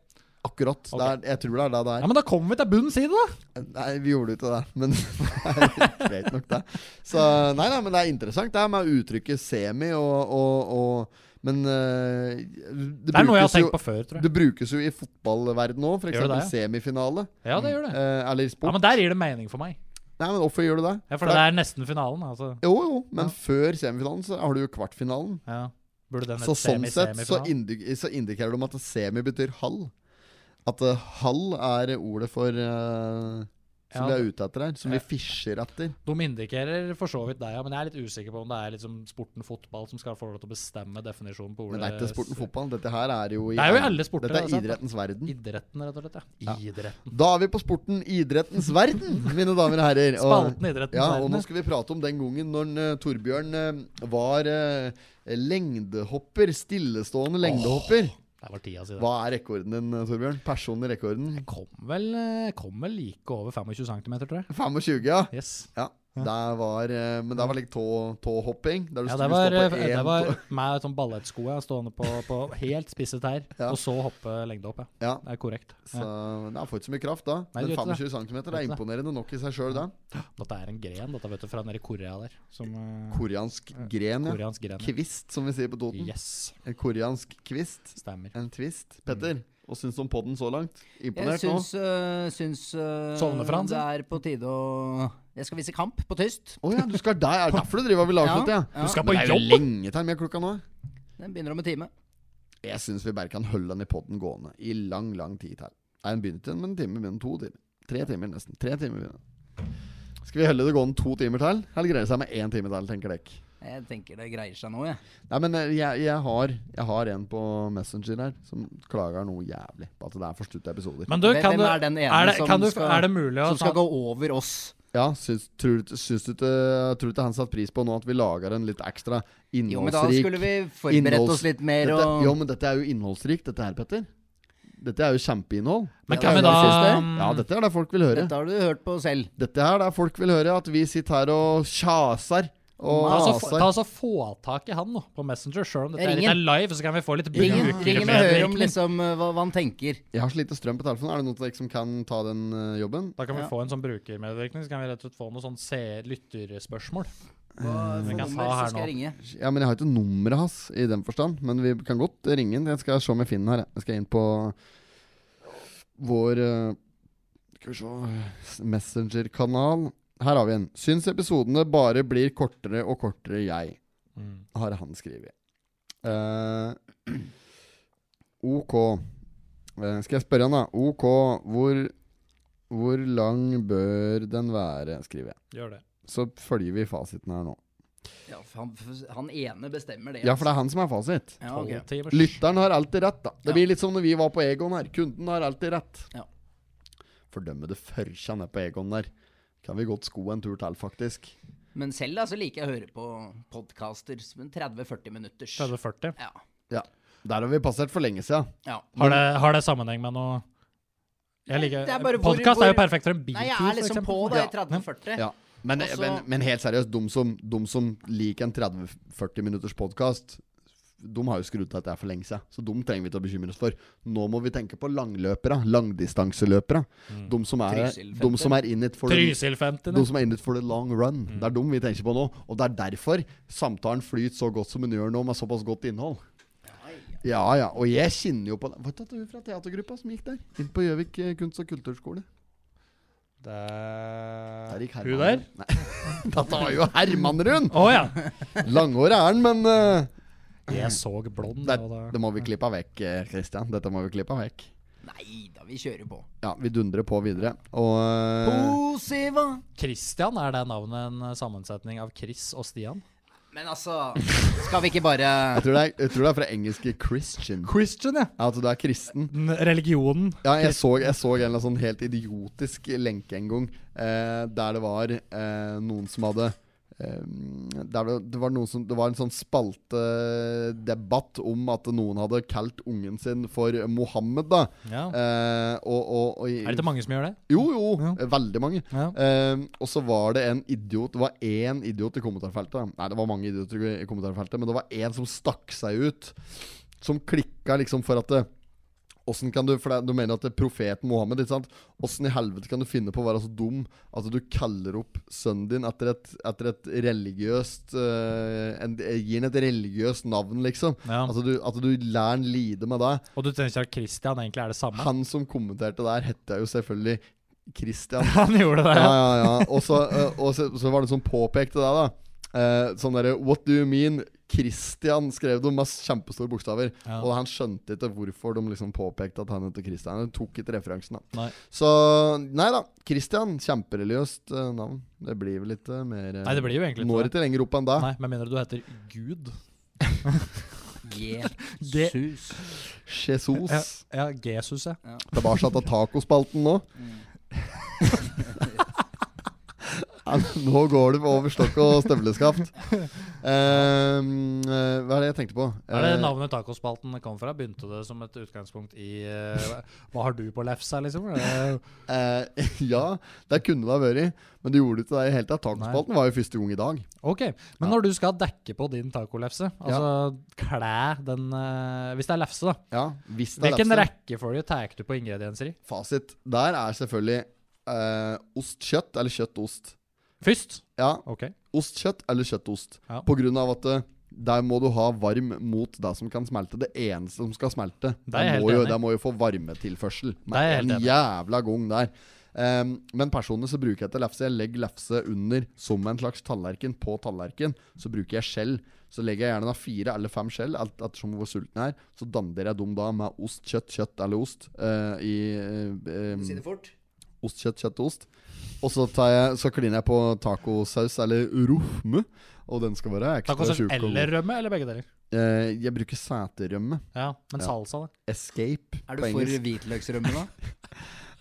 S1: Akkurat. Det er, jeg tror det er det det er.
S4: Ja, Men da kommer vi til bunns i det, da!
S1: Nei, vi gjorde ikke det, men <laughs> greit nok, det. Så nei, nei, men det er interessant, det her med uttrykket semi og, og, og Men eh, det,
S4: Det er noe jeg har
S1: brukes jo-
S4: tenkt på før, tror jeg.
S1: Det brukes jo i fotballverden òg, f.eks.
S4: Gjør det det, ja?
S1: semifinale.
S4: Ja, det gjør det.
S1: Eh, eller i
S4: Ja,
S1: sport.
S4: Men der gir det mening for meg.
S1: Nei, men hvorfor gjør du det?
S4: Ja, For det er nesten finalen, altså.
S1: Jo, jo, men før semifinalen så har du jo kvartfinalen.
S4: Ja. Burde den
S1: Så
S4: hett
S1: sånn sett så,
S4: semi-semifinal?
S1: indi så indikerer de at semi betyr halv. At eh, halv er ordet for eh, som
S4: Ja,
S1: vi er ute etter her. Som vi fisjer etter.
S4: De indikerer for så vidt deg, ja, men jeg er litt usikker på om det er liksom sporten fotball som skal få lov til å bestemme definisjonen på ordet.
S1: Men det er ikke sporten fotball. Dette her er jo i,
S4: Det er jo i alle sporter, altså.
S1: Dette er
S4: det er sant, da.
S1: idrettens verden.
S4: Idretten, rett og slett. ja. Idretten.
S1: Da er vi på sporten idrettens verden, mine damer og herrer. Og-
S4: Spalten idrettens
S1: Ja, og
S4: verden.
S1: nå skal vi prate om den gangen når eh, Torbjørn eh, var eh, lengdehopper. Stillestående lengdehopper.
S4: Det var tida si, det.
S1: Hva er rekorden din, eh, Torbjørn? Personlig rekorden?
S4: Kom vel, eh, kom vel like over 25 cm, tror jeg.
S1: 25, ja.
S4: Yes.
S1: ja. Der var, eh, men der var litt tå- tåhopping. Der du
S4: Ja, det
S1: skulle
S4: var,
S1: stå
S4: eh,
S1: på
S4: det
S1: én <laughs>
S4: var
S1: tå-
S4: meg sånn ballettsko jeg stående på, på helt spisse tær,
S1: Ja.
S4: og så hoppe lengdehopp, ja.
S1: ja.
S4: Det er korrekt.
S1: Så det er får ikke så mye kraft da.
S4: Nei,
S1: Men
S4: det gjør ikke
S1: 25 cm er
S4: Gjør ikke det.
S1: imponerende nok i seg sjøl, det.
S4: Dette er en gren, dette vet du, fra nede i Korea der. Som eh,
S1: Koreansk gren, ja.
S4: koreansk gren. ja.
S1: Kvist, som vi sier på Toten.
S4: Yes,
S1: En koreansk kvist.
S4: stemmer.
S1: En twist.
S4: Mm.
S1: Petter, hva syns du om podden så langt?
S5: Jeg
S1: Imponert nå?
S5: syns, øh, syns øh,
S4: Sovner Frans,
S5: det
S4: ja.
S5: er på tide å Jeg skal vise kamp på tyst.
S1: Å ja, du skal der. Er det derfor du driver og vil avslutte, ja?
S5: Du skal
S1: Men det er jo lenge til med klokka nå.
S5: Den begynner om en time.
S1: Jeg syns vi bare kan holde den i podden gående i lang, lang tid til. Nei, den begynner ikke med en time, men to timer. Tre timer, nesten. Tre timer begynner den. Skal vi holde det gående to timer til, eller greier det seg med én time til, tenker dere?
S5: Jeg tenker det greier seg nå, jeg.
S1: Nei, men eh, jeg, jeg, har, jeg har en på Messenger her som klager noe jævlig på at det er for stutte episoder.
S4: Men du,
S5: Hvem-
S4: kan
S5: hvem
S4: du,
S5: er den ene
S4: er det,
S5: som
S4: kan du,
S5: skal-
S4: er det mulig å
S5: Som skal gå over oss.
S1: Ja, syns, tror, du- syns du ikke tror du ikke han satte pris på nå at vi lager en litt ekstra innholdsrik
S5: Jo, men da skulle vi forberedt oss litt mer
S1: dette,
S5: og
S1: Jo, men dette er jo innholdsrikt, dette her, Petter. Dette er jo kjempeinnhold.
S4: Men
S5: Ja,
S4: kan vi
S5: det
S4: da Mm.
S5: er det siste.
S1: Ja, dette er det folk vil høre.
S5: Dette har du hørt på selv.
S1: Dette her det er folk vil høre, at vi sitter her og kjaser og
S5: Mm.
S4: Ta altså,
S1: maser.
S4: ta altså Få tak i han nå på Messenger, sjøl om dette
S5: Ring
S4: er, er live. Så kan vi få litt
S5: Ring han ring han og hør om
S4: brukermedvirkning.
S5: liksom eh, hva, hva han tenker.
S1: Jeg har så lite strøm på telefonen. Er det noen av dere som liksom kan ta den eh, jobben?
S4: Da kan vi
S5: Ja.
S4: få en sånn brukermedvirkning, så kan vi rett og slett få noen sånn se- lytterspørsmål.
S5: Hva for
S4: vi kan
S5: nummer
S4: ta her
S5: så skal jeg
S4: nå.
S5: ringe?
S1: Ja, men Jeg har ikke nummeret hans i den forstand, men vi kan godt ringe inn. Jeg skal se om jeg finner her. jeg. Jeg skal inn på vår eh, Skal vi se Messenger-kanal. Her har vi en. Syns episodene bare blir kortere og kortere, jeg.
S4: Mm,
S1: Har han skrevet. Eh, <clears throat> OK. Eh, skal jeg spørre han, da? OK, hvor, hvor lang bør den være? skriver jeg.
S4: Gjør det.
S1: Så følger vi fasiten her nå.
S5: Ja, for han, for han ene bestemmer det.
S1: Ja, for
S5: altså.
S1: det er han som er fasit.
S5: Ja, ok.
S4: Tolv timers.
S1: Lytteren har alltid rett, da. Det
S5: Ja.
S1: blir litt som når vi var på Egon her. Kunden har alltid rett.
S5: Ja.
S1: Fordømme det førkja ned på Egon der. Kan vi godt sko en tur til, faktisk.
S5: Men selv da, så liker jeg å høre på podkaster. 30-40 minutters.
S4: 30-40.
S5: Ja.
S1: Der har vi passert for lenge siden.
S5: ja.
S4: Har, det- har det sammenheng med noe jeg liker,
S5: Det er bare hvor-
S4: Podcast er jo
S5: hvor-
S4: perfekt for en biltur,
S5: Nei, jeg er liksom på da i <laughs> 30-40.
S1: Ja. Men,
S5: Og så-
S1: men, men helt seriøst, de som, de som liker en 30-40 minutters podkast, de har jo skrudd til at det er for lenge siden. Så de trenger vi ikke å bekymre oss for. Nå må vi tenke på langløpere. Langdistanseløpere. De som er,
S5: Trysil-feltet.
S1: de som er in it for the
S4: Trysil-50.
S1: De som er inne for the long run. Det er dem vi tenker på nå. Og det er derfor samtalen flyter så godt som den gjør nå, med såpass godt innhold. Ja ja. Og jeg kjenner jo på det. Var det hun fra teatergruppa som gikk der? Inn på Gjøvik eh, kunst- og kulturskole. Der gikk
S4: Hun der?
S1: Herman. Nei. <laughs> Dette var jo Hermanrund!
S4: Å ja!
S1: Langhåret er han, men eh,
S4: Jeg så blond.
S1: det,
S4: og da-
S1: det må vi klippe vekk, eh, Christian. Dette må vi klippe vekk.
S5: Nei da, vi kjører på.
S1: Ja, vi dundrer på videre. Og eh,
S5: Posiva.
S4: Christian, er det navnet en eh, sammensetning av Chris og Stian?
S5: Men altså, skal vi ikke bare
S1: jeg tror, det er, jeg tror det er fra engelske 'Christian'.
S4: Christian, ja.
S1: Ja, At du er kristen.
S4: Religionen.
S1: Ja, jeg så, jeg så en eller annen sånn helt idiotisk lenke en gang, eh, der det var eh, noen som hadde eh, der det, det, var noen som, det var en sånn spaltedebatt om at noen hadde kalt ungen sin for Mohammed, da.
S4: Ja.
S1: Eh, og, og, og,
S4: Er det ikke mange som gjør det?
S1: Jo, jo.
S4: Ja.
S1: eh, Veldig mange.
S4: Ja.
S1: Eh, og så var det en idiot Det var én idiot i kommentarfeltet. da. Nei, det var mange idioter i i kommentarfeltet, men det var én som stakk seg ut. Som klikka liksom for at det, Åssen kan du For det, er- du mener at det er profeten Mohammed, ikke sant? Åssen i helvete kan du finne på å være så dum at du kaller opp sønnen din etter et, etter et religiøst eh, en, Gir han et religiøst navn, liksom?
S4: Ja.
S1: Altså du, at du lar han lide med det.
S4: Og du tenker at Christian egentlig er det samme?
S1: Han som kommenterte der, hette jo selvfølgelig Christian.
S4: <laughs> Han gjorde det.
S1: Ja,
S4: <laughs> Ja,
S1: ja, ja. Og så, eh, og så, så var det en som påpekte det, da. Eh, sånn derre What do you mean? Christian skrev de med kjempestore bokstaver.
S4: Ja.
S1: Og han skjønte ikke hvorfor de liksom påpekte at han het Christian. Han tok ikke referansen, da.
S4: Nei.
S1: Så nei da. Christian, kjempereligiøst eh, navn. Det blir vel ikke mer eh,
S4: Nei, det blir jo egentlig
S1: Når
S4: ikke det.
S1: ikke lenger opp enn det.
S4: Nei, Med mindre du heter Gud. Det-
S5: Jesus.
S1: Jesus.
S4: Ja, ja Jesus, ja.
S1: Tilbake til tacospalten nå. <laughs> Ja, men nå går det over stokk og støvleskaft. Ehm, eh, hva er det jeg tenkte på?
S4: Er det
S1: Eh,
S4: navnet tacospalten kom fra? Begynte det som et utgangspunkt i eh, hva- Hva har du på lefsa, liksom? Eh,
S1: eh, <laughs> ja, det kunne det ha vært. Men det gjorde det ikke det i det hele tatt. Tacospalten var jo første gang i dag.
S4: Ok, Men når du skal dekke på din tacolefse, altså klæ den eh, Hvis det er lefse, da.
S1: Ja, hvis det er
S4: Hvilken
S1: lefse.
S4: rekkefølge tar du på ingredienser i?
S1: Fasit der er selvfølgelig eh, ost-kjøtt eller kjøtt-ost.
S4: Først?
S1: Ja,
S4: Ok.
S1: ost-kjøtt eller kjøttost.
S4: Ja.
S1: På grunn av at eh, der må du ha varm mot det som kan smelte. Det eneste som skal smelte.
S4: Det er jeg
S1: Der må,
S4: helt
S1: jo,
S4: enig i.
S1: der må jo få varmetilførsel.
S4: Det er jeg
S1: Med
S4: helt
S1: en
S4: enig i.
S1: jævla gong der. Ehm, men personlig så bruker jeg ikke lefse. Jeg legger lefse under som en slags tallerken på tallerken. Så bruker jeg skjell. Så legger jeg gjerne da fire eller fem skjell, alt ettersom hvor sulten jeg er. Så danner jeg dem da med ost, kjøtt, kjøtt eller ost. eh, I eh, eh,
S5: Si det fort.
S1: ost, kjøtt, kjøtt og ost. Og så, tar jeg, så kliner jeg på tacosaus eller rofme, og den skal være ekstra
S4: Tacosaus
S1: tjukk. og god.
S4: eller rømme, eller begge deler?
S1: Eh, Jeg bruker seterømme.
S4: Ja, Men salsa, da?
S1: Escape
S5: Er du
S1: på
S5: for
S1: engelsk.
S5: hvitløksrømme
S1: <laughs>
S5: nå?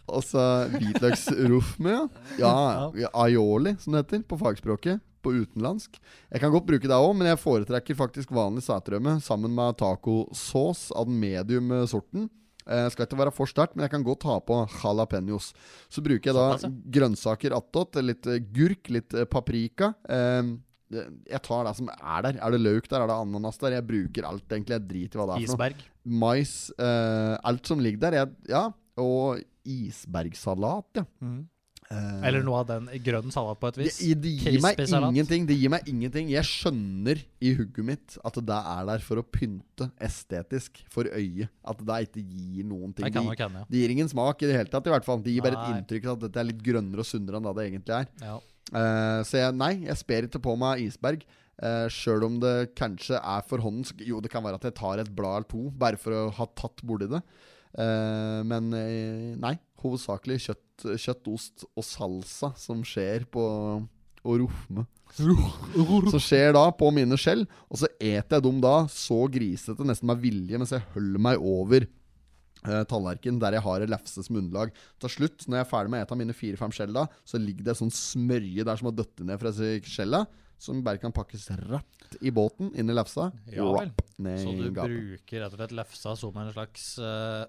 S1: Og så hvitløksrofme, Altså, ja. ja. ja, Aioli, som det heter på fagspråket. På utenlandsk. Jeg kan godt bruke det òg, men jeg foretrekker faktisk vanlig sætrømme sammen med tacosaus av den medium eh, sorten. Eh, skal ikke være for sterkt, men jeg kan godt ha på jalapeños. Så bruker jeg da grønnsaker attåt. Litt eh, gurk, litt eh, paprika. Eh, jeg tar det som er der. Er det løk der? Er det ananas der? Jeg bruker alt, egentlig. Jeg driter i hva det er for noe
S4: Isberg.
S1: mais, eh, alt som ligger der. Jeg, ja, og isbergsalat, ja. Eh,
S4: Mm. Eller noe av den grønn salat, på et
S1: det,
S4: vis.
S1: det gir meg
S4: crispy salat.
S1: ingenting. Det gir meg ingenting. Jeg skjønner i hugget mitt at det er der for å pynte estetisk for øyet. At det ikke gir noen ting.
S4: Det kan
S1: Det-
S4: nok hende,
S1: det gir ingen smak i det hele tatt. i hvert fall Det gir bare
S4: Nei.
S1: et inntrykk av at dette er litt grønnere og sunnere enn det det egentlig er.
S4: ja. ja.
S1: Eh, så jeg, nei, jeg sper ikke på meg isberg. Uh, Sjøl om det kanskje er for hånden. så- Jo, det kan være at jeg tar et blad eller to, bare for å ha tatt borti det. Eh, men eh, nei. Hovedsakelig kjøtt, kjøtt, ost og salsa som skjer på og rofme. Som skjer da på mine skjell. Og så eter jeg dem da så grisete, nesten med vilje, mens jeg holder meg over eh, tallerken der jeg har en lefse som underlag. Til slutt, når jeg er ferdig med et av mine fire-fem skjell, da, så ligger det en sånn smørje der som har døtt ned fra disse skjella, som bare kan pakkes rett i båten, inn i lefsa.
S4: Ja vel.
S1: Rapp, ned
S4: Så du
S1: i gapet.
S4: bruker rett og slett lefsa som en slags eh,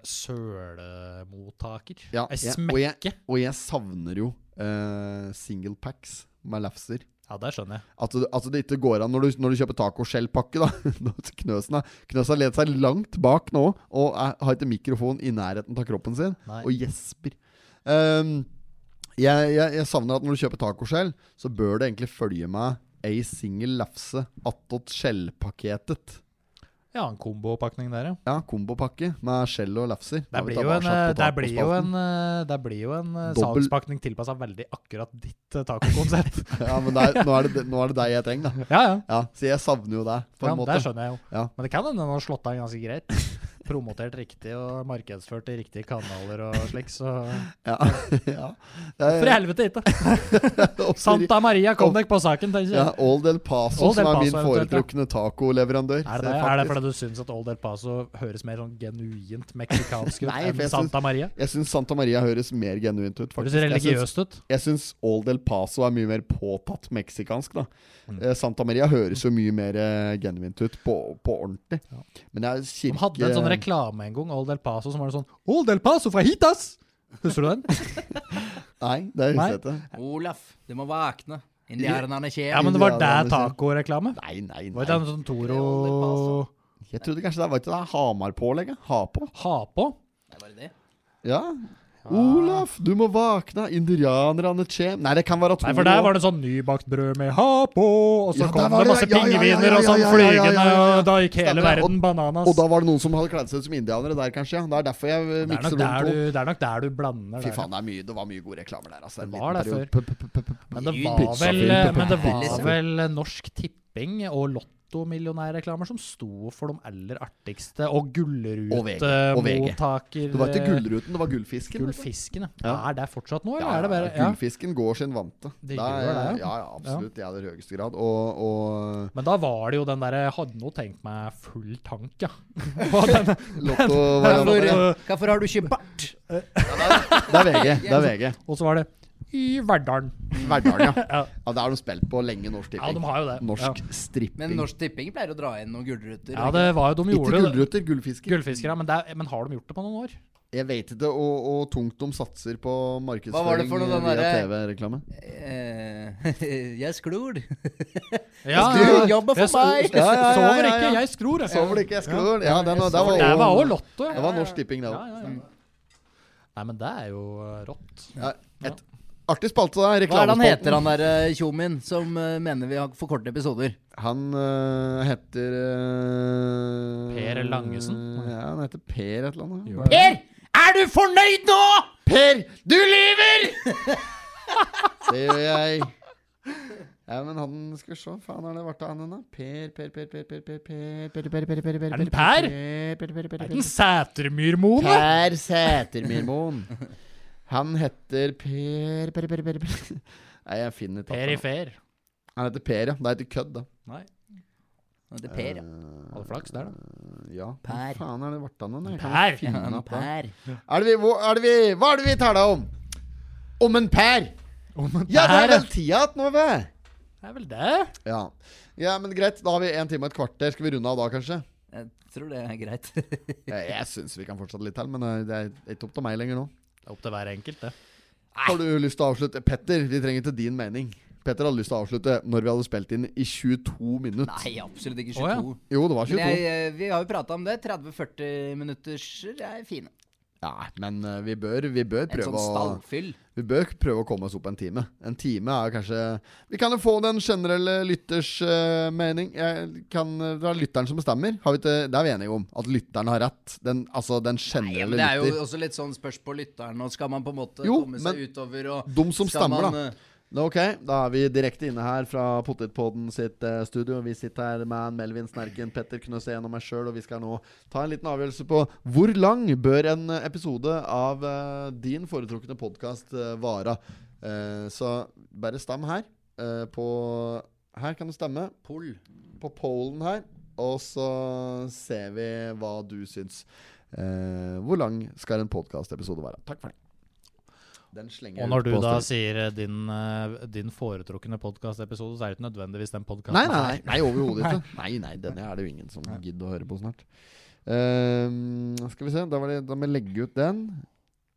S4: sølemottaker?
S1: Ja,
S4: Ei
S1: jeg- og jeg-
S4: smekke?
S1: Og jeg savner jo eh, single packs med lefser.
S4: Ja, det skjønner jeg.
S1: At, du, at det ikke går an når du, når du kjøper tacoskjellpakke, da. <laughs> Nå- Knøsen, er- Knøsen lener seg langt bak nå og er, har ikke mikrofon i nærheten av kroppen sin,
S4: Nei.
S1: og gjesper. Ehm, jeg, jeg, jeg savner at når du kjøper tacoskjell, så bør det egentlig følge med ei singel lefse attåt skjellpakketet.
S4: Ja, en kombopakning der, ja.
S1: Ja, kombopakke med skjell og lefser.
S4: Der
S1: Har vi
S4: blir jo
S1: tatt
S4: en,
S1: avsatt
S4: eh,
S1: på
S4: der blir jo
S1: tacospalten.
S4: en, eh, der blir jo en eh,
S1: Dobbel-
S4: salgspakning tilpassa veldig akkurat ditt eh, tacokonsept.
S1: <laughs> <laughs> Ja, men der, nå, er det, nå er det det jeg trenger, da.
S4: ja, ja.
S1: Ja, så jeg savner jo det, på en
S4: ja
S1: måte.
S4: Det skjønner jeg jo.
S1: Ja.
S4: Men det kan hende den har slått av ganske greit. Promotert riktig og markedsført i riktige kanaler og slik, så
S1: Ja, <laughs> ja. Eh,
S4: For i helvete ikke!
S1: Og-
S4: Santa Maria, kom dere på saken, tenker jeg.
S1: Ja, Old Del Paso,
S4: Old
S1: som
S4: Del
S1: er
S4: Paso
S1: min
S4: eventuelt, ja.
S1: foretrukne tacoleverandør.
S4: Er det,
S1: Så jeg
S4: er det
S1: faktisk-
S4: fordi du syns at Old El Paso høres mer sånn genuint meksikansk
S1: <laughs>
S4: ut
S1: Nei, for
S4: enn
S1: jeg
S4: Santa Maria?
S1: Jeg syns Santa Maria høres mer genuint ut.
S4: Høres
S1: faktisk. Jeg syns-
S4: religiøst ut.
S1: Jeg syns Old El Paso er mye mer påtatt meksikansk, da.
S4: Mm.
S1: Eh, Santa Maria høres jo mye mer eh, genuint ut, på, på ordentlig. Men det er
S4: De
S1: kirke...
S4: hadde en sånn reklame en gang, Old El Paso, som var sånn Old El Paso fra Hitas! Husker du den?
S1: Nei, det husker jeg ikke.
S5: Olaf, du må våkne. Indianerne
S4: Ja,
S5: kommer.
S4: men det var
S1: <laughs> Ja, det er
S4: der
S1: det.
S4: tacoreklame.
S1: Nei, nei,
S4: Var
S1: nei.
S4: ikke det en sånn Toro
S1: Jeg trodde kanskje det var ikke det Hamar-pålegget. Ha på.
S4: ha på?
S5: Det var det.
S1: Ja.
S4: Ah.
S1: Olaf, du må våkne! Indianerne kjem Nei, det kan være to
S4: Nei, for der var det sånn nybakt brød med ha på, og så
S1: Ja,
S4: kom
S1: der
S4: det
S1: var det,
S4: masse
S1: ja, ja, ja, ja,
S4: pingviner og sånn
S1: ja, ja, ja, ja, ja,
S4: flygende,
S1: ja.
S4: og da gikk hele
S1: Stemmer, og-
S4: verden bananas.
S1: Og da var det noen som hadde kledd seg ut som indianere der, kanskje. Ja. Det er derfor jeg eh,
S4: Det er nok
S1: mikser de
S4: der
S1: to.
S4: du, det er nok der du blander.
S1: Fy
S4: der.
S1: faen, det, er mye, det var mye gode reklamer der. Altså, en
S4: Det var
S1: liten periode.
S4: det før.
S1: P- p- p- p- p-
S4: Men det
S5: Mye
S4: var
S1: pizzafilm
S4: vel,
S1: på
S4: men det
S1: pizza,
S4: var
S1: liksom.
S4: vel Norsk Tipping og Lottomillionærreklamer som sto for de aller artigste. Og
S1: Og VG, og VG.
S4: Gullrutemottaker
S1: Det var ikke Gullruten, det var Gullfisken. vet du.
S4: Eh, Gullfisken, ja.
S1: Ja.
S4: Er det fortsatt nå, eller
S1: Ja,
S4: er det bare ja.
S1: Gullfisken går sin vante.
S4: Det
S1: er-
S4: gjør det,
S1: ja,
S4: ja.
S1: ja, absolutt. I aller høyeste grad. Og,
S4: <laughs>
S1: og
S4: Men da var det jo den derre Hadde nå tenkt meg full tank, ja. <laughs> På den,
S1: Lotto var
S5: Hvorfor,
S1: det.
S5: hvorfor har du ikke bart?
S1: Det er VG. Det er VG.
S4: og så var det I Verdalen. <laughs>
S1: Verdalen, ja. ja. Det har de spilt på lenge, Norsk
S4: Ja, de
S1: Tipping.
S4: har jo det.
S1: Norsk
S5: Men
S1: stripping.
S5: Norsk Tipping pleier å dra inn noen gullruter.
S4: Ja, ja det var jo de
S1: Ikke
S4: gjorde jo det.
S1: Gullruter, Gullfisken.
S4: Gullfiskere, men, det er, men har de gjort det på noen år?
S1: Jeg vet ikke, og, og tungt de satser på
S5: var det
S1: markedsføring
S5: for noe, den
S1: via
S5: derre-
S1: TV-reklame.
S5: Eh, <laughs> jeg sklor.
S4: Ja,
S5: skrur jobber for
S4: jeg s-
S5: meg.
S1: Ja, ja, ja,
S4: Sover
S1: ja,
S4: ikke,
S1: ja.
S4: jeg skror. jeg.
S1: Sover det ikke, jeg skrur. Ja, den, den,
S4: Det
S1: den
S4: var
S1: var
S4: òg
S1: også-
S4: Lotto.
S1: Det var Norsk Tipping, det òg.
S4: Ja, ja, ja. Nei, men det er jo eh, rått.
S1: Ja, et artig spalte, da.
S5: Hva er det han
S1: Reklamespalten.
S5: heter, han derre tjommien som eh, mener vi har for korte episoder?
S1: Han øh, heter øh,
S4: Per Langesen?
S1: Ja, han heter Per et eller annet.
S4: Gjør
S1: Per!
S5: Er du fornøyd nå?!
S1: Per! Du lyver! det gjør jeg. Ja, men han skal vi se. Faen, har det vært av han ennå? Per, Per, Per, Per, Per, Per, Per, Per, Per, Per, Per, Per, Per,
S4: Er det en
S1: Per, Per, Per, Per, Per,
S4: Den Sætermyrmoen, da!
S1: Per Sætermyrmoen. Han heter Per Per, Per, Per, per. Nei, jeg finner ikke akkurat nå.
S4: Perifer.
S1: Han heter Per, ja. Det er ikke kødd, da.
S4: Nei,
S5: Og Det er Per, ja.
S4: hadde flaks der, da.
S1: Ja.
S5: Per.
S1: Hva faen er det vart han da? Jeg kan
S4: Per.
S1: ikke finne han
S5: En
S1: opp da.
S5: Per.
S1: Er det vi, hvor, er det vi, hva er det vi taler om? Om en Per! Ja, det er vel tida igjen nå, vel?
S4: Det er vel det.
S1: Ja. ja, men greit. Da har vi en time og et kvarter. Skal vi runde av da, kanskje?
S5: Jeg tror det er greit. <laughs>
S1: Jeg, jeg syns vi kan fortsette litt til, men eh, det er ikke opp til meg lenger nå.
S4: Det er opp til hver enkelt, det.
S1: Har du lyst til å avslutte? Petter, vi trenger ikke din mening. Petter hadde lyst til å avslutte når vi hadde spilt inn i 22 minutter.
S5: Nei, absolutt ikke
S4: Å, ja.
S5: 22.
S1: Jo, det var
S5: Men
S1: 22.
S5: jeg, eh, vi har jo prata om det. 30-40 minutters eh, er fine.
S1: Ja, men eh, vi bør, vi bør
S5: En sånn
S1: prøve å
S5: stallfyll.
S1: Vi bør prøve å komme oss opp en time. En time er kanskje Vi kan jo få den generelle lytters eh, mening. Jeg kan, eh, det er lytteren som bestemmer. Har vi ikke, det er vi enige om. At lytteren har rett. Den, altså den
S5: Nei,
S1: generelle
S5: men det er jo
S1: lytter.
S5: også litt sånn spørs på lytteren, og skal man på en måte
S1: Jo,
S5: komme
S1: men
S5: seg utover og
S1: de som
S5: skal
S1: stemmer,
S5: man,
S1: da.
S5: eh,
S1: Nå, Ok, da er vi direkte inne her fra Potetpodden sitt eh, studio. Vi sitter her med en Melvin Snerken, Petter Knøsén og meg sjøl, og vi skal nå ta en liten avgjørelse på hvor lang bør en eh, episode av eh, din foretrukne podkast vare. Eh, så bare stem her. eh, på Her kan du stemme.
S5: Poll.
S1: På pollen her. Og så ser vi hva du syns. Eh, hvor lang skal en podkastepisode være? Takk for det. Den slenger
S4: Og
S1: jeg
S4: når
S1: ut
S4: du
S1: på
S4: da
S1: story.
S4: sier eh, din, eh, din foretrukne podkastepisode, så er det ikke nødvendigvis den podkasten.
S1: Nei, nei, nei, nei overhodet ikke. <laughs> Nei, nei, denne er det jo ingen som gidder å høre på snart. Ehm, skal vi se, da, var det, da må jeg legge ut den.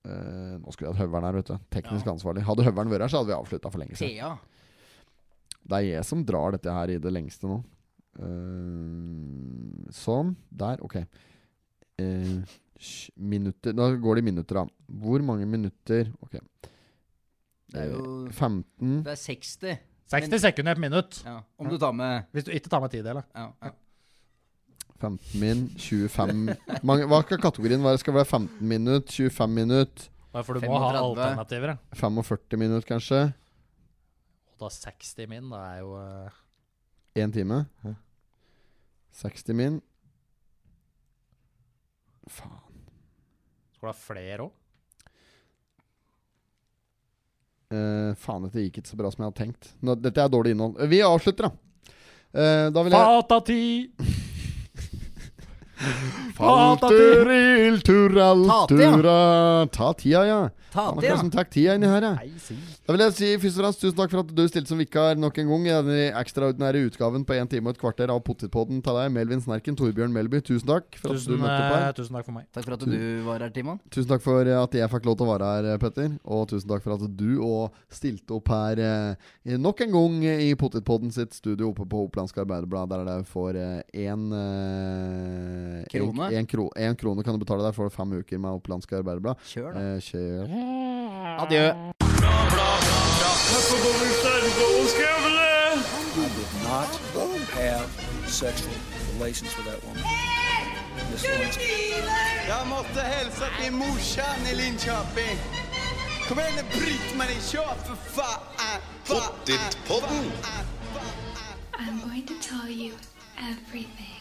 S1: Eh, nå skulle vi hatt høveren her, vet du. Teknisk ansvarlig. Hadde høveren vært her, så hadde vi avslutta for lenge siden.
S5: Thea.
S1: Det er jeg som drar dette her i det lengste nå. Ehm, sånn. Der, ok. Eh, sj- minutter Da går det i minutter, da. Hvor mange minutter? Ok.
S5: Det er jo
S1: Eh, 15
S5: Det er 60.
S4: 60 sekunder i et minutt!
S5: Ja. Om du tar med
S4: Hvis du ikke tar med tidel, da.
S5: ja, ja.
S1: 15 min, 25 mange, Hva skal kategorien være? Skal det være 15 minutt, 25 minutt,
S4: Bare For du må ha
S5: 35.
S4: alternativer. da.
S1: 45 minutt kanskje?
S4: Og da 60 min, da er jo eh,
S1: Én time? 60 min. Faen.
S4: Skal du ha flere òg?
S1: Eh, faen, dette gikk ikke så bra som jeg hadde tenkt. Nå, dette er dårlig innhold. Vi avslutter, da. Eh, da vil jeg
S4: Fatati! ta
S1: Falturil, tural,
S5: Ta tida.
S1: tura Ta tida, ja.
S5: Ta
S1: Han
S5: til,
S1: er
S5: ja.
S1: som tar tida inni her, ja.
S4: Nei, si.
S1: Da vil jeg si først og fremst tusen takk for at du stilte som vikar nok en gang i denne ekstraordinære utgaven på en time og et kvarter av Pottitpodden til deg, Melvin Snerken, Torbjørn Melby. Tusen takk for at
S4: Tusen,
S1: du møtte opp
S4: eh,
S1: her.
S4: tusen takk for meg.
S5: Takk for at du var her, Timon.
S1: Tusen takk for eh, at jeg fikk lov til å være her, eh, Petter. Og tusen takk for at du òg stilte opp her eh, nok en gang i Pottitpodden sitt studio oppe på Opplandske Arbeiderblad, der det får én eh,
S5: Krone.
S1: En, en, kro, en krone kan du betale der, får du fem uker med Opplandske Arbeiderblad.
S5: Kjør, da.
S1: Eh, kjør.
S5: Adjø.
S6: Not have sexual relations with that woman. Miss Lewinsky.
S7: Jag måste hälsa till morsan i Linköping. Kom igen nu Britt-Marie, kör för fan! Pottitpodden!
S8: I'm going to tell you everything.